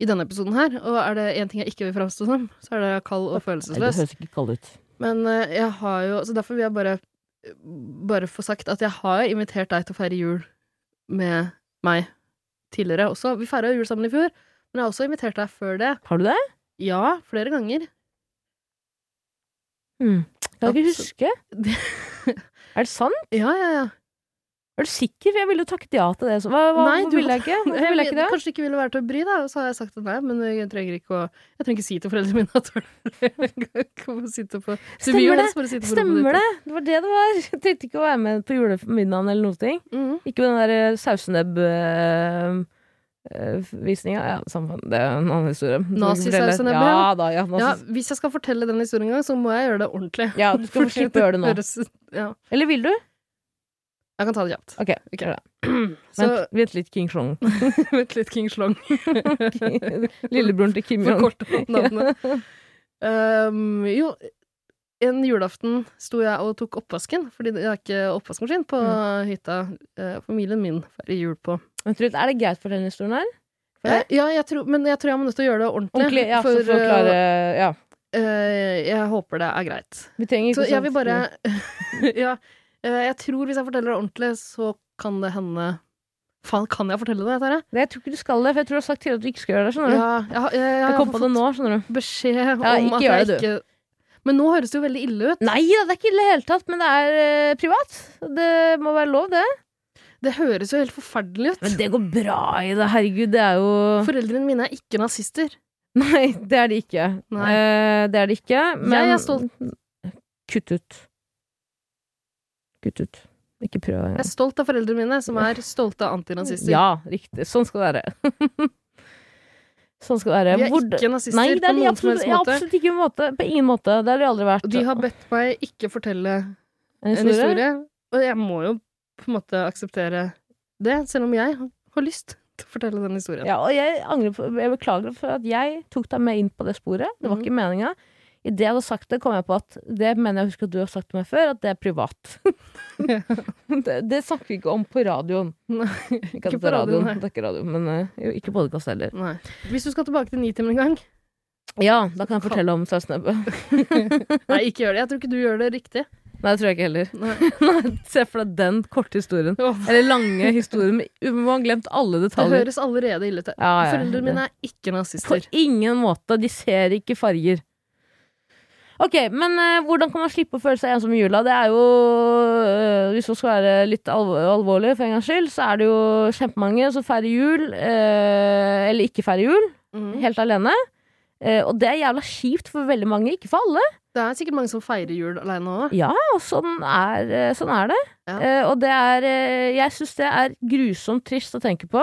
i denne episoden her, og er det én ting jeg ikke vil framstå som, så er det kald og Nei, det følelsesløs. høres ikke kaldt ut. Men eh, jeg har jo Så derfor vil jeg bare Bare få sagt at jeg har invitert deg til å feire jul med meg tidligere også. Vi feira jul sammen i fjor, men jeg har også invitert deg før det. Har du det? Ja, flere ganger. Mm. Kan du ikke Absolutt. huske? Er det sant? Ja, ja, ja. Er du sikker? For jeg ville jo takket ja til det. Så hva, hva, Nei, hvorfor du- ville jeg ikke? Hvorfor Jeg ville jeg ikke det? Kanskje det ikke ville være til å bry, da. Og så har jeg sagt at nei, men jeg trenger ikke å Jeg trenger ikke si til foreldrene mine at jeg kommer og sitte på Så vi Stemmer gjør det. så bare sitte på Stemmer rommet det? Det var det det var. Jeg tenkte ikke å være med på julemiddagen eller noe. ting. ditt. Mhm. Ikke på den der eh, sausenebb-visninga. eh, ja, samme faen. Det er en annen historie. Nazi-sausenebb, ja. ja. Ja da, ja. Ja, Nazis. hvis jeg skal fortelle den historien en gang, så må jeg gjøre det ordentlig. Ja, du skal få Fordi slippe å gjøre det nå. høres- Ja. Eller vil du? Jeg kan ta det kjapt. Ok, Ok. gjør det. Så Vent, vent litt, King Slong. Vent litt, King Slong. Lillebroren til Kim Jong. Forkort opp navnet. Um, jo, en julaften sto jeg og tok oppvasken, fordi jeg har ikke oppvaskmaskin på Mm. hytta eh, familien min feirer jul på. Vent litt, Er det greit for denne historien her? For Eh, ja, jeg tror, men jeg tror jeg må nødt til å gjøre det ordentlig. Ordentlig? Ja, for, for å eh, klare Ja. eh, jeg håper det er greit. Vi trenger ikke Så jeg sånn- vil bare Ja, eh, jeg tror hvis jeg forteller det ordentlig, så kan det hende Faen, kan jeg fortelle det, dette her? Nei, jeg tror ikke du skal det, for jeg tror du har sagt tidligere at du ikke skal gjøre det. skjønner du? Ja, jeg, har- jeg, jeg, jeg har kom på det fått nå, skjønner du. beskjed om Ja, ikke at gjør jeg det, du. ikke Men nå høres det jo veldig ille ut. Nei da, det er ikke ille i det hele tatt, men det er eh, privat. Det må være lov, det. Det høres jo helt forferdelig ut. Men det går bra i det, herregud. Det er jo Foreldrene mine er ikke nazister. Nei, det er det ikke. Nei. Eh, det er det ikke, men Jeg er stolt. Kutt ut. Kutt ut. Ikke prøv Jeg engang. er stolt av foreldrene mine, som er stolte av antinazister. Ja, riktig. Sånn skal det være. sånn skal det være. De er Hvor- ikke nazister Nei, det er på de noen som absolutt, helst ja, måte. absolutt ikke på, en måte, på ingen måte. Det har de aldri vært. Og de har bedt meg ikke fortelle en en historie, og jeg må jo på en måte akseptere det, selv om jeg har lyst til å fortelle den historien. Ja, og jeg, angrer på, jeg beklager for at jeg tok deg med inn på det sporet. Det var Mhm. ikke meninga. I det jeg hadde sagt det, kom jeg på at det mener jeg husker at du har sagt til meg før, at det er privat. det, det snakker vi ikke om på radioen. Nei, Ikke, at ikke det på er radioen, nei. radioen. Det er ikke radioen, men eh, jo, ikke podkast heller. Nei. Hvis du skal tilbake til Nitimen en gang Ja, da kan jeg fortelle om sausenebbet. Nei, ikke gjør det. Jeg tror ikke du gjør det riktig. Nei, det tror jeg ikke heller. Nei. Nei, Se for deg den korte historien. Åh, Eller lange historien. med- Man har glemt alle Det detaljer. høres allerede ille ut. Ja, ja, Foreldrene det- mine er ikke På nazister. ingen måte. De ser ikke farger. Ok, men eh, hvordan kan man slippe å føle seg ensom i jula? Det er jo eh, Hvis man skal være litt alv alvorlig for en gangs skyld, så er det jo kjempemange som feirer jul, eh, eller ikke feirer jul, Mhm. helt alene. Eh, og det er jævla kjipt for veldig mange, ikke for alle. Det er sikkert mange som feirer jul alene òg. Ja, og sånn er, eh, sånn er det. Ja. Eh, og det er eh, Jeg syns det er grusomt trist å tenke på.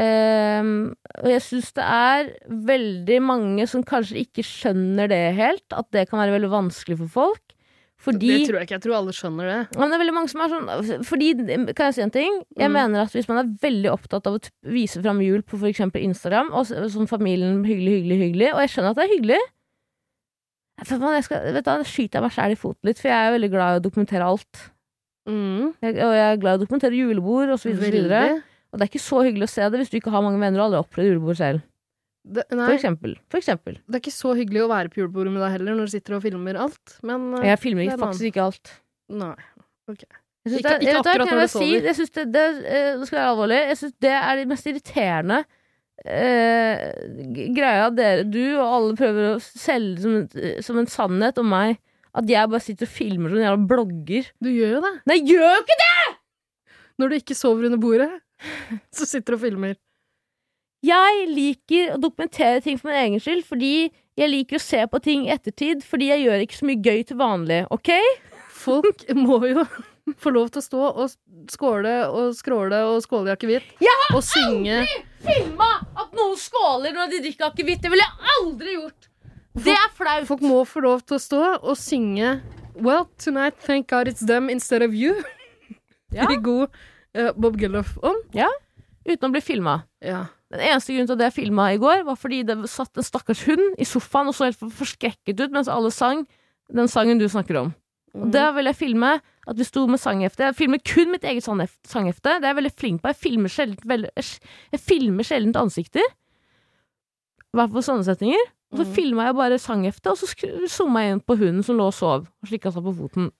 Ehm, og jeg syns det er veldig mange som kanskje ikke skjønner det helt, at det kan være veldig vanskelig for folk. Fordi Det tror jeg ikke. Jeg tror alle skjønner det. ja, men det er veldig mange som er sånn Fordi, Kan jeg si en ting? Jeg Mm. mener at Hvis man er veldig opptatt av å t- vise fram jul på f.eks. Instagram, og s- sånn familien hyggelig, hyggelig, hyggelig Og jeg skjønner at det er hyggelig. For faen, jeg skal, vet du, hva, Da skyter jeg meg sjæl i foten litt, for jeg er veldig glad i å dokumentere alt. Mm. Jeg, og jeg er glad i å dokumentere julebord osv. Og, så videre, og, så videre. Veldig. og det er ikke så hyggelig å se det hvis du ikke har mange venner og aldri har opplevd julebord selv. Det, For nei, eksempel. For eksempel. det er ikke så hyggelig å være på julebordet med deg heller, når du sitter og filmer alt, men eh, Jeg filmer det ikke, er en annen. faktisk ikke alt. Nei. Jeg synes det er- Ikke- ikke jeg vet hva, akkurat kan jeg når du si, sover. Jeg synes det, det, eh, nå skal jeg være alvorlig. Jeg synes det er det mest irriterende eh, g- greia dere, du og alle prøver å selge som, en- som en sannhet om meg. At jeg bare sitter og filmer som en jævla blogger. Du gjør jo det. Nei, jeg gjør jo ikke det! Når du ikke sover under bordet, så sitter du og filmer. Jeg liker å dokumentere ting for min egen skyld, fordi jeg liker å se på ting i ettertid, fordi jeg gjør ikke så mye gøy til vanlig, ok? Folk må jo få lov til å stå og skåle og skråle og skåle i akevitt. Og synge. Filma at noen skåler når de drikker akevitt! Det ville jeg aldri gjort! Det er flaut! Folk må få lov til å stå og synge Well, tonight, thank God it's them instead of you. Ja. I god eh, Bob Geldof-ånd. Uten å bli filma. Ja. Den eneste grunnen til at jeg filma i går, var fordi det satt en stakkars hund i sofaen og så helt forskrekket ut mens alle sang den sangen du snakker om. Mm. Og da vil jeg filme at vi sto med sanghefte. Jeg filmer kun mitt eget sanghef- sanghefte. Det er jeg veldig flink på. Jeg filmer sjelden, vel- jeg filmer sjelden ansikter. I hvert fall sånne setninger. Og så filmet Mm. filma jeg bare sangheftet, og så skru- zooma jeg inn på hunden som lå og sov og slikka seg på foten.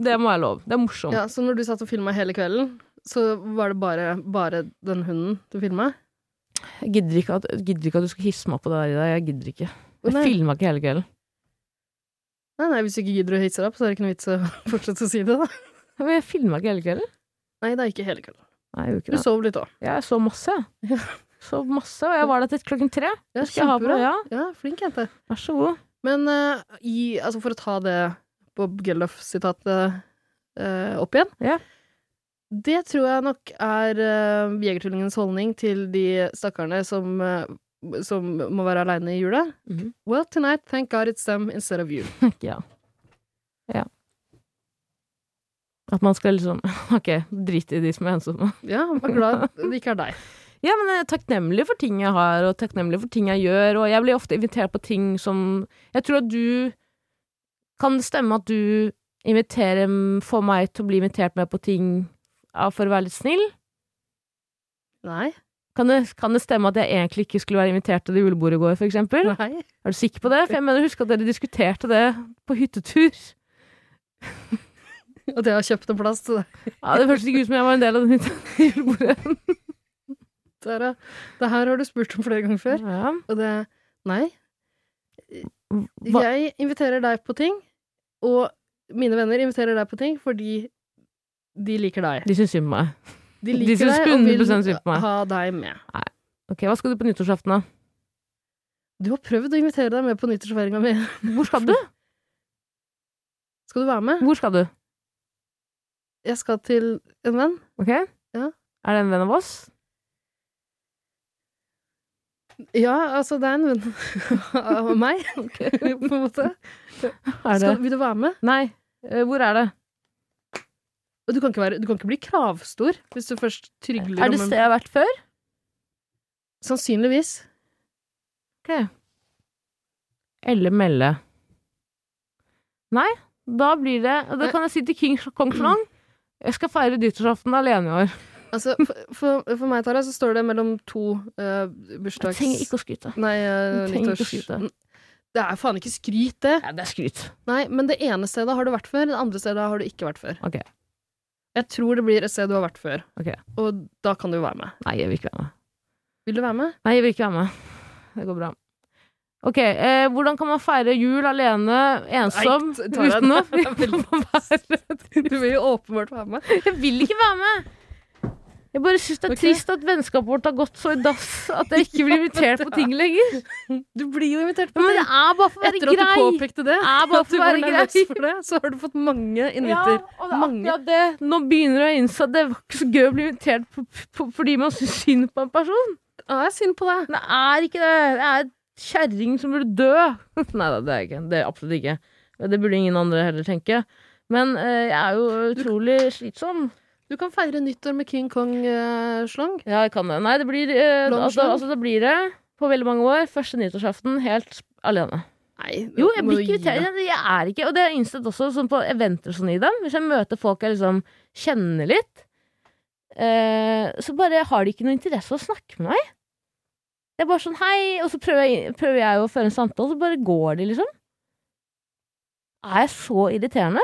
Det må jeg love. Det er morsomt. ja, Så når du satt og filma hele kvelden, så var det bare, bare den hunden du filma? Jeg gidder ikke, at, gidder ikke at du skal hisse meg opp på det der i dag. Jeg gidder ikke. Jeg Nei. filma ikke hele kvelden. Nei, nei, hvis du ikke gidder å hisse deg opp, så er det ikke noe vits å fortsette å si det, da. Men jeg filma ikke hele kvelden. Nei, det er ikke hele kvelden. Nei, jeg gjorde Du ikke det. sov litt òg. Jeg så masse. jeg. Sov masse, og jeg var der til klokken tre. Ja, Skal jeg ha på det? kjempebra. Ja, Ja, flink jente. vær så god. Men eh, i, altså for å ta det Bob Geldof-sitatet eh, opp igjen Ja. Det tror jeg nok er uh, Jegertvillingens holdning til de stakkarene som, eh, som må være aleine i jula. Mhm. Well, tonight, thank God it's them instead of you. ja. ja. At man skal liksom Ok, drit i de som er ensomme. Ja, vær glad det ikke er deg. Ja, men jeg er takknemlig for ting jeg har, og takknemlig for ting jeg gjør, og jeg blir ofte invitert på ting som Jeg tror at du Kan det stemme at du inviterer Får meg til å bli invitert med på ting ja, for å være litt snill? Nei. Kan det, kan det stemme at jeg egentlig ikke skulle være invitert til det julebordet i går, for eksempel? Nei. Er du sikker på det? For jeg mener, husk at dere diskuterte det på hyttetur. At jeg har kjøpt en plass til deg. Ja, det hørtes ikke ut som jeg var en del av den hytta- julebordet. Det er- Det her har du spurt om flere ganger før. Ja. Og det Nei. Hva- Jeg inviterer deg på ting, og mine venner inviterer deg på ting fordi de liker deg. De syns synd på meg. De De liker synes deg og 100% synd på meg. vil ha deg med. Ok, Hva skal du på nyttårsaften, da? Du har prøvd å invitere deg med på nyttårsfeiringa mi. Hvor skal du? Skal du være med? Hvor skal du? Jeg skal til en venn. Ok? Ja. Er det en venn av oss? Ja, altså, det er en venn av meg, på en måte. Er det? Skal, vil du være med? Nei. Eh, Hvor er det? Og Du kan ikke, være, du kan ikke bli kravstor hvis du først trygler Er det om en- sted jeg har vært før? Sannsynligvis. Eller melde? Nei, da blir det og Da kan jeg si til King Kong Slang jeg skal feire nyttårsaften alene i år. Altså, for, for, for meg, Tara, så står det mellom to eh, Jeg bursdags... trenger ikke å skryte. Nei, Du eh, trenger ikke å nyttårs... skryte. Det er faen ikke skryt, det. Nei, det er skryt. Nei, men det ene stedet har du vært før, det andre stedet har du ikke vært før. Ok. Jeg tror det blir et sted du har vært før. Ok. Og da kan du være med. Nei, jeg vil ikke være med. Vil du være med? Nei, jeg vil ikke være med. Det går bra. Ok, eh, hvordan kan man feire jul alene, ensom, Nei, Tara, uten å det er veldig- Du vil jo åpenbart være med. Jeg vil ikke være med! Jeg bare syns det er Ok. trist at vennskapet vårt har gått så i dass at jeg ikke blir invitert på ting lenger. Du blir jo invitert på Men det ting. er bare for å være Etter at du grei. påpekte det, Er bare at du for å var være nervøs grei. for det, så har du fått mange Ja, inviter. og det er Mange. akkurat det. Nå begynner jeg å innse at det var ikke så gøy å bli invitert på, på, fordi man syns synd på en person. Ja, jeg er synd på deg. Det er ikke det. Det er kjerring som burde dø. Nei da, det er ikke. Det er absolutt ikke. Det burde ingen andre heller tenke. Men eh, jeg er jo utrolig slitsom. Du kan feire nyttår med King eh, Kong-slang. Ja, jeg kan det. Nei, det blir eh, Long altså, slam. altså, det blir det på veldig mange år. Første nyttårsaften helt alene. Nei, Jo, jeg må blir du gi ikke deg. irritert. Jeg er ikke Og det har jeg innsett også sånn på eventer og sånn i dem. Hvis jeg møter folk jeg liksom kjenner litt, eh, så bare har de ikke noe interesse av å snakke med meg. Det er bare sånn hei, og så prøver jeg, prøver jeg å føre en samtale, så bare går de, liksom. Er jeg så irriterende?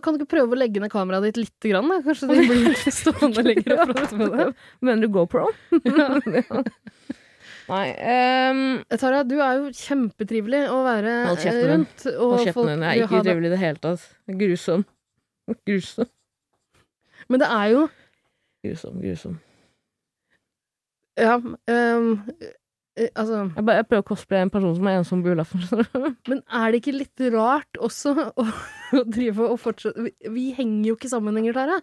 Kan du ikke prøve å legge ned kameraet ditt lite grann? Da? Kanskje de blir stående lenger og prate med deg. Mener du GoPro? Ja. Nei ehm, Tara, Eh, du er jo kjempetrivelig å være Hold kjeften din. rundt. Og Hold kjeften din. Jeg vil er ha ikke deg. trivelig i det hele tatt. Grusom. Grusom. Men det er jo Grusom. grusom. Ja. ehm, eh, altså Jeg, bare, jeg prøver å cosplaye en person som er ensom på julaften. skjønner du? Men er det ikke litt rart også å, å drive og fortsette vi, vi henger jo ikke sammen lenger, Tara.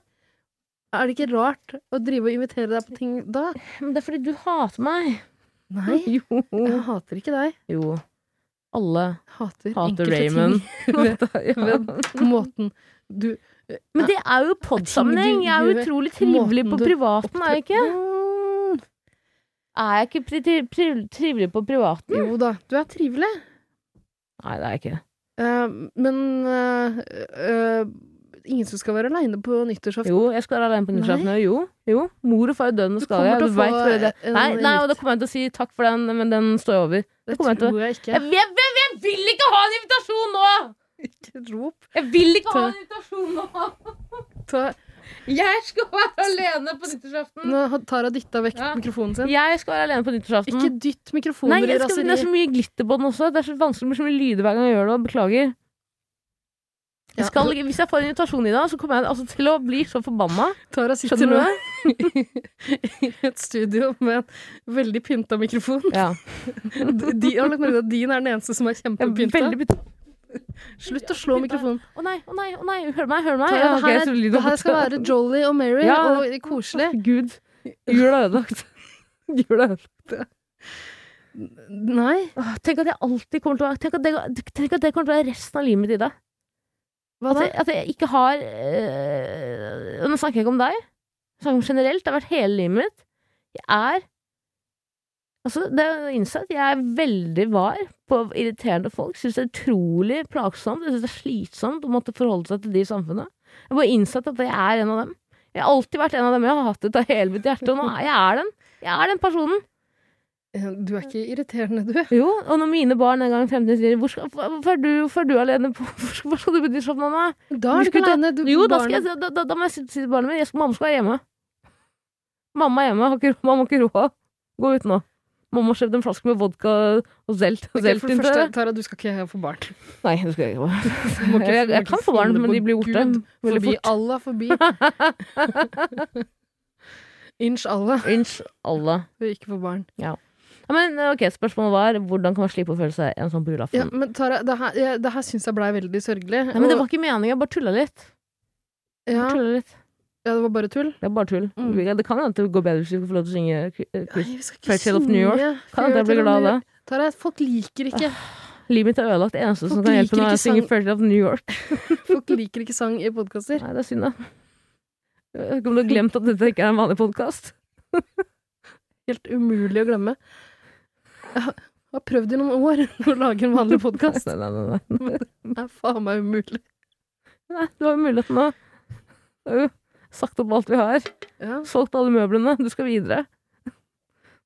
Er det ikke rart å drive og invitere deg på ting da? Men det er fordi du hater meg. Nei, Jo. jeg hater ikke deg. Jo. Alle Hater, hater enkelte Raymond. ting ved, Ja. ved måten du Men det er jo podsammenheng. Jeg er jo utrolig trivelig på Måten du privaten, er jeg ikke? Mm, Er jeg ikke pri tri tri trivelig på privaten? Jo da, du er trivelig. Nei, det er jeg ikke. Eh, men eh, eh, ingen som skal være aleine på nyttårsaften. Jo, jeg skal være alene på nyttårsaften. Jo, jo. Mor og far er døde, nå Du skal jeg. kommer Du til å vet få hvor det en Nei, nei, litt- og da kommer jeg til å si takk for den, men den står over. Det kommer jeg til å- tror jeg Jeg, ikke. jeg, jeg, jeg vil ikke ha en invitasjon nå! Ikke rop. Jeg vil ikke ha Ta- en invitasjon nå! Ta, Jeg skal være alene på nyttårsaften! nå har Tara dytta vekk Ja. mikrofonen sin. Jeg skal være alene på nyttårsaften. Ikke dytt Nei, mikrofoner i jeg skal, det er raseri. så mye glitter på den også. Det er så vanskelig med så mye lyder hver gang jeg gjør det. og Beklager. Ja. Jeg skal, hvis jeg får en invitasjon i dag, så kommer jeg altså til å bli så forbanna. Tara sitter Skjønner du nå det? i et studio med en veldig pynta mikrofon. Ja. D- De, har du lagt merke til at din er den eneste som er Jeg er kjempepynta. veldig bet- Slutt å slå mikrofonen. Å nei, å nei, å nei. Hør meg, hør meg. Tara, Ja, det, ok, her så er, lyder det her skal borte. være jolly og merry Ja. og koselig. Gud, jula er ødelagt. Jula er ødelagt. Nei, Åh, Tenk at jeg alltid kommer til å Tenk at det, tenk at det kommer til å være resten av livet mitt i deg. hva At da? jeg, at jeg ikke har øh, og Nå snakker jeg ikke om deg. Jeg snakker om generelt. Det har vært hele livet mitt. Jeg er Altså, det er jo innsett. Jeg er veldig var på irriterende folk. Syns det er utrolig plagsomt. Jeg syns det er slitsomt å måtte forholde seg til de i samfunnet. Jeg har bare innsett at jeg er en av dem. Jeg har alltid vært en av dem. Jeg har hatt det av hele mitt hjerte, og nå er jeg er den. Jeg er den personen. Eh, Du er ikke irriterende, du. Jo, og når mine barn en gang i fremtiden sier hvor skal, 'Hvorfor er du, hvorfor er du alene på Hvor skal, hvor skal du på Disneyland, mamma?' Da er du ikke Skulle ta- alene. Du, Jo, da, skal jeg, si- barnet- da, da, da må jeg si si til barnet mitt jeg skal, Mamma skal være hjemme. Mamma er hjemme. Har ikke, mamma har ikke råd. Gå ut nå. Mamma har kjøpt en flaske med vodka og zelt. Ok, zelt for det inn til første, deg. Tara, du skal ikke få barn. Du Nei, det skal jeg ikke. gjøre. Jeg, må ikke- du må jeg ikke kan få barn, finne men på de blir borte. Gud Veldig Forbi fort. Allah, forbi. Inch Allah Inch Allah. vil ikke få barn. Ja, men eh, ok, Spørsmålet var hvordan kan man slippe å føle seg en sånn på Ja, julaften? men Tara, det her, jeg- det her syns jeg blei veldig sørgelig. Nei, men Det og- var ikke meningen. Jeg bare tulla litt. ja, Bare tullet litt. ja, det var bare tull. Det er bare tull. Mm. Det kan hende det går bedre hvis vi får lov til å synge eh, Nei, Chris. vi skal ikke Fairytale of New York. synge Kan hende jeg blir glad av det. Tara, folk liker ikke Livet mitt er ødelagt. Det eneste som Folk kan hjelpe liker nå, er å ikke sånn- synge sang- Fairytale of New York. Folk liker ikke sang i podkaster. Nei, det er synd, da. Jeg vet ikke om du har glemt at dette ikke er en vanlig podkast. Helt umulig å glemme. Jeg har- har prøvd i noen år å lage en vanlig podkast. Nei, nei, nei, nei. Det er faen meg umulig. nei. Du har jo muligheten nå. Du har jo sagt opp alt vi har. Ja. Solgt alle møblene. Du skal videre.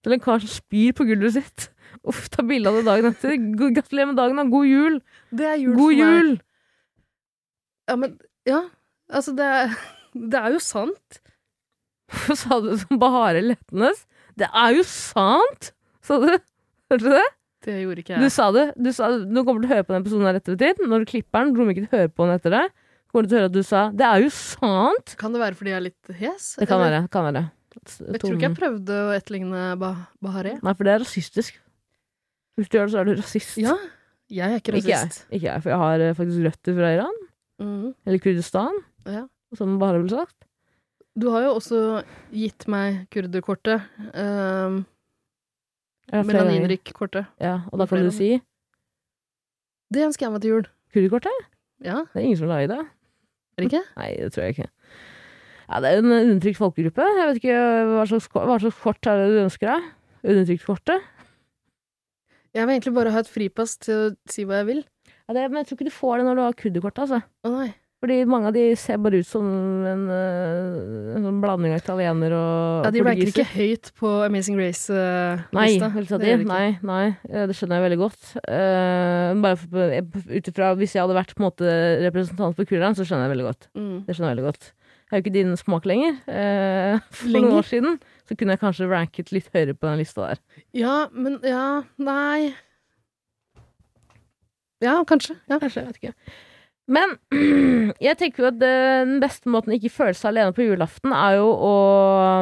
Til en kar som spyr på gulvet sitt. Uff, ta bilde av det dagen etter. God- Gratulerer med dagen, da. God jul! Det er jul God for meg. jul! Ja, men ja. Altså, det er, det er jo sant. Hvorfor sa du det som Bahare Lettenes? Det er jo sant! Sa du? Hørte du det? Det gjorde ikke Du jeg. sa det. Du sa, nå kommer du til å høre på den episoden her etter tid. Når du klipper den, kommer du ikke til å høre på den etter det. Kommer du til å høre at du sa 'det er jo sant'? Kan det være fordi jeg er litt hes? Det kan Eller- være. kan være. eh, Jeg tror ikke jeg prøvde å etterligne bah Bahareh. Nei, for det er rasistisk. Hvis du gjør det, så er du rasist. Ja, jeg er ikke ikke jeg. rasist. Ikke jeg, for jeg har eh, faktisk røtter fra Iran. Mhm. Eller Kurdistan. Ja. Som bare ble sagt. Du har jo også gitt meg kurderkortet. Um, Ja, flere ganger. Melaninrik-kortet. Ja, og da kan Flere du si Det ønsker jeg meg til jul. kurdekortet. Ja, Det er ingen som lager det. er det ikke? Nei, det tror jeg ikke. Ja, det er en undertrykt folkegruppe. Jeg vet ikke hva slags, ko- hva slags kort er det du ønsker deg? Undertryktkortet? Jeg vil egentlig bare ha et fripass til å si hva jeg vil. Ja, det, men jeg tror ikke du får det når du har kurderkortet, altså. Å nei. Fordi mange av de ser bare ut som en, eh, en sånn blanding av italiener og Ja, de ranker portugiser. ikke høyt på Amazing Race-lista. Nei, helt sant, Det gjør de ikke. nei, nei, eh, det skjønner jeg veldig godt. Eh, bare for- ut ifra hvis jeg hadde vært på en måte representant for Kurland, så skjønner jeg veldig godt. Mm. Det skjønner jeg veldig godt. Jeg har jo ikke din smak lenger. Eh, for Lenger? noen år siden så kunne jeg kanskje ranket litt høyere på den lista der. Ja, men Ja, nei Ja, kanskje. Ja. Kanskje, jeg vet ikke. Men jeg tenker jo at eh, den beste måten å ikke føle seg alene på julaften, er jo å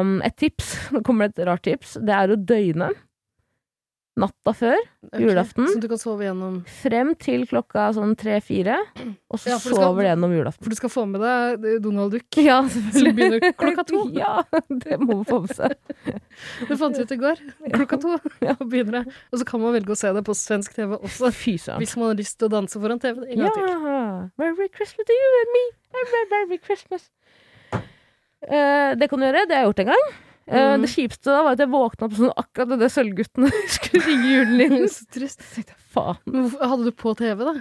mm, Et tips, nå kommer det et rart tips, det er å døgne natta før. ok. Julaften? Sånn at du kan sove gjennom frem til klokka sånn tre-fire, og så Ja, for du skal- sover det gjennom julaften. For du skal få med deg eh, Donald Duck. Ja, Som begynner klokka to. Ja, det må man få med seg. Det fant vi ut i går. Klokka to ja, begynner det. Og så kan man velge å se det på svensk TV også. Fy søren. Hvis man har lyst til å danse foran TV-en en Ja. gang til. Merry Christmas to you and me. Merry, Merry Christmas. Eh, det kan du gjøre. Det har jeg gjort en gang. Eh, Mm. det kjipeste da var at jeg våkna opp sånn akkurat da det Sølvguttene skulle ringe julen inn. Så trist. Så tenkte jeg, Faen. Men hvorfor- hadde du på TV, da?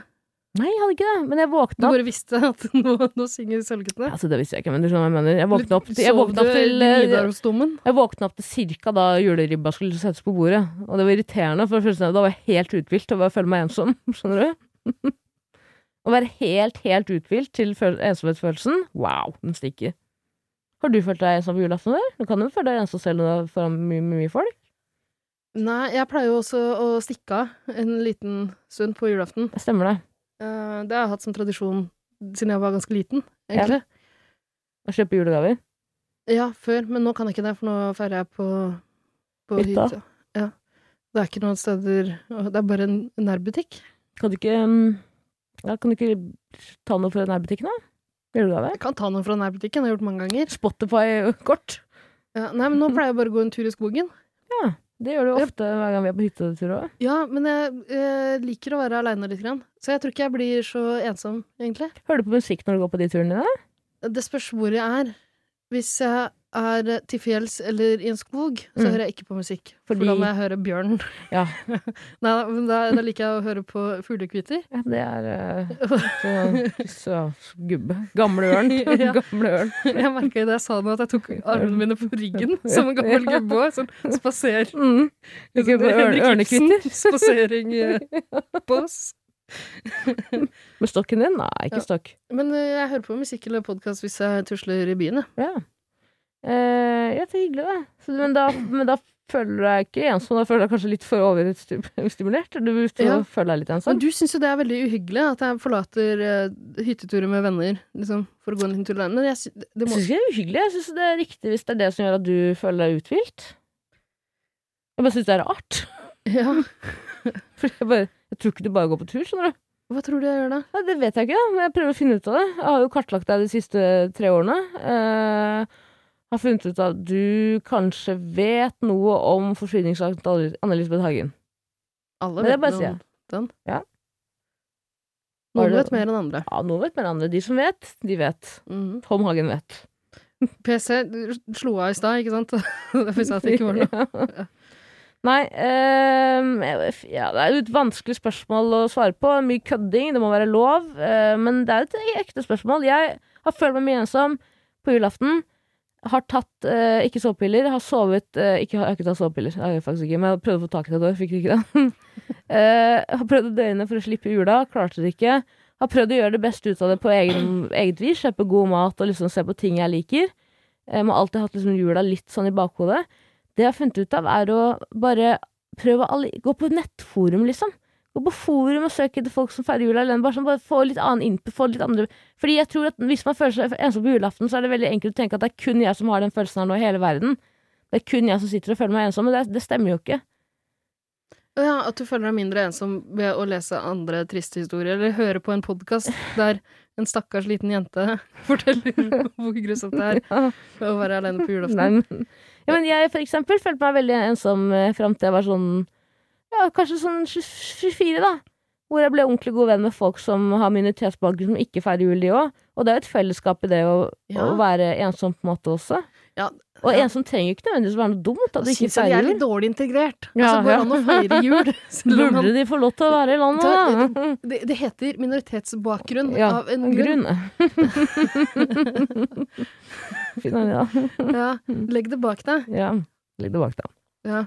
Nei, jeg hadde ikke det. Men jeg Du våkna opp. bare visste at nå, nå synger Sølvguttene? Altså, det visste jeg ikke, men du skjønner hva jeg mener. Jeg våkna opp, jeg våkna opp til Sov du i eh, Nidarosdomen? Jeg våkna opp til cirka da juleribba skulle settes på bordet. Og det var irriterende, for det første, da var jeg helt uthvilt og bare følte meg ensom. Skjønner du? Å være helt, helt uthvilt til føl- ensomhetsfølelsen, wow, den stikker. Har du følt deg ensom på julaften? Der? Du kan jo føle deg ensom selv når du er foran mye, mye folk. Nei, jeg pleier jo også å stikke av en liten stund på julaften. Det stemmer det. Eh, Det har jeg hatt som tradisjon siden jeg var ganske liten, egentlig. Å kjøpe julegaver. Ja, før, men nå kan jeg ikke det, for nå feirer jeg på, på Hytta? hytta. Ja. Det er ikke noen steder Det er bare en nærbutikk. Kan du ikke mm, ja, Kan du ikke ta noe fra nærbutikken, da? Julegave? Jeg kan ta noen fra nærbutikken, det har jeg gjort mange ganger. Spotify-kort. Ja, nei, men nå pleier jeg bare å gå en tur i skogen. Det gjør du jo Ja. ofte hver gang vi er på hyttetur òg. Ja, men jeg eh, liker å være aleine litt, grann. så jeg tror ikke jeg blir så ensom, egentlig. Hører du på musikk når du går på de turene dine? Det spørs hvor jeg er. Hvis jeg er til fjells eller i en skog, så Mm. hører jeg ikke på musikk. Fordi- For da må jeg høre bjørn. Ja. Nei, men da, da liker jeg å høre på fuglekvitter. Ja, det er eh, så, så gubbe. Gamle ørn. Ja. Gamle ørn. Jeg merka idet jeg sa det, at jeg tok armene mine på ryggen som en gammel Ja. gubbe. også, Sånn spaser. Mm. Ikke på ørn, Henrik Ibsen, ørnekvitter. Spasering eh, på oss. Med stokken din? Nei, Ja. ikke stokk. Men eh, jeg hører på musikk eller podkast hvis jeg tusler i byen, jeg. Ja. Eh, ja, så hyggelig, da. Så, men, da. Men da føler du deg ikke ensom. Da føler du deg kanskje litt for overstimulert. Du Ja. føler deg litt Men ensom. du syns jo det er veldig uhyggelig at jeg forlater eh, hytteturer med venner liksom, for å gå en liten tur alene. Men jeg sy- det Jeg må syns ikke det er uhyggelig. Jeg syns det er riktig hvis det er det som gjør at du føler deg uthvilt. Jeg bare syns det er rart. ja. For jeg, bare, jeg tror ikke du bare går på tur, skjønner du. Hva tror du jeg gjør da? Nei, det vet jeg ikke, da, men jeg prøver å finne ut av det. Jeg har jo kartlagt deg de siste tre årene. Eh, har funnet ut at du kanskje vet noe om forsvinningssaken til Anne-Elisabeth Hagen. Alle Men det vet bare noe sier om jeg. den. Ja. Har Noen du- vet mer enn andre. Ja, noen vet mer enn andre. De som vet, de vet. Mhm. Tom Hagen vet. PC du slo av i stad, ikke sant? Derfor sa jeg at det ikke var noe. Ja. Nei, ehm, jeg vet- ja, det er jo et vanskelig spørsmål å svare på. Mye kødding, det må være lov. eh, men det er et ekte spørsmål. Jeg har følt meg mye ensom på julaften. Har tatt eh, ikke sovepiller. Har sovet eh, ikke, Jeg har ikke tatt sovepiller, det har jeg faktisk ikke, men jeg prøvde å få tak i det et år, fikk ikke det. Eh, har prøvd å døgne for å slippe jula, klarte det ikke. Har prøvd å gjøre det beste ut av det på egen, eget vis. Kjøpe god mat og liksom se på ting jeg liker. Jeg har alltid hatt liksom jula litt sånn i bakhodet. Det jeg har funnet ut av, er å bare prøve å alli- Gå på nettforum, liksom. Gå på forum og søk etter folk som feirer jul alene. Bare, sånn, bare få litt annen input. Få litt andre. Fordi jeg tror at hvis man føler seg ensom på julaften, så er det veldig enkelt å tenke at det er kun jeg som har den følelsen her nå i hele verden. Det er kun jeg som sitter og føler meg ensom, men det, det stemmer jo ikke. Å Ja, at du føler deg mindre ensom ved å lese andre triste historier, eller høre på en podkast der en stakkars liten jente forteller hvor grusomt det er å være alene på julaften. Nei, men, ja, men jeg for eksempel følte meg veldig ensom eh, fram til jeg var sånn Ja, kanskje sånn 24, da. Hvor jeg ble ordentlig god venn med folk som har minoritetsbakgrunn, som ikke feirer jul, de òg. Og det er jo et fellesskap i det å, Ja. å være ensom på en måte også. Ja, Og Ja. en som trenger ikke nødvendigvis være noe dumt. At da de ikke syns jeg de er feirer. litt dårlig integrert. Ja, altså, går det ja. an å feire jul? selv om man- Burde de få lov til å være i landet? Ta- da? det, det heter minoritetsbakgrunn Ja, av en Av grunn. grunn. Finner de da. Ja, legg det bak deg. Ja. Ligg det bak deg. Ja.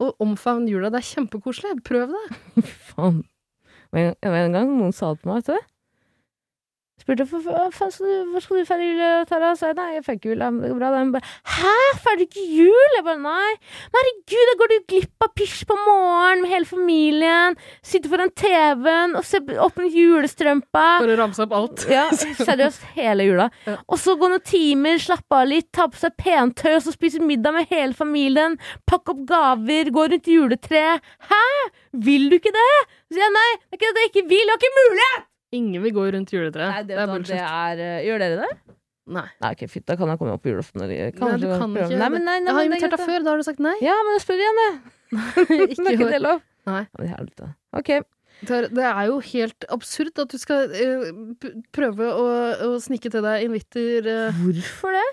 Og omfavn jula. Det er kjempekoselig. Prøv det. Faen. Men det var en gang noen sa det til meg, vet du det? Spurte hva hva faen skal du, hvor skal du feire jul, Tara? Så jeg nei, jeg feirer ikke jul. Ja, men Det går bra. Da. Hun bare hæ, feirer du ikke jul? Jeg bare nei. Men herregud, da går du glipp av pysj på morgenen med hele familien. Sitter foran TV-en og ser opp med julestrømpa. For å ramse opp alt. Ja, seriøst, hele jula. Ja. Og så gå noen timer, slappe av litt, ta på seg pentøy, og så spise middag med hele familien. Pakke opp gaver, gå rundt juletreet. Hæ? Vil du ikke det? Så sier jeg nei, det er ikke at jeg ikke vil, det var ikke mulig! Ingen vil gå rundt juletreet. Nei, det, er bullshit. gjør dere det? Nei. Nei, ok, fytt, da kan jeg komme opp på julaften. Eller, Nei, du kanskje kan prøve. ikke. Nei, men, nei, nei, men det jeg har er invitert deg greit, før, da har du sagt nei. da. Ja, men jeg spør igjen, jeg. det Ikke er ikke hør. det lov. Nei. Ja, men helvete. Ok. Det er- det er jo helt absurd at du skal eh, p- prøve å, å snike til deg invitter eh, Hvorfor det?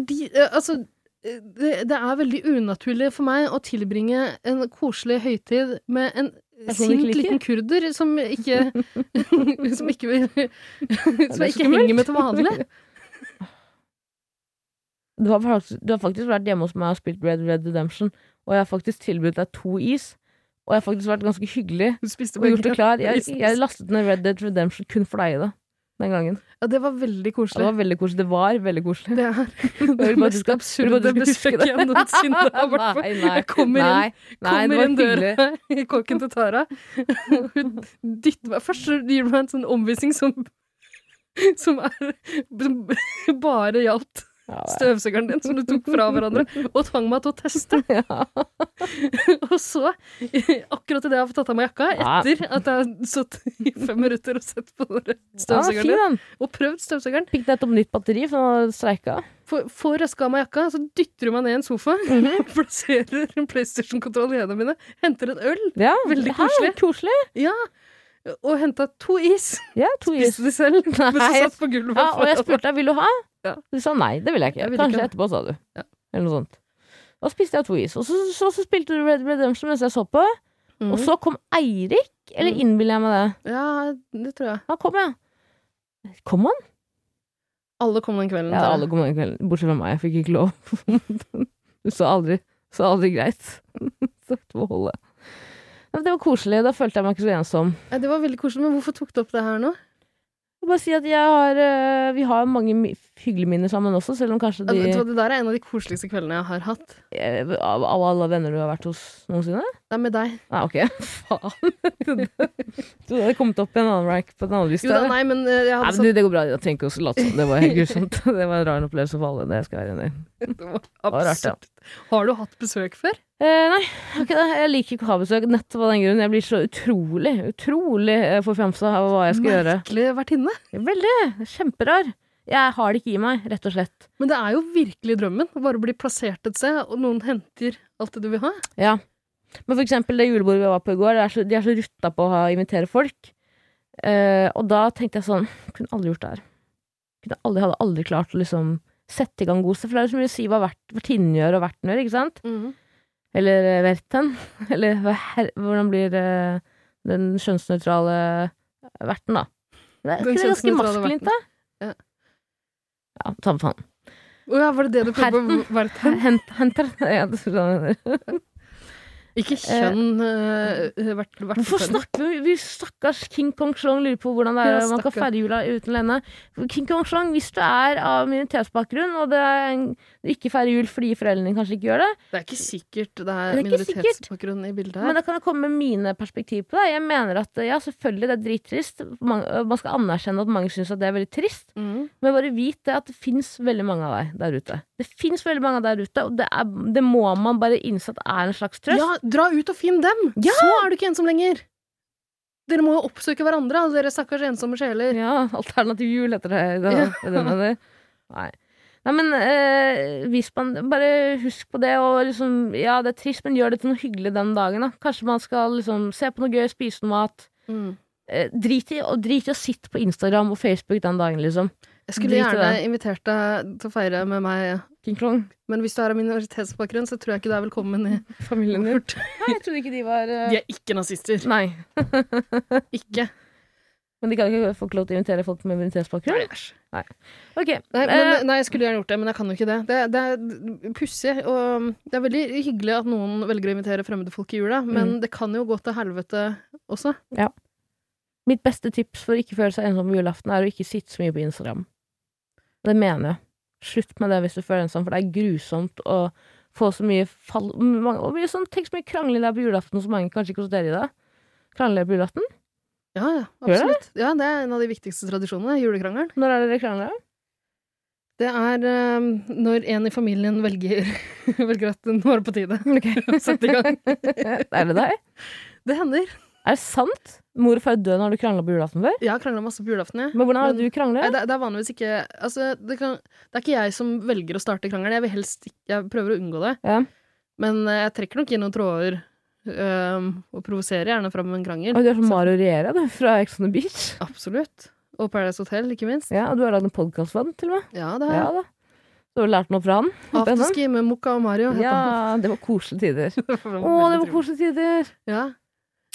Fordi eh, altså eh, det, det er veldig unaturlig for meg å tilbringe en koselig høytid med en Person du ikke sint liker? liten kurder som ikke Som ikke, vil, som det er jeg så ikke skummelt. henger med til vanlig. du har, faktisk, du har faktisk vært hjemme hos meg og spilt Red Red Redemption, og jeg har faktisk tilbudt deg to is. Og jeg har faktisk vært ganske hyggelig Du spiste og gjort det klar. Jeg, isene. jeg lastet ned Red Dead Redemption kun for deg, da. Den gangen. Ja, det var veldig Det koselig. var veldig koselig. Det var veldig koselig. Det er bare det at du mest skal- jeg vil bare absurde at du skal huske besøket jeg noensinne har vært på. Nei, nei, Jeg kommer inn nei, nei, det kommer var inn hyggelig. døra i kåken til Tara. Hun dytter meg Først så gir hun meg en sånn omvisning som som er som bare gjaldt Ja, det er- støvsugeren din, som du tok fra hverandre, og tvang meg til å teste. Ja. Og så, akkurat idet jeg har fått tatt av meg jakka, Ja. etter at jeg har satt i fem minutter og sett på den Ja, der fin støvsugeren din, den. og prøvd støvsugeren, Fikk nettopp nytt batteri, for den hadde streika. får- får røska av meg jakka, så dytter hun meg ned i en sofa, Mhm. plasserer en PlayStation-kontroll i hendene mine, henter en øl, Ja, Veldig hæ, koselig. koselig. Ja, og henta to is. Ja, to is. Spiste de selv, men så Nei. satt på gulvet. Ja, og jeg foran. spurte deg vil du ha. Ja. Du sa nei, det vil jeg ikke. Jeg vil Kanskje ikke ha. etterpå, sa du. Ja. Eller noe sånt. Da spiste jeg to is. Og så, så, så spilte du Red Dead Redemption mens jeg så på. Mm. Og så kom Eirik, eller innbiller jeg meg det? Ja, det tror jeg. Han kom, ja. Kom han? Alle kom den kvelden. Ja, Tara. alle kom den kvelden. Bortsett fra meg, jeg fikk ikke lov. Du sa aldri, sa aldri greit. Så det må holde. Ja, men det var koselig. Da følte jeg meg ikke så ensom. Ja, det var veldig koselig, men hvorfor tok du opp det her nå? Jeg vil bare si at jeg har, eh, vi har mange mi- hyggelige minner sammen også, selv om kanskje Ja, de vet du hva, det der er en av de koseligste kveldene jeg har hatt. eh, Av av alle venner du har vært hos noensinne? Det er med deg. Nei, ok. Faen. Du hadde kommet opp i en annen rack på den andre lista. Jo da, eller? nei, men eh, jeg Nei, hadde men du, det går bra. Jeg trenger ikke å late som. Det var helt grusomt. Det var en rar opplevelse for alle. Det skal jeg være enig i. sagt det var var rart, ja. absurd. Har du hatt besøk før? Eh, nei, ok da. jeg liker ikke å ha besøk. Nettopp av den grunnen. Jeg blir så utrolig, utrolig eh, forfjamsa av hva jeg skal gjøre. Merkelig vertinne. Veldig. Kjemperar. Jeg har det ikke i meg, rett og slett. Men det er jo virkelig drømmen. å Bare bli plassert et sted, og noen henter alt det du vil ha. Ja. Men for eksempel det julebordet vi var på i går, det er så, de er så rutta på å ha- invitere folk. Eh, og da tenkte jeg sånn Kunne aldri gjort det her. Kunne aldri, hadde aldri klart å liksom sette i gang god sted. For det er jo så mye å si hva vert- vertinnen gjør og verten gjør, ikke sant? Eller eh, verten. Eller hva her, hvordan blir eh, den kjønnsnøytrale verten, da? Det er Den ikke det ganske kjønnsnøytrale maskulint, verten. da? Ja. Ja, samme faen. Å ja, var det det du prøvde på? Verten? Hent, henter. Ja, det tror jeg det er. sånn- Ikke kjønn uh, vert, Eh, vert, Hvorfor snakker vi vi Stakkars King Kong Shlong lurer på hvordan det er Ja, man kan stakkar. feire jula uten Lene. King Kong Shlong, hvis du er av minoritetsbakgrunn og det er en, du ikke feirer jul fordi foreldrene dine kanskje ikke gjør det, Det er ikke sikkert det Det er er ikke sikkert. minoritetsbakgrunn i bildet Men her. da kan jeg komme med mine perspektiv på det. Jeg mener at ja, selvfølgelig det er drittrist. Man, man skal anerkjenne at mange syns at det er veldig trist. Mm. Men bare vit det at det fins veldig mange av deg der ute. Det fins veldig mange av deg der ute, og det, er, det må man bare innse at er en slags trøst. Ja, dra ut og finn dem! Ja! Så er du ikke ensom lenger! Dere må jo oppsøke hverandre, alle dere stakkars ensomme sjeler. Ja, alternativ jul heter det. det, er det med det. Nei. Nei, men eh, hvis man Bare husk på det, og liksom Ja, det er trist, men gjør det til noe hyggelig den dagen, da. Kanskje man skal liksom se på noe gøy, spise noe mat. Mm. Eh, drit i og drit i å sitte på Instagram og Facebook den dagen, liksom. Jeg skulle Drit i gjerne det. invitert deg til å feire med meg, King Kong. men hvis du er av minoritetsbakgrunn, så tror jeg ikke du er velkommen i Familien din. Nei, jeg trodde ikke de var eh, er ikke nazister. Nei. Ikke. Men de kan ikke få lov til å invitere folk med minoritetsbakgrunn? æsj. Ok. Nei, eh, men, nei, jeg skulle gjerne gjort det, men jeg kan jo ikke det. Det, det er pussig, og det er veldig hyggelig at noen velger å invitere fremmede folk i jula, men Mm. det kan jo gå til helvete også. mitt beste tips for å ikke føle seg ensom på julaften, er å ikke sitte så mye på Instagram. Det mener jeg. Slutt med det hvis du føler deg ensom, for det er grusomt å få så mye fall... mange- Og mye sånn, tenk så mye krangling det er på julaften som mange kanskje ikke hos dere i dag. Krangler dere på julaften? Ja, ja, Gjør det? absolutt. Ja, det er en av de viktigste tradisjonene, julekrangelen. Når er dere krangler? Det er eh, når en i familien velger, velger at nå er det på tide å sette i gang. er det deg? Det hender. Er det sant? Mor og far er døde når du krangla på julaften før? Jeg har krangla masse på julaften, jeg. Men hvordan er Men- det du Nei, krangler? det, det er vanligvis ikke altså, det, kan, det er ikke jeg som velger å starte krangelen. Jeg, vil helst, ikke- jeg prøver å unngå det. Ja. Men eh, jeg trekker nok inn noen tråder. øhm, og provoserer gjerne fram en krangel. Oi, du er som Så- Mario Riera, du, fra Ex on the Beach. Absolutt. Og Paradise Hotel, ikke minst. Ja, og du har lagd en podkast for han, til og med. Ja, det Ja har jeg. da. Du har lært noe fra han? Afterski med Mokka og Mario. het han. Ja, det var koselige tider. Det Å, var det veldig var trivelig. koselige tider! Ja.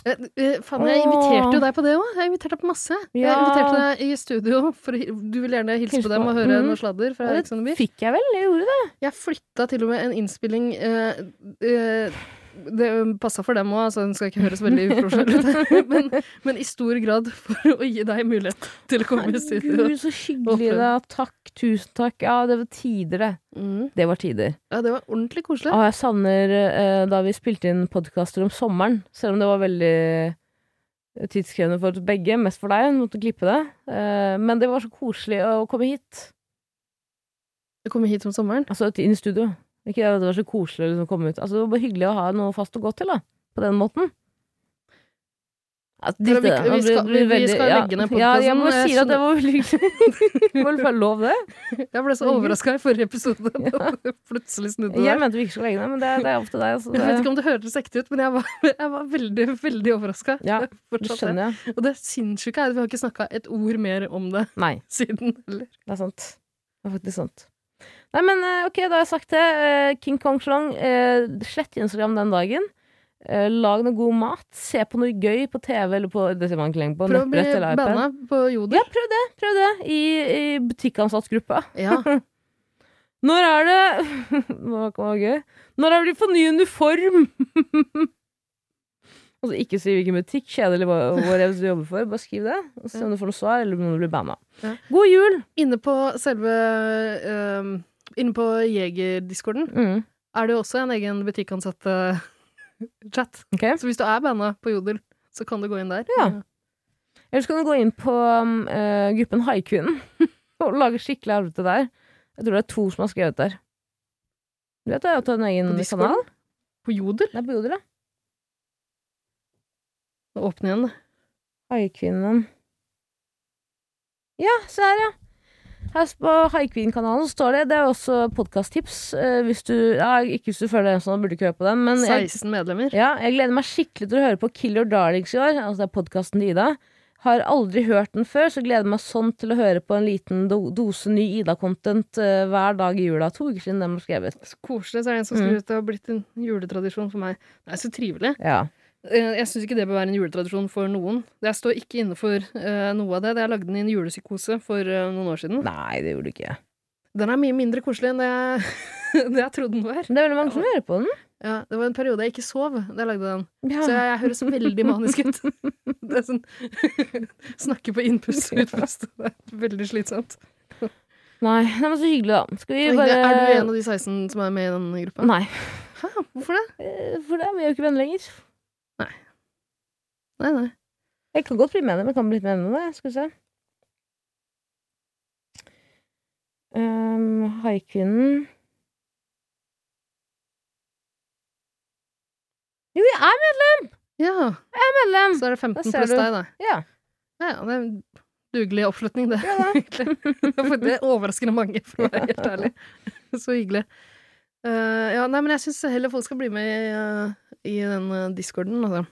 Eh, eh, Faen, jeg inviterte jo deg på det òg. Jeg inviterte deg på masse. Jeg Ja. inviterte deg i studio, for å hi- du ville gjerne hilse Hilse på dem på- og høre Mm. noe sladder fra Ex on the Det Beach. fikk jeg vel, jeg gjorde det. Jeg flytta til og med en innspilling eh, eh, Det passa for dem òg, så den skal ikke høres veldig uprofesjonell ut. men, men i stor grad for å gi deg mulighet til å komme i studio. Herregud, så hyggelig Håper. da. Takk, tusen takk. Ja, det var tider, det. Mm. Det var tider. Ja, det var ordentlig koselig. Å, jeg savner eh, da vi spilte inn podkaster om sommeren, selv om det var veldig tidskrevende for oss begge, mest for deg, måtte klippe det. Eh, men det var så koselig å komme hit. Å komme hit om sommeren. Altså til- inn i studio. Ikke det at det var så koselig å liksom komme ut. Altså, det var bare hyggelig å ha noe fast å gå til, da. På den måten. Altså, Men vi- drit i det. vi Nå blir- skal- blir vi- vi veldig- skal ja. legge ned Ja, jeg podcasten, eh, må jeg si at det skjønner. var veldig hyggelig. Må vel få lov, det. Jeg ble så overraska i forrige episode da du plutselig snudde Jeg deg. mente vi ikke skulle legge ned, men det, det er opp til deg. Altså, Jeg vet det, ikke om det høres ekte ut, men jeg var, jeg var veldig, veldig overraska. Ja, det skjønner jeg. Og det sinnssyke er at vi har ikke snakka et ord mer om det Nei, siden. heller. det er sant. Det er faktisk sant. Nei, men eh, ok, da har jeg sagt det. Eh, King Kong Slang, eh, slett Instagram den dagen. Eh, Lag noe god mat. Se på noe gøy på TV eller på Det ser man ikke lenger på. Prøv å bli Nettbrett eller iPad. banna på Jodel. Ja, prøv det. Prøv det i, i butikkansattgruppa. Ja. Når er det Nå var det gøy. Når er det de får ny uniform? altså, ikke si hvilken butikk, kjede eller hva- hvor jeg vil jobbe for. Bare skriv det. Og se om du får noe svar, eller om du blir banna. Ja. God jul! Inne på selve ehm, Inne på Jegerdiscorden Mm. er det jo også en egen butikkansatte-chat. Ok. Så hvis du er banda på Jodel, så kan du gå inn der. Ja. Ellers kan du gå inn på um, eh, gruppen Haikvinnen og lage skikkelig arvete der. Jeg tror det er to som har skrevet der. Du vet det, jeg har tatt en egen På Discorden? kanal. På Jodel? Det er på Jodel, ja. Åpne igjen. Haikvinnen. Ja, se her, ja. Her s- på Haikvinnkanalen står det. Det er også podkasttips. Hvis du ja, Ikke hvis du føler deg ensom, da burde du ikke høre på den. Men jeg, 16 medlemmer. ja, jeg gleder meg skikkelig til å høre på Kill Your Darlings i år. Altså det er podkasten til Ida. Har aldri hørt den før, så gleder jeg meg sånn til å høre på en liten do dose ny Ida-content eh, hver dag i jula. To uker siden den ble skrevet. Så koselig, så er det en Mm. som skriver at det har blitt en juletradisjon for meg. Det er så trivelig. Ja. Eh, Jeg syns ikke det bør være en juletradisjon for noen. Jeg står ikke inne for eh, noe av det. Jeg lagde den i en julepsykose for eh, noen år siden. Nei, det gjorde du ikke. Den er mye mindre koselig enn det jeg, det jeg trodde den var. Men det er veldig mange som hører på den. Ja, det var en periode jeg ikke sov da jeg lagde den. Ja. Så jeg, jeg høres veldig manisk ut. Det er sånn Snakke på innpust og utpust. Det er veldig slitsomt. Nei, det var så hyggelig, da. Skal vi Er bare du en av de 16 som er med i den gruppa? Nei. Hæ? Hvorfor det? Eh, For det er vi jo ikke venner lenger. Nei, nei. Jeg kan godt bli med deg, men jeg kan bli litt med deg. Skal vi se. Um, Haikvinnen Jo, jeg er Ja, medlem! så er det 15 Da ser pluss du. deg, da. Ja. Ja, ja, det er en dugelig oppslutning, det. Ja da. egentlig. det er overraskende mange, for å være helt ærlig. Så hyggelig. Eh, ja, nei, men jeg syns heller folk skal bli med i, eh, i den eh, discorden, altså.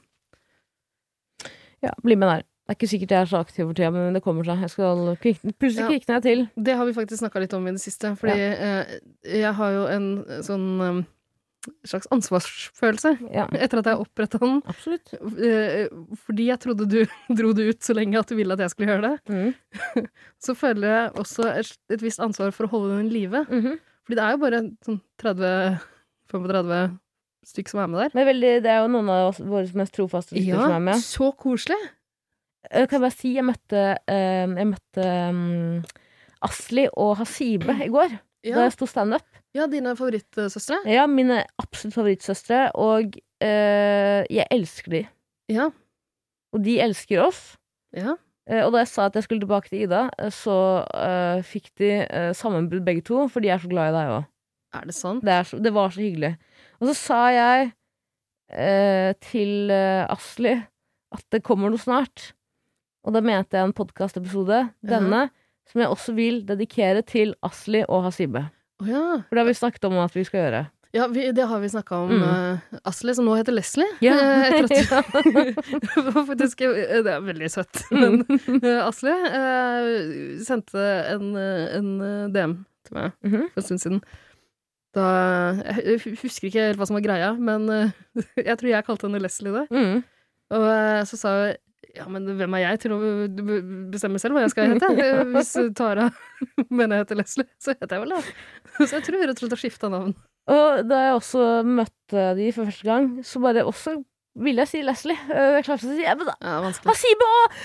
Ja, bli med der. Det er ikke sikkert jeg er så aktiv for tida, men det kommer seg. Jeg skal kvikne, plutselig Ja. kvikner jeg til. Det har vi faktisk snakka litt om i det siste. Fordi eh, jeg har jo en eh, sånn eh, slags ansvarsfølelse Ja, etter at jeg oppretta den. absolutt. Eh, fordi jeg trodde du dro det ut så lenge at du ville at jeg skulle gjøre det. Mm. Så føler jeg også et, et visst ansvar for å holde den i live. Mhm. Fordi det er jo bare sånn 30-35 stykk som er med der. Men veldig, det er jo noen av oss, våre mest trofaste lyttere som er med. så koselig! Jeg Eh, kan bare si jeg møtte, eh, jeg møtte mm, Asli og Hasibe i går, da Ja, jeg sto standup. ja dine favorittsøstre. Ja, mine absolutt favorittsøstre, og eh, jeg elsker de. Ja. Og de elsker oss. ja. Eh, Og da jeg sa at jeg skulle tilbake til Ida, eh, så eh, fikk de eh, sammenbrudd begge to, for de er så glad i deg òg. Er det sant? Det, er så- det var så hyggelig. Og så sa jeg eh, til eh, Asli at det kommer noe snart. Og da mente jeg en podkastepisode, Mhm. denne, som jeg også vil dedikere til Asli og Hasibe. Å ja. For det har vi snakket om at vi skal gjøre. ja vi, det har vi snakka om. Mm. eh, Asli, som nå heter Leslie. Ja. Eh, etter at Ja. Det var faktisk eh, Det er veldig søtt. Men eh, Asli eh, sendte en, eh, en eh, DM til meg Mhm. for en stund siden. Da Jeg hu- husker ikke helt hva som var greia, men eh, jeg tror jeg kalte henne Leslie det. Mm. Og eh, så sa hun ja, men hvem er jeg til å be- bestemme selv hva jeg skal hete? Eh, Hvis Tara mener jeg heter Leslie, så heter jeg vel det. Så jeg tror rett og slett har skifta navn. Og da jeg også møtte de for første gang, så bare også ville jeg si Leslie. Eh, Jeg klarte ikke å si ja, men da- Ja, vanskelig. Hasibe òg!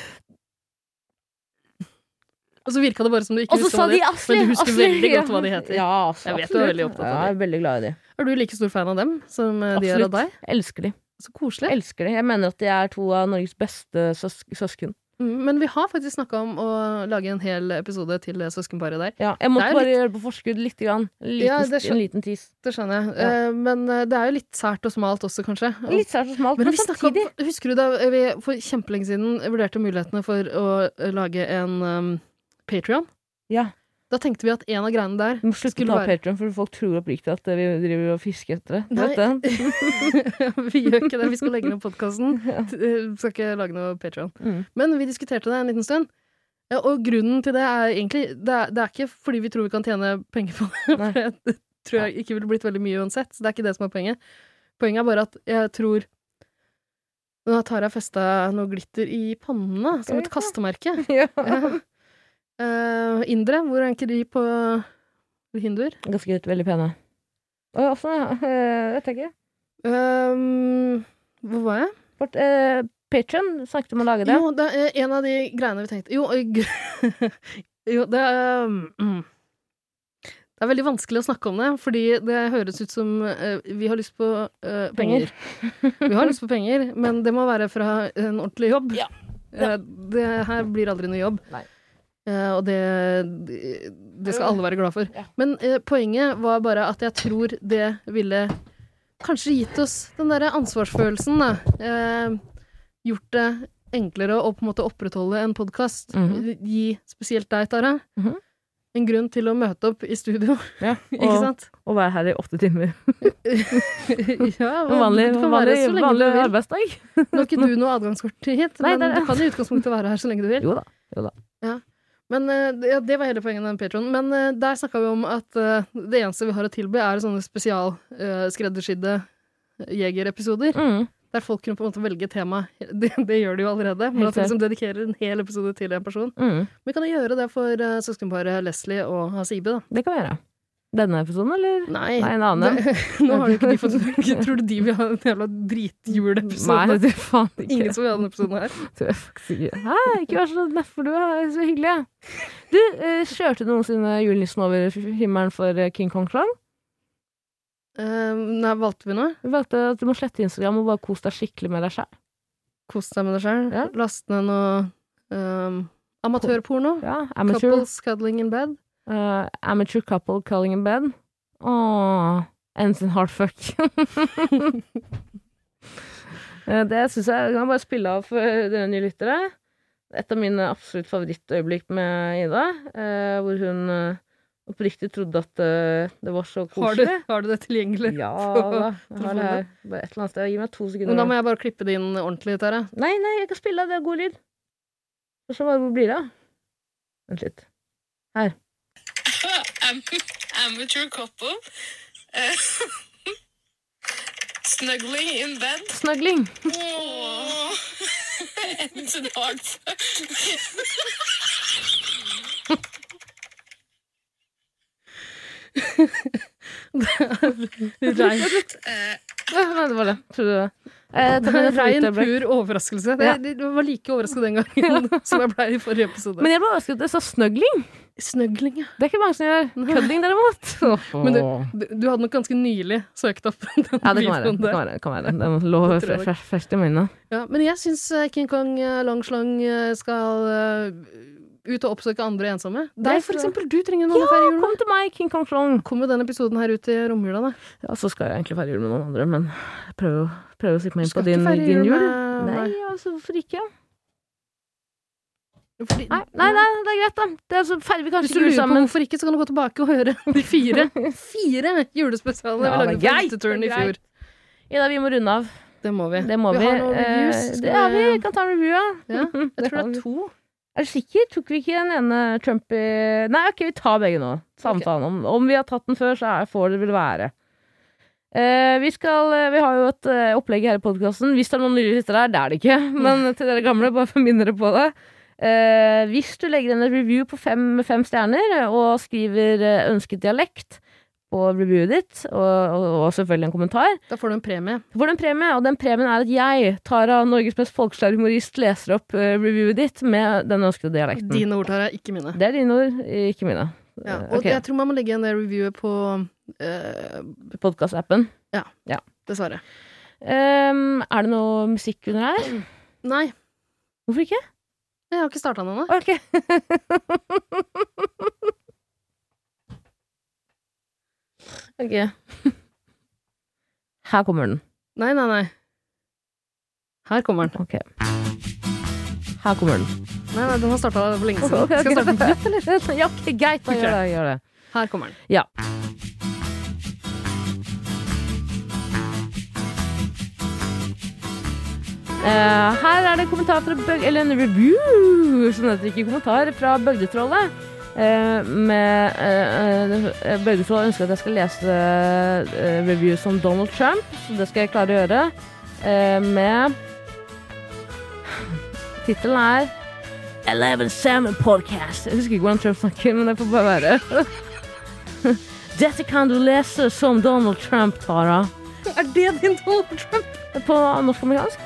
Og så virka det bare som du ikke Og så visste sa hva det de het. Asli. Men du husker Asli, veldig ja. godt hva de heter. Ja, Asli, Jeg vet du er absolutt. veldig opptatt av Ja, Jeg er veldig glad i dem. Er du like stor fan av dem som eh, de er av deg? Jeg elsker de. Så koselig. Jeg elsker de. Jeg mener at de er to av Norges beste søs søsken. Mm, Men vi har faktisk snakka om å lage en hel episode til eh, søskenparet der. Ja, jeg Det måtte er bare gjøre det på forskudd lite grann. En liten, Ja, det skjø- en liten tis. Det skjønner jeg. Ja. Eh, Men eh, det er jo litt sært og smalt også, kanskje. Og- Litt sært og smalt, Men men, vi snakket samtidig. om, husker du da vi for kjempelenge siden vurderte mulighetene for å eh, lage en um, Patrion? Ja, Da tenkte vi at en av greiene der Du må slutte å Skulle ta være- Patreon, for folk tror oppriktig at vi driver og fisker etter det. Du Nei. Vet det? Vi gjør ikke det, vi skal legge ned podkasten. Skal ikke lage noe Patrion. Mm. Men vi diskuterte det en liten stund. Ja, og grunnen til det er egentlig det er, det er ikke fordi vi tror vi kan tjene penger på det. Nei. For det- det tror jeg ikke ville blitt veldig mye uansett. Så det er ikke det som er poenget. Poenget er bare at jeg tror Nå har Tara festa noe glitter i pannene, som et kastemerke. Ja. Ja. Eh, indre, hvor er ikke de på hinduer? Ganske greit. Veldig pene. Og jeg også, ja. eh, vet jeg ikke. Um, hvor var jeg? Vårt eh, Patreon snakket om å lage det. Jo, det er eh, en av de greiene vi tenkte Jo, eh, gr- jo det er mm. Det er veldig vanskelig å snakke om det, fordi det høres ut som eh, vi har lyst på eh, penger. vi har lyst på penger, men det må være fra en ordentlig jobb. Ja. Eh, det her blir aldri noe jobb. Nei. Eh, og det, det- det skal alle være glad for. Ja. Men eh, poenget var bare at jeg tror det ville kanskje gitt oss den derre ansvarsfølelsen, da. Eh, gjort det enklere å på en måte opprettholde en podkast. Mhm. Gi spesielt deg, Tara, Mhm. en grunn til å møte opp i studio, Ja. ikke Og, sant? og være her i åtte timer. ja, og Vanlig, du kan være vanlig, så lenge vanlig du vil. arbeidsdag. Nå har ikke du noe adgangskort hit, Nei, det men er det. du kan i utgangspunktet være her så lenge du vil. Jo da. Men eh, det- ja, Det var hele poenget med den Patron. Men eh, der snakka vi om at eh, det eneste vi har å tilby, er sånne spesialskreddersydde eh, jegerepisoder. Mm. Der folk kunne på en måte velge tema. Det, det gjør de jo allerede. Men Helt at vi liksom dedikerer en hel episode til en person. Mm. Vi kan jo gjøre det for eh, søskenparet Leslie og Hasibe, da. Det kan vi gjøre. Denne episoden, eller? Nei, Nei, en annen. det- nå har du ikke de fått Tror du de vil ha en jævla drithjuleepisode? Nei, du faen ikke. Ingen som vil ha den episoden her. Tror jeg faktisk ikke. Hæ, ikke vær så nedfor, du er så hyggelig. Du, eh, kjørte du noensinne julenissen over himmelen for eh, King Kong Klang? Eh, nei, valgte vi noe? Du valgte at du må slette Instagram og bare kose deg skikkelig med deg selv. Kos deg med deg sjøl. Ja. Last ned noe eh, amatørporno. Ja, amateur, Couples cuddling in bed. eh, amateur couple calling in bed. Åh, ends in heartfuck. Eh, det synes jeg, kan jeg bare spille av for dere nye lyttere. Et av mine absolutt favorittøyeblikk med Ida, eh, hvor hun eh, oppriktig trodde at eh, det var så Har du, koselig. har du det tilgjengelig? Ja på da. Jeg har telefonen. det her. Bare et eller annet sted. Gi meg to Men da sekunder. må jeg bare klippe det inn ordentlig, Tara. Nei, nei, jeg kan spille av. Det er god lyd. Og så bare, hvor blir det av? Vent litt. amateur couple uh, snuggling in bed. Snøgling! Åh, Ends en dag Rein, Eh, Ja, nei, det var det. Tror du det? Eh, ta med deg fra rein uteøyeblikk. pur overraskelse. Ja. Jeg, jeg var like overraska den gangen som jeg ble i forrige episode. Men jeg ble overrasket. Jeg sa snøgling. Snøgling, ja. Det er ikke mange som gjør. Kødding, derimot. Men du, du, du hadde nok ganske nylig søkt opp den Ja, det kan være. videoen Det der. kan være. Det kan være. Den lå Det tror jeg fre- fre- ferskt i minnet. Ja, men jeg syns King Kong eh, Long Slong eh, skal eh, ut og oppsøke andre ensomme. Deg, Jeg for tror- eksempel. Du trenger noen å feire jul med. Kom til meg, King Kong Strong. Kom jo den episoden her ut i romjula, da. Ja, så skal jeg egentlig feire jul med noen andre, men prøv å, prøv å sikte meg inn Skal på ikke din, feire din jul. med- Nei, altså, hvorfor ikke? Fordi- Nei, nei, nei, det er greit, da. Det er så feirer vi Hvis kanskje du ikke lurer jul på sammen. hvorfor ikke, så kan du gå tilbake og høre de fire, fire julespesialene Ja, vi det er lagde greit, på Hytteturen det i er fjor. Ida, vi må runde av. Det må vi. Det må vi. Vi har noen reviews. Eh, Skal Det er vi. vi- Vi Kan ta en review, ja. Ja, jeg Det tror har det vi. er to. Er du sikker? Tok vi ikke den ene Trump i Nei, ok, vi tar begge nå. Samtalen. Om, om vi har tatt den før, så er, får det vel være. Eh, vi, skal, eh, vi har jo et eh, opplegg her i podkasten. Hvis det er noen nye lyttere her, det er det ikke. Men til dere gamle, bare for å minne dere på det. Eh, hvis du legger inn en review på fem, med fem stjerner og skriver eh, ønsket dialekt på reviewet ditt, og, og, og selvfølgelig en kommentar, Da får du en premie. så får du en premie, og den premien er at jeg, Tara, Norges mest folkeslige humorist, leser opp eh, reviewet ditt med den ønskede dialekten. Dine ord, Tara, ikke mine. Det er dine ord, ikke mine. Ja, Eh, og ok. jeg tror man må legge igjen det reviewet på eh, Podkastappen. Dessverre. Um, er det noe musikk under her? Nei, Hvorfor ikke? jeg har ikke starta den ennå. Ok. ok. Her kommer den. Nei, nei, nei. Her kommer den. Ok. Her kommer den. Nei, nei, den har starta for lenge siden. Ok, ok, Skal jeg starte den på nytt? eller? Ja, ok, greit. Da gjør det. Gjør det. Her kommer den. Eh, her er det kommentar fra Bøg... Eller en review, som det heter. Ikke kommentar, fra Bøgdetrollet. Eh, med uh, Bøgdetrollet ønsker at jeg skal lese eh, reviews om Donald Trump, så det skal jeg klare å gjøre. eh, med Tittelen er Eleven Salmon Podcast. Jeg husker ikke hvordan Trump snakker, men det får bare være. Dette kan du lese som Donald Trump, Tara. Er det din Donald Trump? På norsk-amerikansk.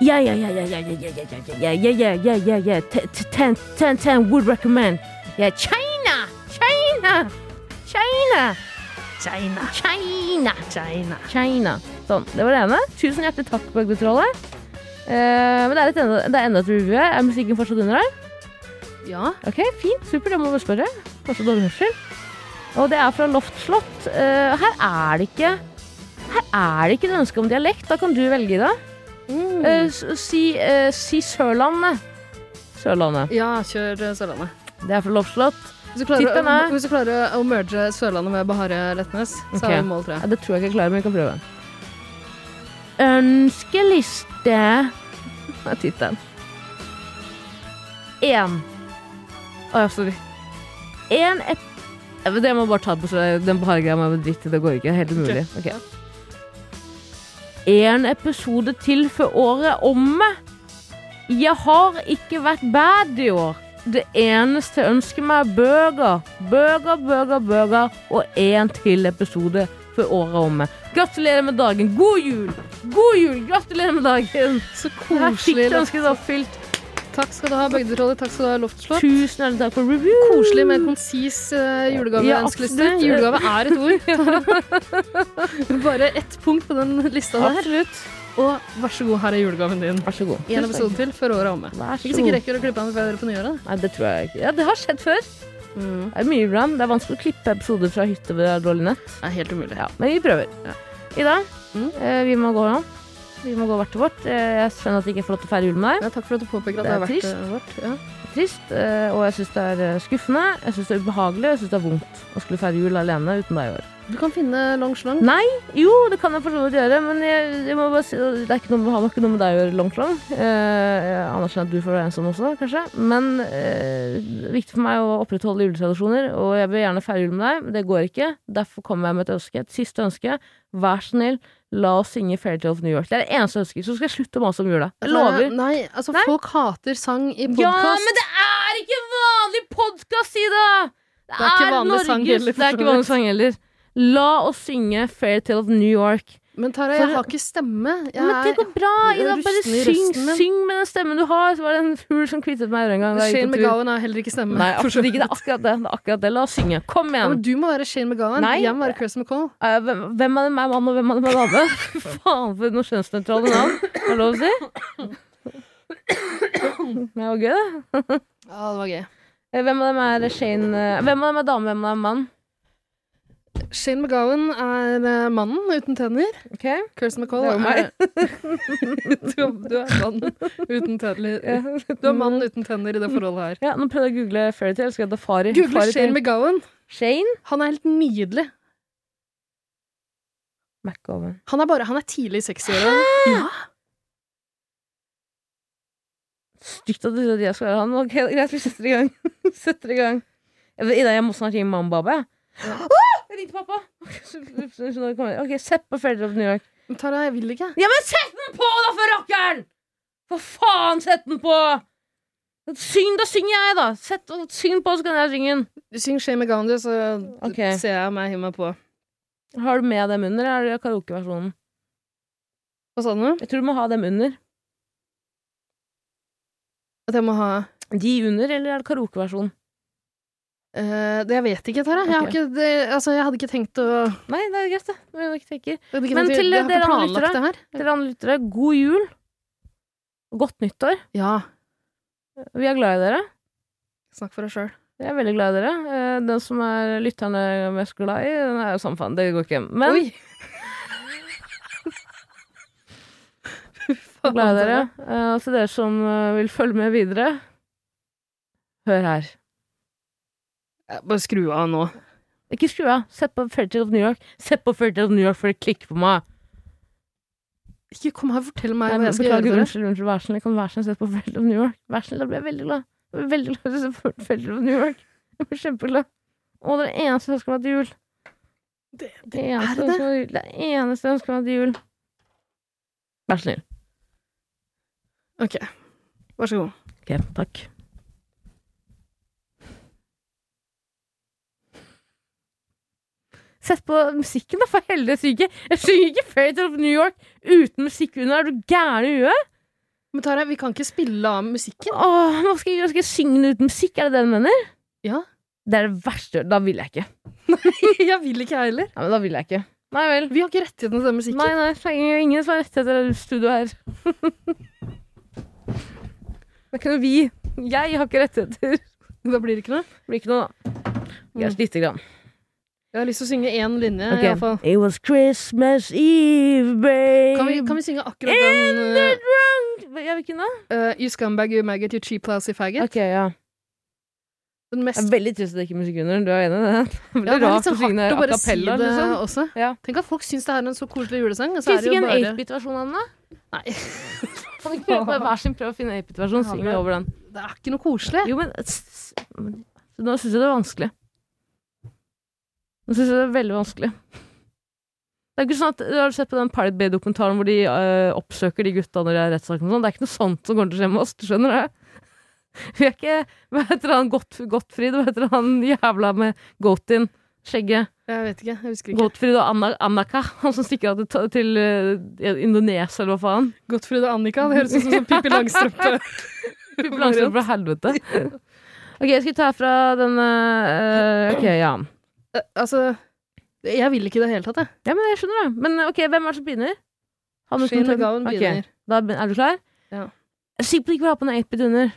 Yeah, yeah, yeah, yeah, yeah, yeah, yeah, yeah, yeah, yeah, yeah, yeah, yeah, yeah, yeah. Ten, ten, ten, ten would recommend. Yeah, China, China, China, China, China, China, China. Sånn, det var det ene. Tusen hjertelig takk, Bøgdetrollet. Eh, men det er, et enda, det er enda et review. Er musikken fortsatt under her? Ja. Ok, fint. Super, det må vi spørre. Kanskje dårlig hørsel. Og det er fra Loft Slott. Eh, her er det ikke Her er det ikke et ønske om dialekt. Da kan du velge det. Eh, s- si, eh, si Sørlandet. Sørlandet. Ja, kjør eh, Sørlandet. Det er fra Lofslott. Hvis du klarer, Tittelen å, er- hvis du klarer å merge Sørlandet med Bahareh Letnes, så Ok. er vi i mål, tror Ja, jeg. det tror jeg ikke jeg klarer, men vi kan prøve. Ønskeliste er tittelen. Én. Å ja, sorry. Én et... Ja, men Det må jeg bare ta på seg. Den behagelige meg med dritt i. Det går ikke. Helt umulig. Ok. En episode til før året omme. Jeg har ikke vært bad i år. Det eneste jeg ønsker meg, er bøker. Bøker, bøker, bøker. Og én til episode før året er omme. Gratulerer med dagen. God jul! God jul! Gratulerer med dagen. Så Her fikk koselig. du ønsket deg oppfylt. Takk skal du ha, Bøgdetrollet. Takk skal du ha, Loftslott. Tusen hjertelig takk for review. Koselig med en konsis Ja, eh, julegaveønskeliste. absolutt. Julegave er et ord. Bare ett punkt på den lista der. Absolutt. Og vær så god, her er julegaven din. Vær så god. En episode til før året er omme. Vær så Ikke sikkert god. rekker å klippe den før jeg hører på nyåret. Nei, det tror jeg ikke. Ja, det har skjedd før. Mm. Det er mye bra. men Det er vanskelig å klippe episoder fra hytte ved dårlig nett. Det er helt umulig. Men vi prøver. Ida, Mm. eh, vi må gå nå. Vi må gå hvert til vårt. Eh, Jeg skjønner at jeg ikke får lov til å feire jul med deg. Ja, takk for at du påpeker at Det er det har vært trist. eh, vårt. Ja. Trist, eh, og jeg syns det er eh, skuffende. Jeg syns det er ubehagelig, og jeg syns det er vondt å skulle feire jul alene uten deg i år. Du kan finne long slong. Nei, jo, det kan jeg for så vidt gjøre, men jeg, jeg må bare si, det er ikke noe, har nok ikke noe med deg å gjøre, Longklong. Eh, jeg anerkjenner at du får være ensom også, kanskje. Men eh, det er viktig for meg å opprettholde juletradisjoner, og jeg vil gjerne feire jul med deg, men det går ikke. Derfor kommer jeg med et ønske, et siste ønske. Vær så snill, la oss synge Fairytale of New York. Det er det eneste jeg ønsker, så skal jeg slutte å mase om jula. Altså, Jeg lover. Nei, altså Nei. folk hater sang i Ja, podkast. men det er ikke vanlig podkast, Ida! Det, Det er ikke vanlig Norges- sang heller, for Det er så ikke vanlig vidt. sang heller. La oss synge Fairytale of New York. men, Tara, For- jeg har ikke stemme. Jeg Men det er går bra, jeg Ida. er Bare rusten i syng, røsten min. syng med den stemmen du har. Så var det en fugl som kvittet meg i øret en gang. da jeg gikk Shane på tur. McGowan har heller ikke stemme. Nei, absolutt ikke. Det er akkurat det. det, er akkurat det. La oss synge. Kom Ja, igjen. men du må være Shane McGowan. Nei. Jeg må være Chris McCall. Eh, hvem, hvem av dem er mann, og hvem av dem er dame? Faen, for noen kjønnsnøytrale navn. Er det lov å si? Det var gøy, det. Ja, det var gøy. Eh, Hvem av dem er Shane eh, Hvem av dem er dame, hvem av dem er mann? Shane McGowan er eh, mannen uten tenner. Ok? Chris McCall Det er jo meg. du, du er mannen uten tenner. Du er mannen uten tenner i det forholdet her. Ja, nå prøvde jeg å google fairytale. Skal jeg ta Fari? Google Fairytale. Shane McGowan. Shane Han er helt nydelig. McGowan. Han er bare, han er tidlig i 60-åra. Ja. Stygt at du trodde jeg skulle være han. Ok, greit, vi setter i gang. setter i gang. Jeg vet- Ida, jeg må snart ringe mamma og baba. jeg. Ah! Jeg ringte pappa! Ok, så- så- så nå kommer jeg. Ok, sett på Fairytale of New York. Men Tara, jeg vil ikke. Ja, men sett den på, da, for rakkeren! For faen, sett den på! Syng, da synger jeg, da! Sett, syng på, så kan jeg synge den. Du synger Shane McGowan, du, så Ok. ser jeg meg hiver meg på. Har du med dem under, eller er det karaokeversjonen? Hva sa du nå? Jeg tror du må ha dem under. At jeg må ha De under, eller er det karaokeversjon? Eh, det Jeg vet ikke, Tara. Jeg, har Ok. ikke, det, altså, jeg hadde ikke tenkt å jeg Nei, det er greit, det. Men jeg tenker. hadde ikke Men tenkt å- til jeg har dere andre ikke planlagt det her. Dere andre lyttere, god jul. Godt nyttår. Ja. Vi er glad i dere. Snakk for deg sjøl. Jeg er veldig glad i dere. Eh, Den som er lytterne er mest glad i, den er jo samme faen. Det går ikke. Men Oi! jeg er glad i dere. Eh, Og til dere som eh, vil følge med videre, hør her. Ja, Bare skru av nå. Ikke skru av. Sett på Fairytale of New York. Sett på Fairytale of New York før det klikker på meg. Ikke kom her og fortell meg Nei, hva jeg skal gjøre beklager, for det. unnskyld, unnskyld. Vær så snill, kan vær så snill sette på Fairytale of New York. Vær så snill, da blir jeg veldig glad. Jeg blir veldig glad hvis jeg får Fairytale of New York. Jeg blir kjempeglad. Å, det er det eneste jeg ønsker meg til jul. Det, Det eneste det? jeg ønsker meg til jul. Det er det eneste jeg ønsker meg til jul. Vær så snill. Ok, vær så god. Ok, takk. Sett på musikken, da, for helvetes syke. Jeg synger ikke Fairytale of New York uten musikk under. Er du gæren i huet? Men Tara, vi kan ikke spille av musikken. Åh, hva skal jeg gjøre? Skal jeg synge den uten musikk? Er det det du mener? Ja. Det er det verste. Da vil jeg ikke. jeg vil ikke, jeg heller. Nei, men da vil jeg ikke. Nei vel. Vi har ikke rettighetene til den musikken. Nei, nei, så er ingen som har rettigheter i studio her. Det er ikke noe vi. Jeg har ikke rettigheter. Da blir det ikke noe. Det blir ikke noe, da. Greit, lite grann. Jeg har lyst til å synge én linje, Ok. Mm. i hvert fall. It was Christmas Eve, babe. Kan vi, kan vi synge akkurat den uh, Ja, hvilken da? uh, You scumbag, you maggot, you cheap lousy faggot? Ok, ja. Den Det er mest veldig trist at det ikke er musikk under. Du er enig i det? Det ja, blir det er rart litt sånn å synge hardt å a bare si cappella, det liksom. også. Ja. Tenk at folk syns det her er en så koselig julesang. og Så Skal er vi det jo synge en bare 8-bit-versjon av den, da? Nei, Kan vi ikke prøve på hver sin prøve å finne en 8-bit-versjon? Ja, Synger men- vi over den? det er ikke noe koselig. Jo, men s- s- men- Nå syns jeg det er vanskelig. Nå syns jeg det er veldig vanskelig. Det er ikke sånn at Har du sett på den Pirate Bay-dokumentaren hvor de øh, oppsøker de gutta når de er i rettssaken? og sånn? Det er ikke noe sånt som kommer til å skje med oss, du skjønner det? Vi er ikke Hva heter han Gott, Gottfried? Hva heter han jævla med Goatin? Skjegget. Jeg vet ikke. Jeg husker ikke. Gottfried og Anna, Annaka, han som stikker av til, til øh, Indonesia, eller hva faen? Gottfried og Annika. Det høres ut som sånn Pippi Langstrømpe. Pippi Langstrømpe fra helvete. Ok, jeg skal ta fra denne øh, Ok, ja. Eh, altså Jeg vil ikke i det hele tatt, jeg. Ja, men jeg skjønner det. Men ok, hvem er det som begynner? Han uten Shane tøm- McGowan Ok, begynner. Da begyn- er du klar? Ja. Jeg er sikker på at du ikke vil ha på noe 8-bit under.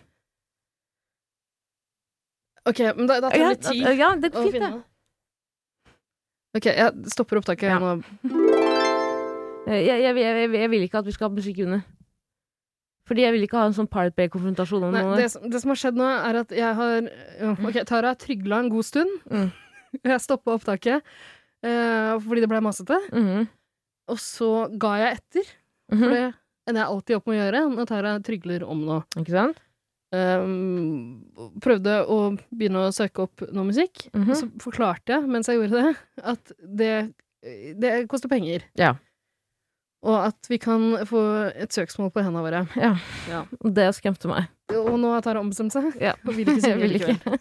Ok, men da, da tar Ja, vi ti ja, det å går fint, finne. det. Ok, jeg stopper opptaket Ja. nå. Eh, Jeg, jeg, jeg, jeg, jeg vil ikke at vi skal ha musikk under. Fordi jeg vil ikke ha en sånn Pirate Bay-konfrontasjon om Nei, noe. det, som- det som har skjedd nå, Mhm. er at jeg har ja, Ok, Tara trygla en god stund. Mm. Jeg stoppa opptaket eh, fordi det ble masete. Mhm. Og så ga jeg etter. Mhm. For det ender jeg alltid opp med å gjøre når Tara trygler om noe. Ikke sant? Um, prøvde å begynne å søke opp noe musikk. Mhm. Og så forklarte jeg mens jeg gjorde det, at det, det koster penger. Ja. Og at vi kan få et søksmål på hendene våre. Og Det skremte meg. Og nå har Tara ombestemt seg. Ja. Og vil ikke Jeg synge vil likevel.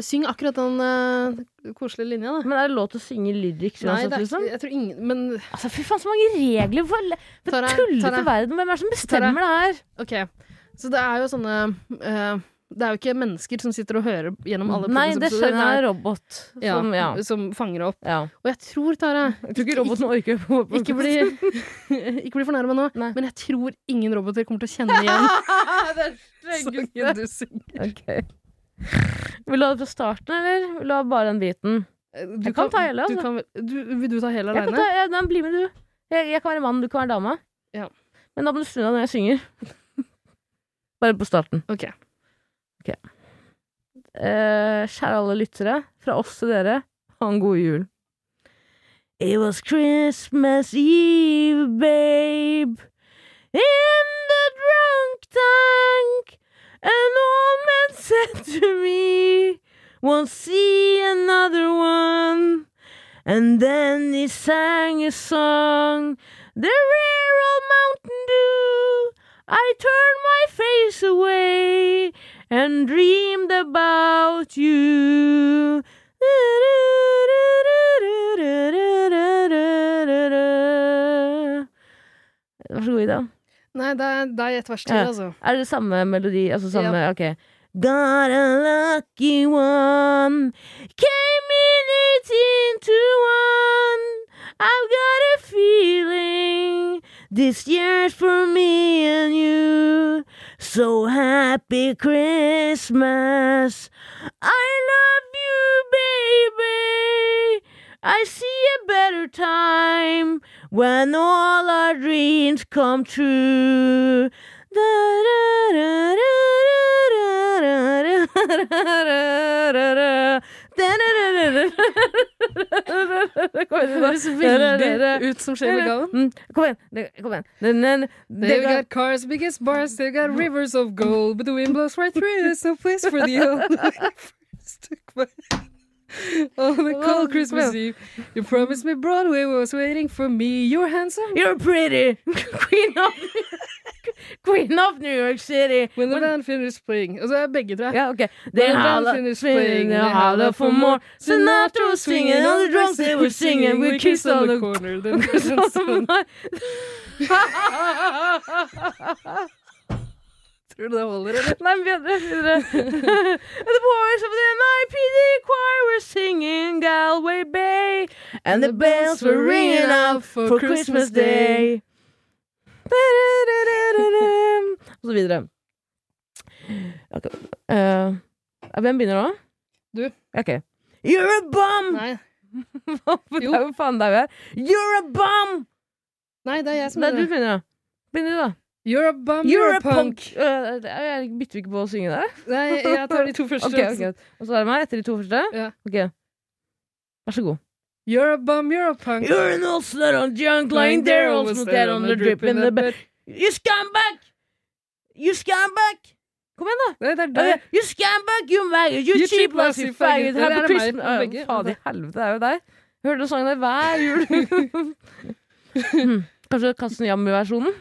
Syng akkurat den eh, koselige linja, da. Men er det lov til å synge lyrics Nei, uansett, det er, liksom? ikke- jeg tror ingen Men Altså, fy faen, så mange regler! For, for Tara, tullete Tara. verden! Hvem er det som bestemmer det her? OK. Så det er jo sånne eh, Det er jo ikke mennesker som sitter og hører gjennom alle Nei, det podcastepisoder. skjønner jeg. Robot. Det er- ja, Som, ja. som fanger opp. ja. Og jeg tror, Tara Jeg tror ikke roboten orker Ikke bli, ikke bli fornærma nå, Nei. men jeg tror ingen roboter kommer til å kjenne igjen sånn. sangen du synger. Vil du ha det fra starten, eller vil du ha bare den biten? Du Jeg kan ta hele, du altså. kan vel- du, vil du ta hele Jeg kan aleine? ta, ja, nei, bli med, du. Jeg, jeg kan være mann, du kan være dame. Ja. Men da må du snu deg når jeg synger. Bare på starten. Ok. Eh, kjære alle lyttere, fra oss til dere, ha en god jul. It was Christmas Eve, babe. In the drunk tank, an old man said to me, Won't see another one. And then he sang a song, The rare old Mountain Dew. I turned my face away and dreamed about you. Vær så god, Ida. Nei, det er, det er et vers til, Ja. altså. Er det samme melodi? Altså samme Ok. Got a lucky one. Came in 18 to 1. I've got a feeling this year's for me and you. So happy Christmas. I love you, baby. I see a better time when all our dreams come true. Kom Det igjen, høres veldig ut som Shane McGowan. Mm, Kom igjen. det- Kom igjen. Den- den- They've got cars, biggest bars, they've got rivers of gold, but the wind blows right through, there's no place for the old. Stuck by- On the cold Christmas Eve, you promised me Broadway was waiting for me. You're handsome. You're pretty. Queen of, Queen of New York City. When the band finished playing. Og så er begge, tror jeg. Ja, ok. er They When the band holler, finished swing, playing, they they holler holler for for more. more. Sinatra was swinging on the drums, they were singing. We kissed on the corner. Then Christmas sånn. song. Tror du det holder, eller? Nei, bedre. bedre. and the boys of the NIPD choir were singing Galway Bay, and the bells were ringing out for Christmas Day. Og så videre. Ok, eh, hvem begynner nå? Du. Ok. You're a bum! Nei, Det Jo. er jo faen der vi er. You're a bum! Nei det er jeg som Nei, du begynner. begynner, da. Begynner du, da. You're a bum, You're a punk. punk! Eh, det er- jeg bytter vi ikke på å synge der? Nei, jeg tar de to første. Ok, ok. Og så er det meg etter de to første? Ja. Ok. Vær så god. You're a bum, you're a punk. You're an old slut on junk lying there, all smooth dead on the drip in the bed. You scumbag! You scumbag! Kom igjen, da! Nei, det er Ok, deg. You scumbag, you maggot, you, You cheap cheap lousy lousy faggot, faggot. happy Det er meg, Christmas Å, begge. Faen i helvete, det er jo deg. Jeg hører den sangen der hver jul. Hmm, Kanskje Kastenjammer-versjonen?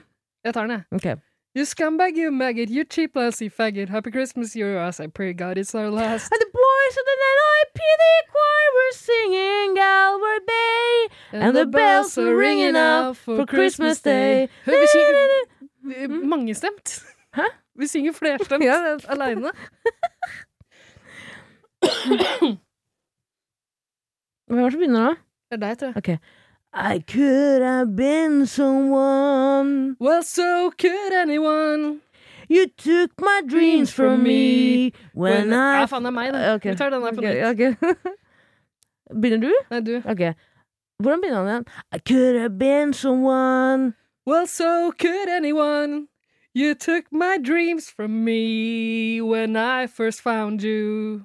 Jeg tar den, jeg. Ok. You scumbag, you maggot, you cheap lousy faggot. Happy Christmas, your ass. I pray God it's our last. And the boys of the NIPD choir were singing Galway Bay. And the bells are ringing out for Christmas Day. Hør, vi synger eh, mangestemt. Hæ? Vi synger flerstemt Ja, aleine. Hvem er det som begynner nå? Det er deg, tror jeg. I could have been someone. Well, so could anyone You took my dreams from me when I Ja, faen, det er meg, da. Ok. Vi tar den der på nytt. Ok, ok. Begynner du? Nei, du. Ok. Hvordan begynner han igjen? I could have been someone Well, so could anyone. You took my dreams from me when I first found you.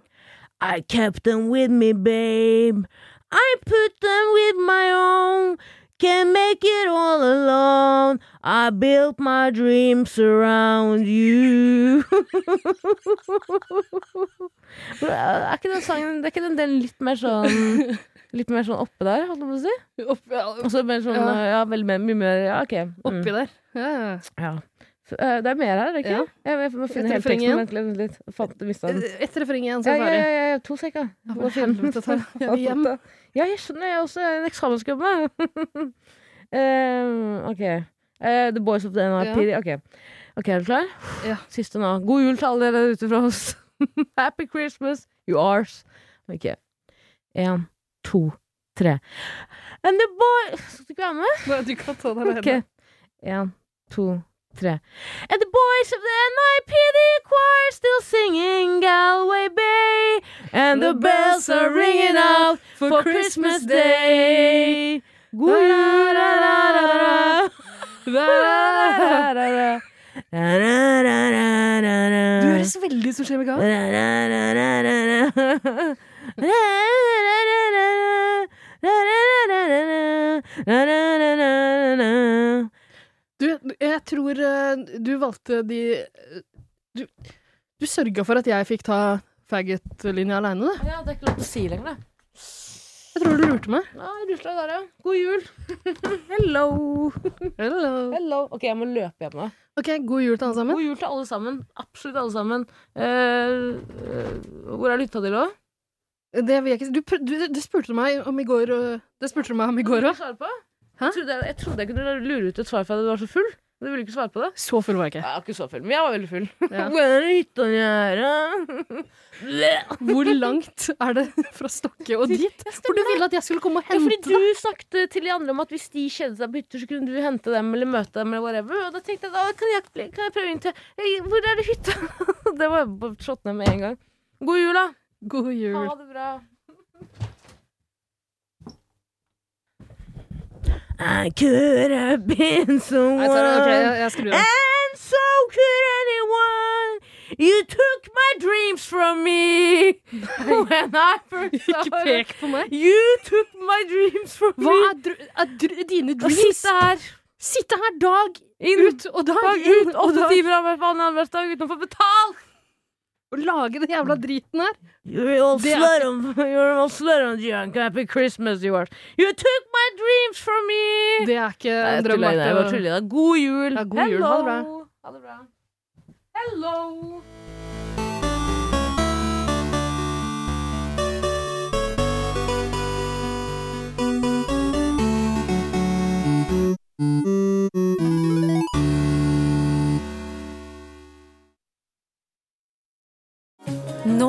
I kept them with me, babe. I put them with my own. Can make it all alone. I built my dreams around you. er ikke den sangen Det er ikke den delen litt mer sånn Litt mer sånn oppe der, holdt jeg på å si? Opp, ja, Og så mer sånn Ja. eh, Ja, veldig mer- mye mer Ja, OK. Mm. oppi der. Ja. Ja. Så, eh, Det er mer her, er det ikke? Ja. Jeg, jeg må finne hele Et refreng teksten. igjen. Vent litt, vent litt. Fant, mistet den. Et refreng igjen, eh, så Ja, ja, er jeg ja, ja, ferdig. ja, to sek, da. Ja, Må for finne- helvete, Tara. Jeg vil hjem. Ja, jeg skjønner. Jeg er også en eksamensgubbe. Eh, OK. Eh, the Boys of the NIP. Ok, Ok, Er du klar? Ja. Siste nå. God jul til alle dere ute fra oss. Happy Christmas, you ars. Ok. Én, to, tre. And the boy Skal du ikke være med? Nei, du kan ta den Ok. En, to, tre. And the boys of the NIPD choir still singing Galway Bay. And the bells are ringing out for Christmas Day. Gu-ra-ra-ra-ra-ra. Ah! Ra-ra-ra-ra-ra. Ra-ra-ra-ra-ra-ra. Du høres veldig ut som Shemi Gahan. Ra-ra-ra-ra-ra-ra. Du, jeg tror eh, du valgte de eh, Du, du sørga for at jeg fikk ta faggot-linja aleine, du. Ja, det er ikke lov til å si lenger, det. Jeg tror du lurte meg. Ja, Russland der, ja. God jul. Hello. Hello. Hello. Ok, jeg må løpe hjem nå. OK, god jul til alle sammen. God jul til alle sammen. Absolutt alle sammen. Eh, eh, hvor er lytta di, da? Det vil jeg ikke si. Du, pr- du, du spurte meg om i går og- Det spurte du meg om i går òg. Svare på? Hæ? Jeg trodde jeg, jeg trodde jeg kunne lure ut et svar fra deg du var så full. Men du ville ikke svare på det. Så full var jeg ikke. Jeg er ikke så full, men jeg var veldig full. Ja. Hvor er hytta di her, da? Bleh. Hvor langt er det fra Stokke og dit? For du ville at jeg skulle komme og Ja, fordi hente deg. du snakket til de andre om at hvis de kjedet seg på hytter, så kunne du hente dem eller møte dem. eller whatever Og da tenkte jeg da kan jeg, kan jeg prøve inn til Hei, Hvor er det hytta? Det var jeg bare slått ned med en gang. God jul, da. God jul. Ha det bra. I could have been Nei, someone Tara, ok, jeg, jeg skrur av. And so could anyone You took my dreams from me When I first saw Ikke you. pek på meg. You took my dreams from Hva me er, dr er dr dine Å dreams? sitte her Sitte her dag inn, ut og dag dag inn ut og åtte dag timer av hver faen arbeidsdag uten å få betalt! og lage den jævla driten her. You're an old Det er- slut of You're an old slut of junk. Happy Christmas, you are. You took my dreams from me! Det er ikke Nei, en jeg drøm. tuller, jeg bare Marte. tuller. God jul. Ja, god jul. Ha det bra. Hello. Ha det bra. Hello. Nå